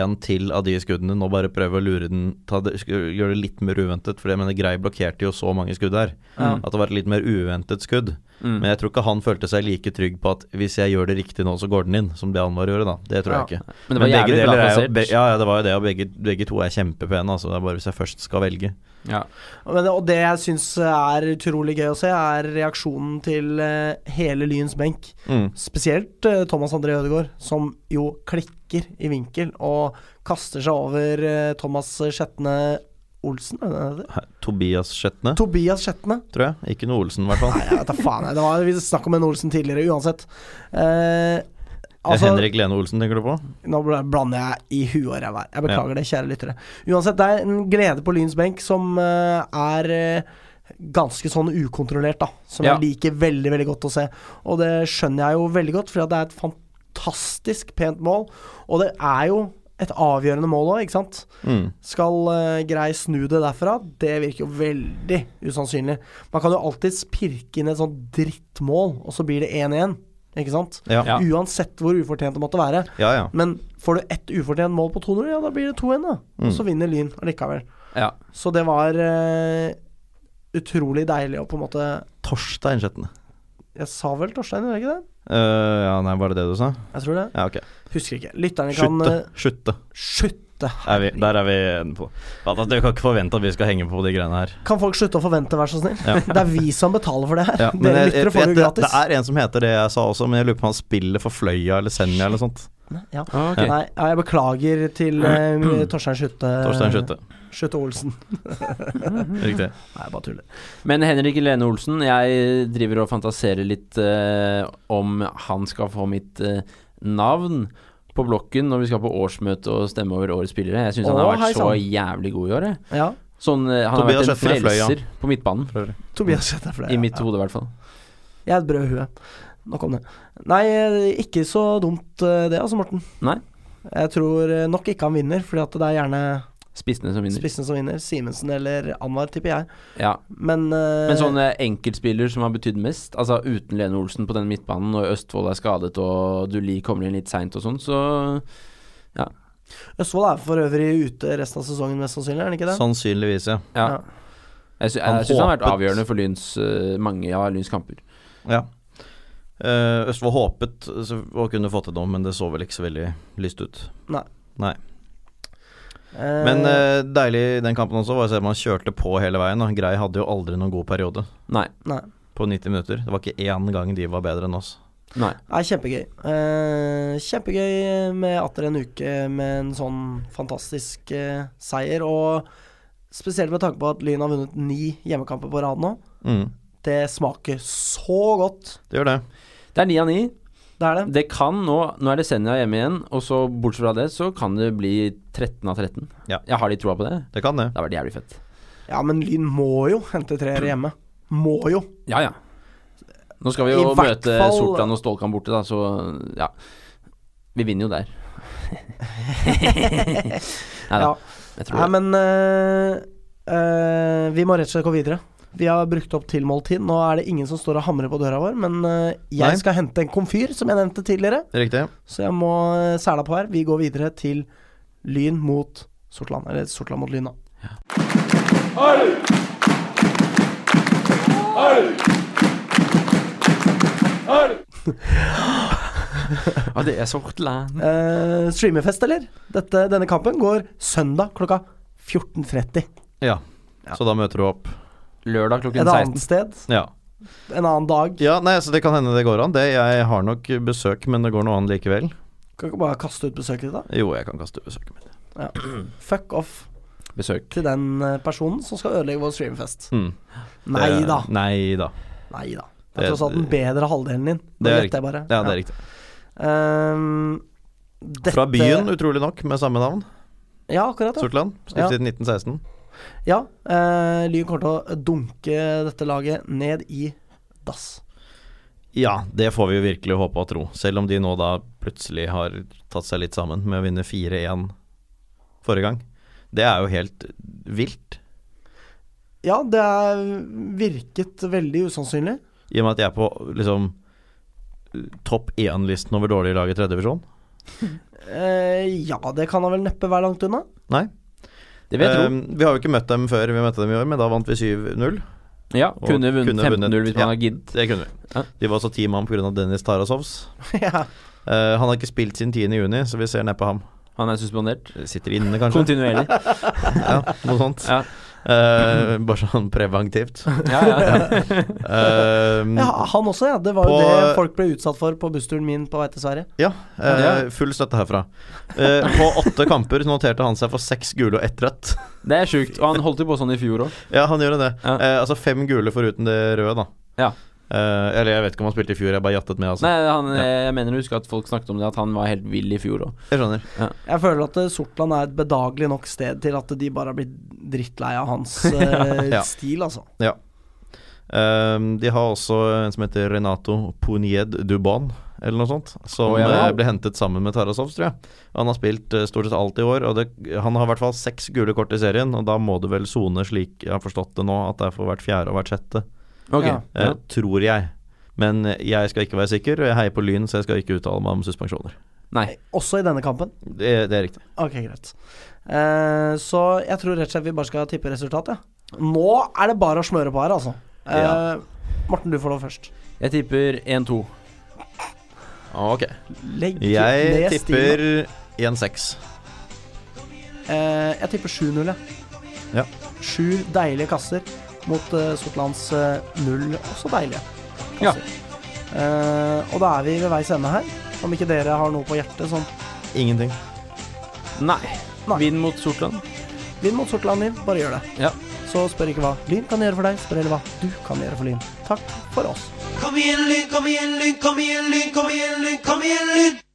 [SPEAKER 3] en til av de skuddene. Nå bare prøve å lure den, ta det, sk- gjøre det litt mer uventet. For jeg mener, Grei blokkerte jo så mange skudd her, at det var et litt mer uventet skudd.
[SPEAKER 2] Mm.
[SPEAKER 3] Men jeg tror ikke han følte seg like trygg på at hvis jeg gjør det riktig nå, så går den inn, som det Anwar gjorde, da. Det tror
[SPEAKER 1] Ja.
[SPEAKER 3] jeg ikke.
[SPEAKER 2] Men det var
[SPEAKER 3] begge
[SPEAKER 2] jævlig
[SPEAKER 3] deler
[SPEAKER 2] bra
[SPEAKER 3] er jo,
[SPEAKER 2] plassert.
[SPEAKER 3] be, ja, ja, det var jo det, og begge, begge to er kjempepene, altså. Det er bare hvis jeg først skal velge.
[SPEAKER 2] ja.
[SPEAKER 1] Men, det- og det jeg syns er utrolig gøy å se, er reaksjonen til eh, hele Lyns benk.
[SPEAKER 3] Mm.
[SPEAKER 1] Spesielt eh, Thomas André Ødegaard, som jo klikker i vinkel og kaster seg over eh, Thomas Skjetne Olsen, er det det heter?
[SPEAKER 3] Hæ, Tobias Skjetne?
[SPEAKER 1] Tobias Skjetne.
[SPEAKER 3] tror jeg. Ikke noe Olsen, i hvert fall.
[SPEAKER 1] Nei, jeg vet da faen. jeg. Det var vi snakk om en Olsen tidligere, uansett. Eh, altså,
[SPEAKER 3] Henrik Lene Olsen, tenker du på?
[SPEAKER 1] Nå bl- blander jeg i huet og ræva. her. Jeg beklager det, kjære lyttere. Uansett, det er en glede på Lyns benk som eh, er eh, ganske sånn ukontrollert, da. Som
[SPEAKER 2] Ja.
[SPEAKER 1] jeg liker veldig, veldig godt å se. Og det skjønner jeg jo veldig godt, for det er et fantastisk pent mål. Og det er jo et avgjørende mål òg, ikke sant? Skal eh, Grei snu det derfra? Det virker jo veldig usannsynlig. Man kan jo alltids pirke inn et sånt drittmål, og så blir det 1-1, ikke sant?
[SPEAKER 3] Ja.
[SPEAKER 2] Ja.
[SPEAKER 1] Uansett hvor ufortjent det måtte være.
[SPEAKER 3] Ja, ja.
[SPEAKER 1] Men får du ett ufortjent mål på 2-0, ja, da blir det 2-1, da.
[SPEAKER 3] Mm.
[SPEAKER 1] Og så vinner Lyn allikevel.
[SPEAKER 2] ja.
[SPEAKER 1] Så det var eh, utrolig deilig å på en måte
[SPEAKER 3] Torstein Skjetne.
[SPEAKER 1] Jeg sa vel Torstein, gjorde jeg ikke det?
[SPEAKER 3] Eh, ja, nei, var det det du sa?
[SPEAKER 1] Jeg tror det.
[SPEAKER 3] Ja, ok.
[SPEAKER 1] Husker ikke. Lytterne kan
[SPEAKER 3] Skytte.
[SPEAKER 1] eh,
[SPEAKER 3] Skytte.
[SPEAKER 1] Slutte.
[SPEAKER 3] Er vi, der er vi enige på. Ja, da, du kan ikke forvente at vi skal henge på de greiene her.
[SPEAKER 1] Kan folk slutte å forvente, vær så snill? Det er vi som betaler for det her.
[SPEAKER 3] Ja, men
[SPEAKER 1] Dere
[SPEAKER 3] jeg-
[SPEAKER 1] lyttere
[SPEAKER 3] jeg-
[SPEAKER 1] får det jo
[SPEAKER 3] det, det
[SPEAKER 1] gratis.
[SPEAKER 3] er en som heter det jeg sa også, men jeg lurer på om han spiller for Fløya eller Senja eller noe sånt.
[SPEAKER 1] ja.
[SPEAKER 2] Ah, ok.
[SPEAKER 1] Nei, ja, jeg beklager til eh, mm, Torstein Skytte.
[SPEAKER 3] Torstein Skytte.
[SPEAKER 1] Skytte Olsen. Nei,
[SPEAKER 3] Riktig.
[SPEAKER 1] jeg bare tuller.
[SPEAKER 2] Men Henrik Lene Olsen, jeg driver og fantaserer litt eh, om han skal få mitt eh, navn på blokken når vi skal på årsmøte og stemme over årets spillere. Jeg syns han
[SPEAKER 1] Å,
[SPEAKER 2] har vært
[SPEAKER 1] hei
[SPEAKER 2] så
[SPEAKER 1] sann.
[SPEAKER 2] jævlig god i år, jeg.
[SPEAKER 1] Ja.
[SPEAKER 2] Sånn, eh, han
[SPEAKER 3] Tobias
[SPEAKER 2] har vært en
[SPEAKER 3] Schjøttene fløy, ja.
[SPEAKER 2] frelser på midtbanen.
[SPEAKER 1] Tobias heter for det.
[SPEAKER 2] I mitt hode, i hvert fall.
[SPEAKER 1] Jeg er et brød hue. Nok om det. Nei, ikke så dumt eh, det, altså, Morten.
[SPEAKER 2] Nei.
[SPEAKER 1] Jeg tror eh, nok ikke han vinner, fordi at det er gjerne
[SPEAKER 2] Spissene som vinner.
[SPEAKER 1] spissen som vinner. Simensen eller Anwar, tipper jeg.
[SPEAKER 2] Ja.
[SPEAKER 1] Men, eh,
[SPEAKER 2] Men sånn eh, enkeltspiller som har betydd mest, altså uten Lene Olsen på den midtbanen, når Østfold er skadet og Duli kommer inn litt seint og sånn, så
[SPEAKER 1] Østfold er for øvrig ute resten av sesongen, mest sannsynlig, er han ikke det?
[SPEAKER 3] Sannsynligvis, ja.
[SPEAKER 2] ja.
[SPEAKER 1] Ja.
[SPEAKER 2] Jeg, sy
[SPEAKER 3] Han
[SPEAKER 2] jeg syns han har vært
[SPEAKER 3] håpet-
[SPEAKER 2] avgjørende for Lyns eh, mange av Lyns kamper.
[SPEAKER 3] ja. Eh, Østfold håpet så, å kunne fått det nå, men det så vel ikke så veldig lyst ut.
[SPEAKER 1] Nei.
[SPEAKER 3] Nei.
[SPEAKER 1] Eh,
[SPEAKER 3] Men eh, deilig i den kampen også var å se at man kjørte på hele veien. Og Grei hadde jo aldri noen god periode
[SPEAKER 2] Nei.
[SPEAKER 1] Nei.
[SPEAKER 3] på 90 minutter. Det var ikke én gang de var bedre enn oss.
[SPEAKER 2] Nei.
[SPEAKER 1] Nei, kjempegøy. Eh, kjempegøy med atter en uke med en sånn fantastisk eh, seier. Og spesielt med tanke på at Lyn har vunnet ni hjemmekamper på rad nå.
[SPEAKER 3] Mm.
[SPEAKER 1] Det smaker så godt.
[SPEAKER 3] Det gjør det.
[SPEAKER 2] Det er ni av ni.
[SPEAKER 1] Det er det.
[SPEAKER 2] Det kan nå Nå er det Senja hjemme igjen, og så bortsett fra det, så kan det bli 13 av 13.
[SPEAKER 3] Ja.
[SPEAKER 2] Jeg har litt troa på det.
[SPEAKER 3] Det kan det.
[SPEAKER 2] Det hadde vært jævlig fett.
[SPEAKER 1] Ja, men Lyn må jo hente treere
[SPEAKER 2] Mm.
[SPEAKER 1] hjemme. Må jo.
[SPEAKER 2] Ja, ja. Nå skal vi
[SPEAKER 1] I
[SPEAKER 2] jo
[SPEAKER 1] hvert
[SPEAKER 2] møte
[SPEAKER 1] fall-
[SPEAKER 2] Sortland og Stålkamp borte, da, så ja. Vi vinner jo der. Nei da,
[SPEAKER 1] Ja.
[SPEAKER 2] jeg tror
[SPEAKER 1] Nei,
[SPEAKER 2] det.
[SPEAKER 1] men eh, eh, vi må rett og slett gå videre. Vi har brukt opp tilmåltid. Nå er det ingen som står og hamrer på døra vår, men eh, jeg
[SPEAKER 3] Nei.
[SPEAKER 1] skal hente en komfyr, som jeg nevnte tidligere.
[SPEAKER 3] Riktig.
[SPEAKER 1] Så jeg må eh, sæla på her. Vi går videre til Lyn mot Sortland. Eller Sortland mot Lyn, da.
[SPEAKER 2] Ja, det er Sortland.
[SPEAKER 1] Eh, streamerfest, eller? Dette, denne kampen går søndag klokka 14.30.
[SPEAKER 3] Ja. Så da møter du opp.
[SPEAKER 2] Lørdag
[SPEAKER 1] Et
[SPEAKER 2] klokken
[SPEAKER 1] annet
[SPEAKER 2] 16.
[SPEAKER 1] sted,
[SPEAKER 3] Ja.
[SPEAKER 1] en annen dag.
[SPEAKER 3] ja, nei, så det kan hende det går an. Det, jeg har nok besøk, men det går noe an likevel.
[SPEAKER 1] Kan ikke bare kaste ut besøket ditt, da.
[SPEAKER 3] Jo, jeg kan kaste besøket mitt.
[SPEAKER 1] Fuck off
[SPEAKER 2] Besøk.
[SPEAKER 1] til den eh, personen som skal ødelegge vår streamerfest.
[SPEAKER 3] Mm.
[SPEAKER 1] Nei
[SPEAKER 3] Det-
[SPEAKER 1] da.
[SPEAKER 3] Nei da.
[SPEAKER 1] Nei da. Det er
[SPEAKER 3] Det-
[SPEAKER 1] tross alt den bedre halvdelen din.
[SPEAKER 3] Det er
[SPEAKER 1] Nå gjetter jeg bare.
[SPEAKER 3] Ja, det er riktig.
[SPEAKER 1] Ehm, dette,
[SPEAKER 3] Fra byen, utrolig nok, med samme navn.
[SPEAKER 1] Ja, akkurat. Ja.
[SPEAKER 3] Sortland. Stiftet i 1916.
[SPEAKER 1] Ja, eh, Lyn kommer til å dunke dette laget ned i dass.
[SPEAKER 3] Ja, det får vi jo virkelig håpe og tro. Selv om de nå da plutselig har tatt seg litt sammen med å vinne 4-1 forrige gang. Det er jo helt vilt.
[SPEAKER 1] Ja, det er virket veldig usannsynlig.
[SPEAKER 3] I og med at jeg er på liksom topp én-listen over dårlige lag i tredje divisjon.
[SPEAKER 1] Eh, ja, det kan da vel neppe være langt unna.
[SPEAKER 3] Nei.
[SPEAKER 2] Det vil jeg tro.
[SPEAKER 3] Eh, vi har jo ikke møtt dem før vi møtte dem i år, men da vant vi 7-0.
[SPEAKER 2] Ja,
[SPEAKER 3] og
[SPEAKER 2] kunne
[SPEAKER 3] kunne
[SPEAKER 2] vunnet 15-0 hvis
[SPEAKER 3] vunnet,
[SPEAKER 2] man
[SPEAKER 3] ja.
[SPEAKER 2] hadar giddet.
[SPEAKER 3] Det kunne vi.
[SPEAKER 2] Ja.
[SPEAKER 3] De var også ti mann pga. Dennis Tarasovs.
[SPEAKER 1] ja.
[SPEAKER 3] Eh, han har ikke spilt siden 10. juni, så vi ser nedpå ham.
[SPEAKER 2] Han er suspendert.
[SPEAKER 3] Sitter inne, kanskje.
[SPEAKER 2] Kontinuerlig.
[SPEAKER 3] Ja, noe sånt.
[SPEAKER 2] Ja.
[SPEAKER 3] Eh, bare sånn preventivt.
[SPEAKER 2] Ja, ja.
[SPEAKER 3] Eh,
[SPEAKER 1] ja, han også, ja. Det var jo
[SPEAKER 3] På-
[SPEAKER 1] det folk ble utsatt for på bussturen min på vei til Sverige.
[SPEAKER 3] ja, eh,
[SPEAKER 2] Ja.
[SPEAKER 3] full støtte herfra. Eh, på åtte kamper noterte han seg for seks gule og ett rødt.
[SPEAKER 2] Det er sjukt. Og han holdt jo på sånn i fjor òg.
[SPEAKER 3] Ja, han gjorde det.
[SPEAKER 2] Ja.
[SPEAKER 3] Eh, altså fem gule foruten det røde, da.
[SPEAKER 2] Ja.
[SPEAKER 3] Eh, eller jeg vet ikke om han spilte i fjor, jeg bare jattet med, altså.
[SPEAKER 2] Nei, han, eh,
[SPEAKER 3] Ja.
[SPEAKER 2] jeg mener å huske at folk snakket om det, at han var helt vill i fjor òg.
[SPEAKER 3] Jeg skjønner.
[SPEAKER 1] Jeg føler at eh, Sortland er et bedagelig nok sted til at de bare har blitt drittlei av hans eh,
[SPEAKER 3] Ja.
[SPEAKER 1] stil, altså.
[SPEAKER 3] Eh, de har også en som heter Renato Punied Dubon, eller noe sånt, som
[SPEAKER 2] Å, ja.
[SPEAKER 3] eh, ble hentet sammen med Tarasov, tror jeg. Han har spilt eh, stort sett alt i år, og det, han har i hvert fall seks gule kort i serien, og da må du vel sone slik jeg har forstått det nå, at det er for hvert fjerde og hvert sjette.
[SPEAKER 2] Ok.
[SPEAKER 1] Ja.
[SPEAKER 2] Ja.
[SPEAKER 3] Eh, tror jeg. Men jeg skal ikke være sikker, og jeg heier på Lyn, så jeg skal ikke uttale meg om suspensjoner.
[SPEAKER 2] Nei.
[SPEAKER 1] Også i denne kampen.
[SPEAKER 3] Det, det er riktig.
[SPEAKER 1] Ok, greit. Eh, så jeg tror rett og slett vi bare skal tippe resultatet. Ja. Nå er det bare å smøre på her, altså. Eh,
[SPEAKER 3] Ja.
[SPEAKER 1] Morten, du får lov først.
[SPEAKER 2] Jeg tipper 1-2.
[SPEAKER 3] Ok.
[SPEAKER 1] Legg
[SPEAKER 3] Jeg
[SPEAKER 1] ned
[SPEAKER 3] tipper
[SPEAKER 1] stilen.
[SPEAKER 3] 1-6.
[SPEAKER 1] Eh, jeg tipper 7-0, jeg.
[SPEAKER 3] Ja.
[SPEAKER 1] Sju deilige kasser mot eh, Sortlands eh, null også deilige
[SPEAKER 2] Ja.
[SPEAKER 1] kasser. Eh, og da er vi ved veis ende her. Om ikke dere har noe på hjertet som
[SPEAKER 3] Ingenting.
[SPEAKER 2] Nei.
[SPEAKER 1] Nei.
[SPEAKER 2] Vinn mot Sortland.
[SPEAKER 1] Vinn mot Sortland Lyn, bare gjør det.
[SPEAKER 2] Ja.
[SPEAKER 1] Så spør ikke hva Lyn kan gjøre for deg, spør heller hva du kan gjøre for Lyn. Takk for oss.
[SPEAKER 6] Kom igjen, Lyn, kom igjen, Lyn, kom igjen, Lyn, kom igjen, Lyn, kom igjen, Lyn!